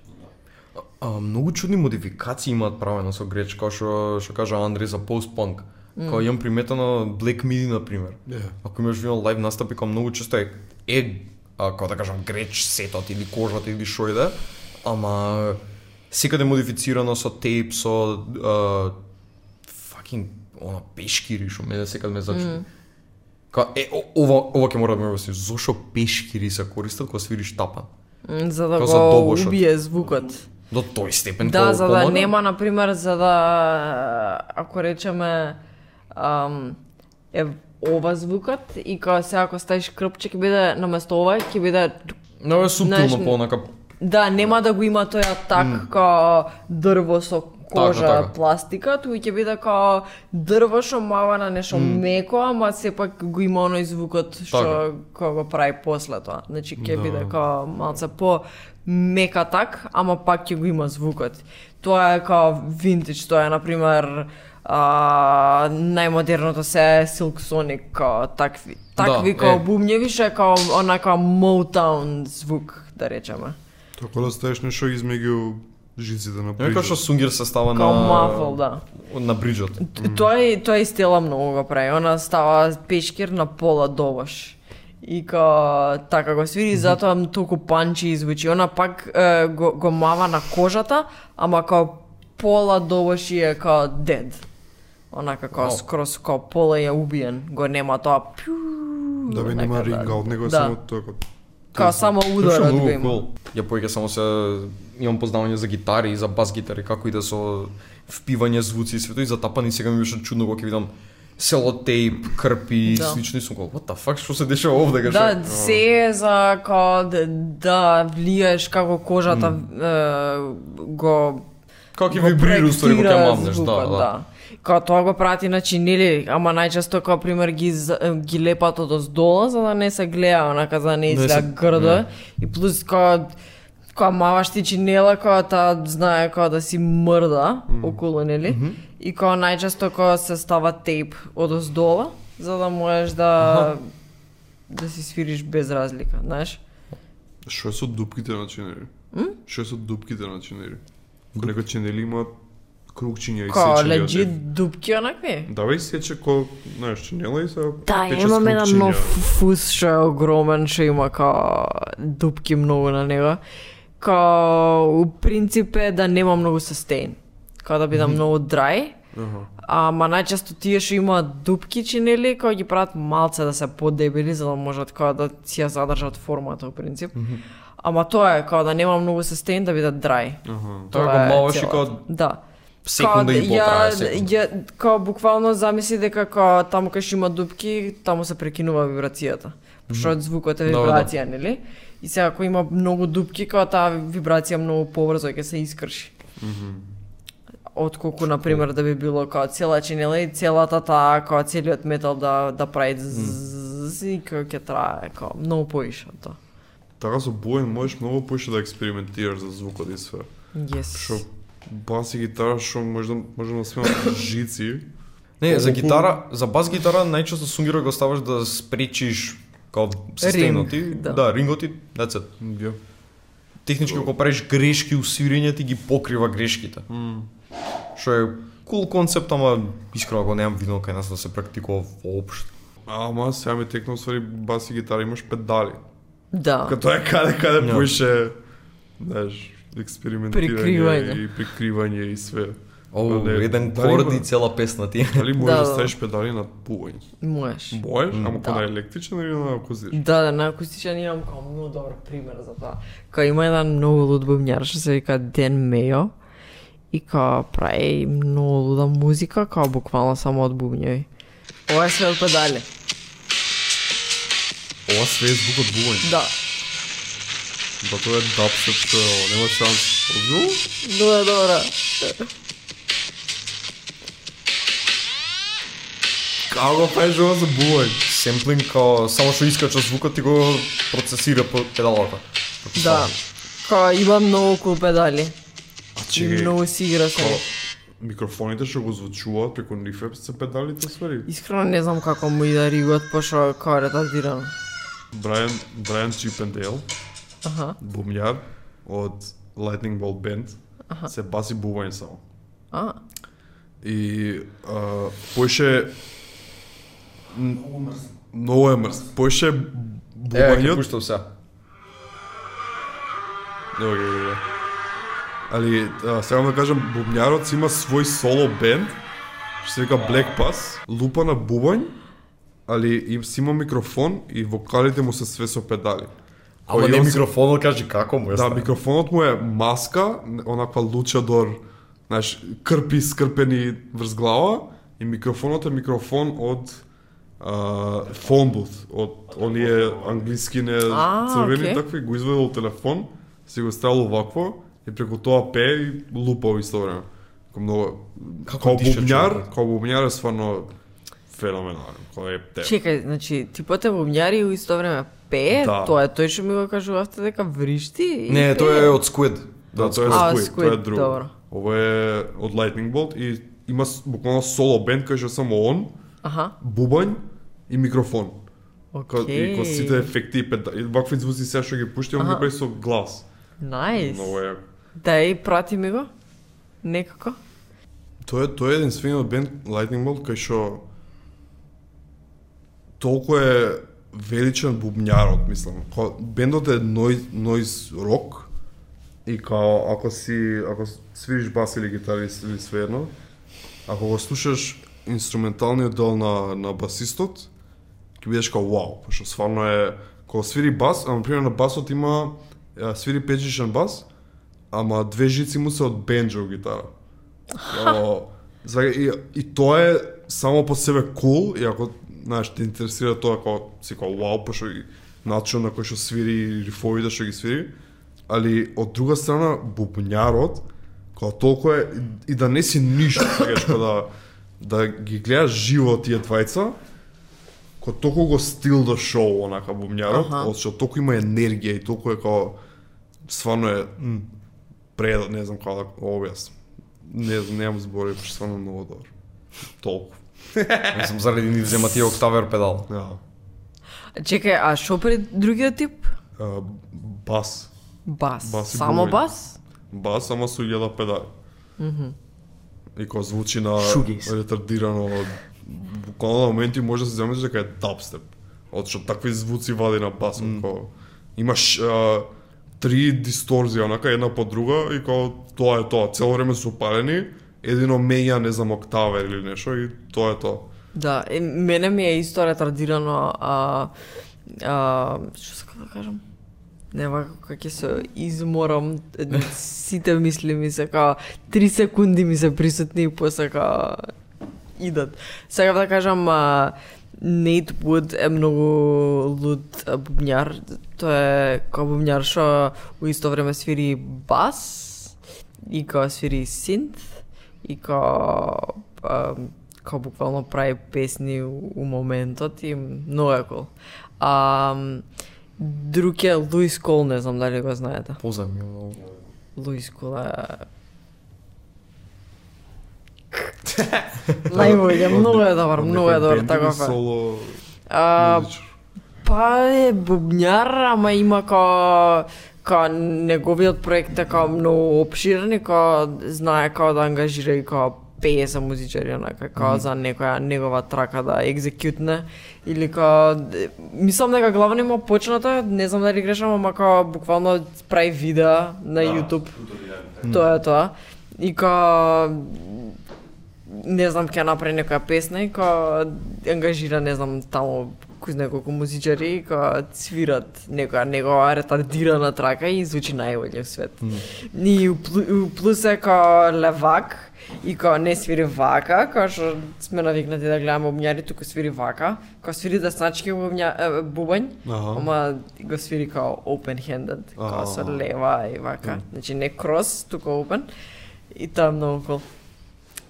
S6: А, многу чудни модификации имаат правено со греч, као што што кажа Андре за постпанк. Mm. Као имам приметено Black Midi на пример.
S5: Yeah.
S6: Ако имаш вино лайв настапи, као многу често е е а, како да кажам греч сетот или кожата или што и да, ама секаде модифицирано со тейп, со а, fucking она пешкири што мене секад ме зачуди. Mm. Као е о- ова ова ќе мора да ме обясниш зошто пешкири се користат кога свириш тапан.
S2: М, За да
S6: Као за
S2: го
S6: добошот.
S2: убие звукот.
S6: До тој степен
S2: Да,
S6: као
S2: за да
S6: помага.
S2: нема, например, за да, ако речеме, ам, е ова звукот и као се ако ставиш крпче, ќе биде наместо ова, ќе биде,
S6: Много е
S2: Знаеш,
S6: суптилно понака.
S2: да, нема да го има тој атак mm. као дрво со кожа,
S6: Така, така.
S2: пластика, туку ќе биде као дрво што мава на нешто mm. меко, ама сепак го има оној звукот
S6: Така.
S2: што кога го прави после тоа. Значи ќе да. биде као малце по мек атак, ама пак ќе го има звукот. Тоа е као винтич, тоа е на пример а, најмодерното се е Silk Sonic, као такви, такви да,
S6: е.
S2: као бумњеви што е као онака Motown звук, да речеме.
S1: Тако да ставиш нешто измеѓу жиците на
S6: Ја
S1: прижот.
S6: кажа што сунгир се става на
S2: Као мафл, да.
S6: на бриџот.
S2: Т- Тој тој стела многу го прави. Она става пешкир на пола доваш. И ка така го свири, затоа м- толку панчи извучи. Она пак е, го, го мава на кожата, ама као пола доваш и е као дед. Онака како
S6: Вау.
S2: скроз као пола ја убиен. Го нема тоа пју.
S1: Да бе
S2: онака
S1: нема рингаут, него е
S2: да.
S1: само тоа како
S2: Као само
S6: Слушам,
S2: ударот да го
S6: многу
S2: има.
S6: кул. Ја поеќе само се имам познавање за гитари и за бас гитари, како иде со впивање звуци и свето и за тапани сега ми беше чудно кога ќе видам селотейп, крпи и
S2: Да.
S6: слични сум кол. What the fuck, што се дешава овде кажа?
S2: Да, се е за као да, да влиеш како кожата е, го
S6: Како ќе
S2: го
S6: вибрира устори кога ќе
S2: проектира
S6: мамнеш, да,
S2: звукот,
S6: да.
S2: Као тоа го прати значи нели, ама најчесто како пример ги з- ги лепат од оздола за да не се гледа онака за да не изгледа грдо и плюс као кога маваш ти чинела, кога таа знае кога да си мрда околу, нели? И кога најчесто кога се става тейп од оздола, за да можеш да да си свириш без разлика, знаеш?
S1: Што е со дупките на чинери? Што е со дупките на чинери? Кој некој чинели има крукчиња и
S2: Као
S1: сечени од
S2: леджи
S1: нив.
S2: дупки онакви.
S1: Да бе, и сече ко, знаеш, чинела и се
S2: Да,
S1: пече с
S2: имаме еден
S1: крукчиња.
S2: нов фус што е огромен, што има као дупки многу на него. Као, у принцип е да нема многу сустейн. Као да биде многу dry.
S1: Аха.
S2: Ама најчесто тие што имаат дупки чинели, кога ги прават малце да се подебели, за да можат кога да си ја задржат формата, у принцип. Ама тоа е, као да нема многу сустейн, да биде dry.
S6: Тоа
S2: Тоа
S6: го
S2: е
S6: маваш и
S2: целото.
S6: као
S2: Да.
S6: секунда и пол трае, секунда.
S2: Ја, као буквално замисли дека као таму кај што има дупки, таму се прекинува вибрацијата. Што звукот е
S6: Да, да, да.
S2: вибрација, нели? И сега ако има многу дупки, као таа вибрација многу побрзо ќе се искрши. Отколку, например, да би било као цела чинела и целата таа, као целиот метал да, да прави ззз и као ќе трае, као многу поише од тоа.
S1: Така со боен можеш многу поише да експериментираш за звукот и све.
S2: Yes.
S1: Што бас и гитара што може да може да сме жици.
S6: Не, за
S1: Колку-
S6: гитара, за бас гитара најчесто сунгира го ставаш да спречиш као системот ти,
S2: да.
S6: да, рингот ти, that's it.
S1: Ја.
S6: технички ако правиш грешки у свирење ти ги покрива грешките. Што е кул концепт, ама искрено го немам видно кај нас да се практикува воопшто.
S1: Ама сега ми текна свари бас и гитара имаш педали.
S2: Да.
S1: Като е каде каде
S6: Ја.
S1: поише знаеш експериментирање
S2: Прикривање.
S1: и прикривање и све.
S6: О,
S1: Мале,
S6: еден
S1: дали
S6: корд
S1: има?
S6: и цела песна ти.
S1: Дали можеш
S2: Да,
S1: да
S2: да.
S1: ставиш педали на пување?
S2: Можеш.
S1: Можеш, ама
S2: Да.
S1: кога на електричен или на акустичен?
S2: Да, да, на акустичен имам као многу добар пример за тоа. Као има еден многу луд бубњар што се вика Ден Мејо и као прави многу луда музика, као буквално само од бубњеви. Ова е све од педали.
S1: Ова све е звукот бување.
S2: Да.
S1: Да тоа е дабстеп што е ово, нема шанс. Озбилно?
S2: Много е добра.
S1: Како го правиш ова за бување?
S6: Семплинг као само што искача звукот ти го процесира по педалата.
S2: Да. Као има многу кул педали.
S1: А
S2: И
S1: чеки,
S2: многу си игра со
S1: као,
S2: нив.
S5: микрофоните што го звучуваат преку нифеп се педалите свири.
S2: Искрено не знам како му иде Ригот, пошо као е ретардиран.
S5: Брайан Брайан Чипендейл,
S2: Аха,
S5: бумјар од Lightning Bolt Band, се баси бубање само.
S2: а,
S5: И а, поише м, Многу е мрз. Поише
S6: Е, ќе
S5: бубањот.
S6: пуштам сега.
S5: Добре, добре. Али, а, сега да кажам, бубњарот си има свој соло бенд, што се вика Black Pass, лупа на бубањ, али им си има микрофон и вокалите му се све со педали.
S6: Ама
S5: Кој
S6: не
S5: он се-
S6: микрофонот, кажи како му е
S5: Да,
S6: стара.
S5: микрофонот му е маска, онаква лучадор, знаеш, крпи скрпени врз глава и микрофонот е микрофон од а, фонбут, од оние англиски не
S2: А,
S5: црвени
S2: окей.
S5: такви, го извадил телефон, си го ставил вакво и преку тоа пее и лупа во исто време. Како многу како
S6: диша
S5: бубњар, како бубњар е стварно феноменален, кој е те.
S2: чекај, значи, типот е бубњари и у исто време пее,
S5: Да.
S2: тоа е тој што ми го кажувавте дека вришти и
S6: Не,
S2: пее.
S6: тоа е од Squid.
S5: Да, тоа е
S2: А,
S5: Squid, тоа е
S2: Squid,
S5: друго.
S2: добро.
S5: Ова е од Lightning Bolt и има с- буквално соло бенд кај што само он,
S2: Аха,
S5: бубањ и микрофон. Ко,
S2: окей.
S5: И ко сите ефекти и педа... И вакви звуци сега што ги пушти, он ги
S2: Аха.
S5: прави со глас.
S2: Најс.
S5: Много е...
S2: Да, и прати ми го. Некако.
S5: Тоа е, тоа е единствениот бенд Lightning Bolt кај што толку е величен бубњарот, мислам. Ко, бендот е noise, noise rock и као ако си ако с- свириш бас или гитара или с- или свеедно, ако го слушаш инструменталниот дел на на басистот, ќе бидеш као вау, пошто стварно е кога свири бас, а например на басот има а, свири петжичен бас, ама две жици му се од бенджо гитара. О, за, и, и тоа е само по себе кул, cool, и ако знаеш, те интересира тоа како си како вау, па што и начинот на кој што свири и рифовите што ги свири, али од друга страна бубњарот како толку е и, и да не си ништо, сакаш кога да да ги гледаш живо тие двајца, ко толку го стил до шоу онака бубњарот,
S2: Аха.
S5: од што толку има енергија и толку е како стварно е м, пред, не знам како да го објаснам. Не знам, немам збори, пошто стварно е многу добро. Толку.
S6: Мислам Да, заради ни взема тие октавер педал.
S5: Да.
S2: Чекај, а што пред другиот тип?
S5: А, бас.
S2: Бас.
S5: Бас и
S2: Само
S5: бубање.
S2: бас?
S5: Бас, ама со јела педали. И кој звучи на
S8: Shoegaze.
S5: ретардирано, буквално на моменти може да се замислиш дека е дабстеп. Од што такви звуци вади на басот, mm. кој имаш а, три дисторзија, онака една по друга и као тоа е тоа, цело време се упалени, едино мења, не знам, октавер или нешто и тоа е тоа.
S2: Да, е, мене ми е исто ретардирано, а, а што сакам да кажам? Нема како ќе се изморам, е, сите мисли ми се као, три секунди ми се присутни и после као, идат. Сега да кажам, а, Нейт Вуд е многу луд а, бубњар. Тој е као бубњар што у исто време свири бас и као свири синт и као а, као буквално прави песни у у моментот и многу е кул. А, друг е Луис Кол, не знам дали го знаете.
S6: Поза ми е многу.
S2: Луис Кол е...
S1: Па,
S2: Најбоље, Па, многу е добар, многу е добар, таков е.
S5: Соло...
S2: А,
S5: музичар.
S2: Па е бубњар, ама има ка ка неговиот проект е ка многу обширен и ка знае како да ангажира и ка 50 музичари онака ка за некоја негова трака да екзекютне или ка д- мислам дека главно има почната, не знам дали грешам, ама ка буквално прави видеа на YouTube.
S3: да.
S2: Тоа е тоа. И ка не знам ќе направи некоја песна и ка ангажира не знам таму кој знае колку музичари и ка свират некоја негова ретардирана трака и звучи најбоље во свет. И у плу- у плюс е ка левак и ка не свири вака, ка што сме навикнати да гледаме обњари, туку свири вака, ка свири десначки обња е, бубањ, ама го свири као open-handed, као со лева и вака. Значи не крос, туку open. И тоа е многу кул.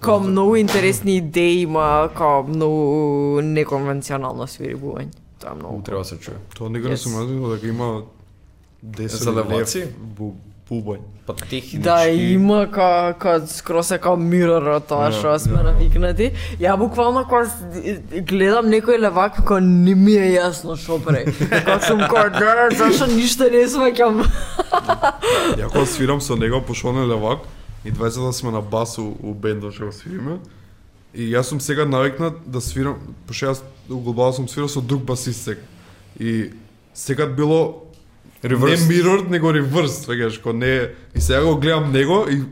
S2: Као многу интересни идеи има, као многу неконвенционално свири бубање. Тоа е многу.
S6: Треба да се чуе.
S5: Тоа некој yes. не
S2: Yes.
S5: сум разумел дека има 10
S6: За
S5: или лев
S6: леваци?
S5: бу- Пубај.
S6: Па технички...
S2: Да, има ка, ка скрос е као мирор тоа што сме навикнати. Ја буквално кога с- гледам некој левак, кога не ми е јасно што пре. Кога сум кога, "Да, зашто ништо не сваќам.
S1: Ја кога свирам со него, пошто он е левак, и двајцата сме на бас у, у бендо што го свириме. И јас сум сега навикнат да свирам, пошто јас углобало сум свирал со друг басист сек. И сега било
S6: Reversed.
S1: не mirrored, него reversed, веќе што не е. И сега го гледам него и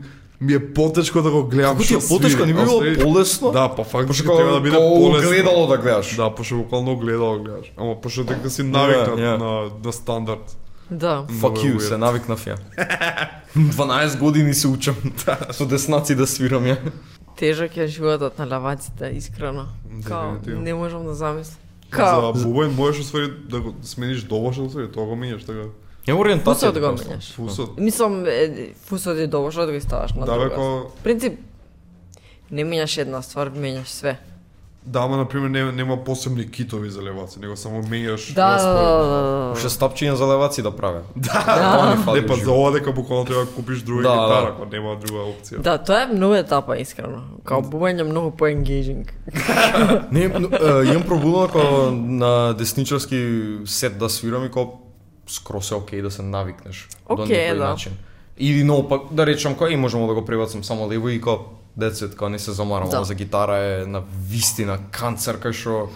S1: ми е потешко да го гледам
S6: Како ти е
S1: што свири.
S6: потешко, не би било
S1: Остави-
S6: полесно?
S1: Да, па фактично
S6: Пошто
S1: треба да биде полесно.
S6: гледало да гледаш.
S1: Да, пошто буквално гледал гледаш. Ама пошто дека си навикнат
S6: Да, ја.
S1: на, на стандард.
S2: Да.
S6: Fuck
S1: Много е
S6: you,
S1: weird.
S6: се навикнав ја. 12 години се учам со деснаци да свирам ја.
S2: Тежок е животот на лаваците, искрено. Као,
S1: Дефинитивно.
S2: не можам да замислам.
S1: За
S2: Као,
S1: бубен можеш освари да го смениш добошен освари, тоа го менеш така.
S6: Ја ориентација.
S2: фусот да го менеш.
S1: Фусот.
S2: Мислам, е, фусот е добро, што да го иставаш на
S1: Да, бе,
S2: друга.
S1: ко...
S2: Принцип, не менјаш една ствар, менјаш све.
S1: Да, ама, например, нема, нема посебни китови за леваци, него само менјаш
S2: Да, да,
S1: распоред.
S2: да, да.
S6: Уште стапчиња за леваци да праве.
S2: да.
S1: Не, па за ова дека буквално треба да купиш друга
S6: Да,
S1: гитара,
S6: да.
S1: ако нема друга опција.
S2: Да, тоа е многу етапа, искрено. Као бубање многу по-енгейджинг.
S6: Не, но, е, имам пробудено како на десничарски сет да свирам и како скрос е окей да се навикнеш до
S2: Океј,
S6: некој
S2: да.
S6: начин. Или наопак, да речам кој и можемо да го пребацам само лево и како децет, како не се замарам,
S2: Да.
S6: ама за гитара е на вистина канцер кај што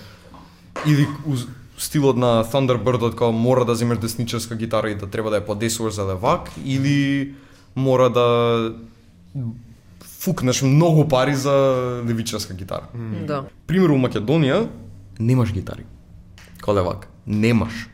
S6: или уз- стилот на Thunderbirdот како мора да земеш десничарска гитара и да треба да ја подесуваш за левак или мора да фукнеш многу пари за левичарска гитара
S2: Да.
S6: пример у Македонија немаш гитари. Као левак, немаш.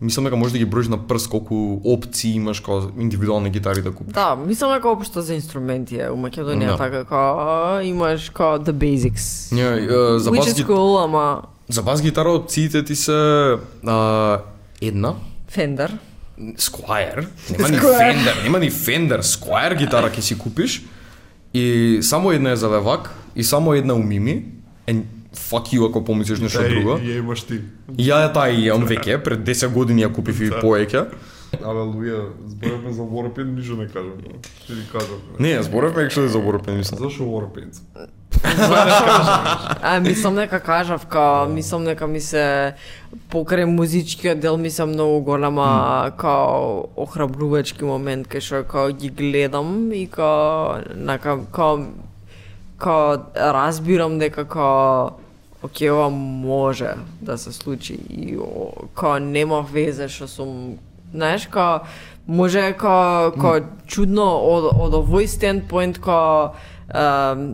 S6: Мислам дека може да ги броиш на прст колку опции имаш као индивидуални гитари да купиш.
S2: Да, мислам дека општо за инструменти е у Македонија
S6: Да.
S2: така како имаш као the basics.
S6: Не, е, за
S2: Which
S6: бас
S2: is
S6: ги-
S2: cool, ама
S6: За бас гитара опциите ти се а, една,
S2: Fender.
S6: Squire, нема ни
S2: Squire.
S6: Fender, нема ни Fender, Squire гитара ќе си купиш и само една е за левак и само една у мими. And fuck you ако помислиш нешто
S1: Да, и-
S6: друго.
S1: и Да. Ја имаш ти.
S6: Ја таа ја имам веќе, пред 10 години ја купив и поеќе.
S1: Абе, Луја, зборевме за Warpaint, ништо не кажам. бе. Ти ни кажам. бе.
S6: Не, зборавме екшо за Борупен, мислам.
S1: Зашо Warpaint?
S2: А, мислам дека кажав, ка, мислам дека ми се покрај музичкиот дел ми се многу голема као охрабрувачки момент кај што као ги гледам и као нака као као разбирам дека као Оке, ова може да се случи и о, као нема везе што сум, знаеш, као може е као, као чудно од, од овој стендпоинт као ем,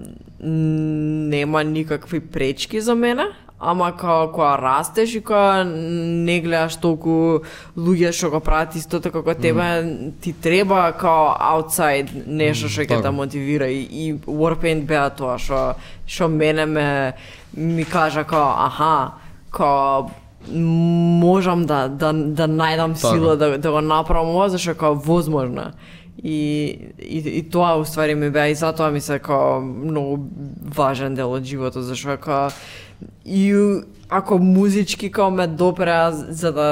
S2: нема никакви пречки за мене, ама као кога растеш и кога не гледаш толку луѓе што го прават истото како тебе, ти треба као outside нешто што ќе
S6: така.
S2: те мотивира и, и Warpaint беа тоа што што мене ме ми кажа као аха као можам да да да најдам
S6: Така.
S2: сила да да го направам ова зашто као возможно. И, и, и тоа уствари ми беа и затоа ми се као многу важен дел од животот зашто као и ако музички као ме допреа за да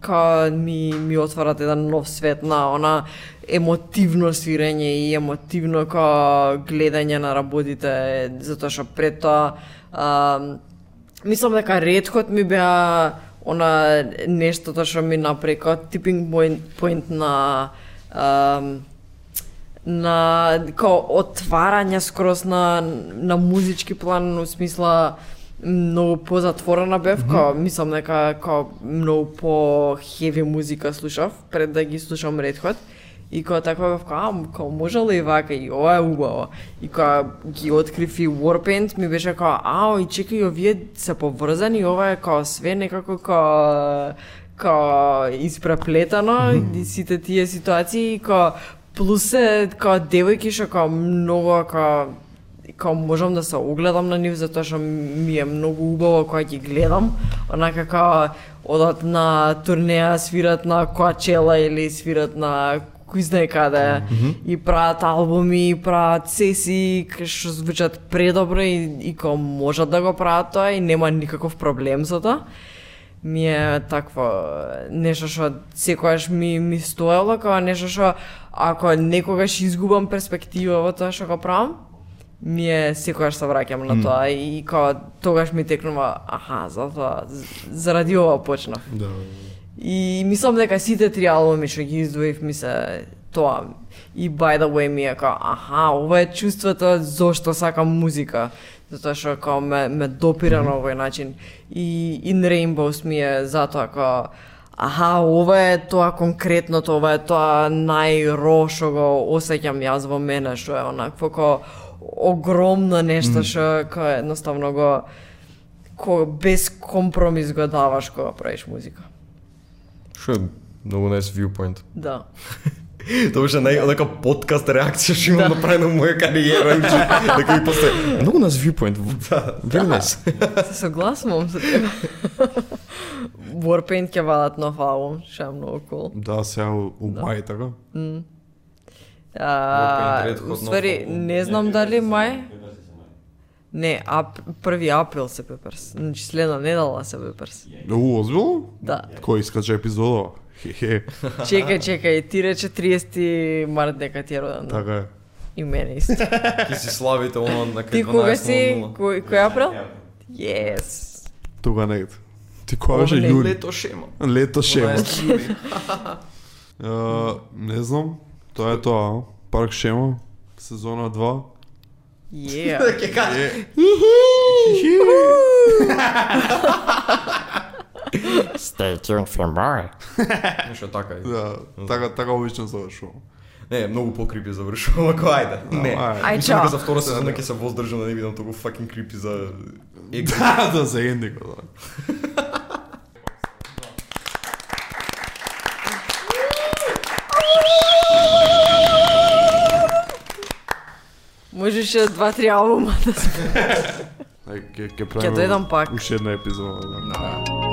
S2: као ми, ми отварат еден нов свет на она емотивно свирење и емотивно као гледање на работите, затоа што пред тоа а, мислам дека редкот ми беа она нештото што ми направи као типинг point, point на ам, на као отварање скрос на на музички план у смисла многу позатворена бев, mm као мислам дека као многу по хеви музика слушав пред да ги слушам Red Hot и кога таква бев као, ам, као може ли и вака и ова е убаво. И кога ги открив и Warpaint ми беше као, ао, и чекај, овие се поврзани, ова е као све некако као као испреплетано и сите тие ситуации и као плюс е као девојки што као многу као као можам да се огледам на нив затоа што ми е многу убаво кога ги гледам, онака као одат на турнеја, свират на Коачела или свират на кој знае каде и прават албуми, и прават сесии кај што звучат предобро и, и као можат да го прават тоа и нема никаков проблем за тоа. ми е такво нешто што секогаш ми ми стоело, како нешто што ако некогаш изгубам перспектива во тоа што го правам, ми е секогаш се враќам на тоа и како тогаш ми текнува, аха, затоа з- заради ова почнав.
S1: Да.
S2: И мислам дека сите три албуми што ги издвоив ми се тоа. И by the way ми е као, аха, ова е чувството зошто сакам музика. Затоа што као ме, ме допира на овој начин. И In Rainbows ми е затоа као, аха, ова е тоа конкретното, ова е тоа најро што го осеќам јас во мене, што е онакво као огромно нешто што као едноставно го ко, без компромис го даваш кога правиш музика.
S6: Што е многу nice viewpoint.
S2: Да.
S6: Тоа беше нај онака подкаст реакција што имам направено во моја кариера, дека и после многу nice viewpoint. Да. Very nice.
S2: Се согласувам со тебе. Warpaint ќе валат нов албум, ше е многу кул.
S1: Да, сега у, у мај така.
S2: А,
S6: Warpaint, Red Hot, нов
S2: Уствари,
S6: албум.
S2: не знам дали мај... Не, а први април се Пеперс. Значи следна недела се Пеперс.
S1: У, озбило?
S2: Да.
S1: Кој искача епизода? Хе-хе,
S2: Чекај, чекај, ти рече 30 март дека ти е роден. да?
S1: така е.
S2: И мене исто.
S6: Ти си славите оно на кај
S2: Ти кога си?
S6: 12:00.
S2: Кој кој април? Yes.
S1: Тука негде. Ти која беше
S2: Овле.
S1: јули?
S6: Лето шема.
S1: Лето шема.
S6: 12 јули.
S1: Е, не знам, тоа е тоа, а? парк шема, сезона 2.
S6: Да,
S2: Yeah.
S9: Stay tuned for more.
S6: Нешто така е.
S1: Да, така така обично завршувам.
S6: Не, многу покрипи завршува, ако ајде. Не.
S1: Ај.
S2: Ај
S6: Мислам дека за
S2: чао.
S6: втора сезона ќе се воздржам да не видам толку fucking крипи за
S1: Да, да за ендико, да.
S2: Можеше два-три албума да се
S1: Ај, Ќе ќе
S2: Ќе
S1: правиме.
S2: дојдам пак.
S1: Уште една епизода. Да.
S6: Да.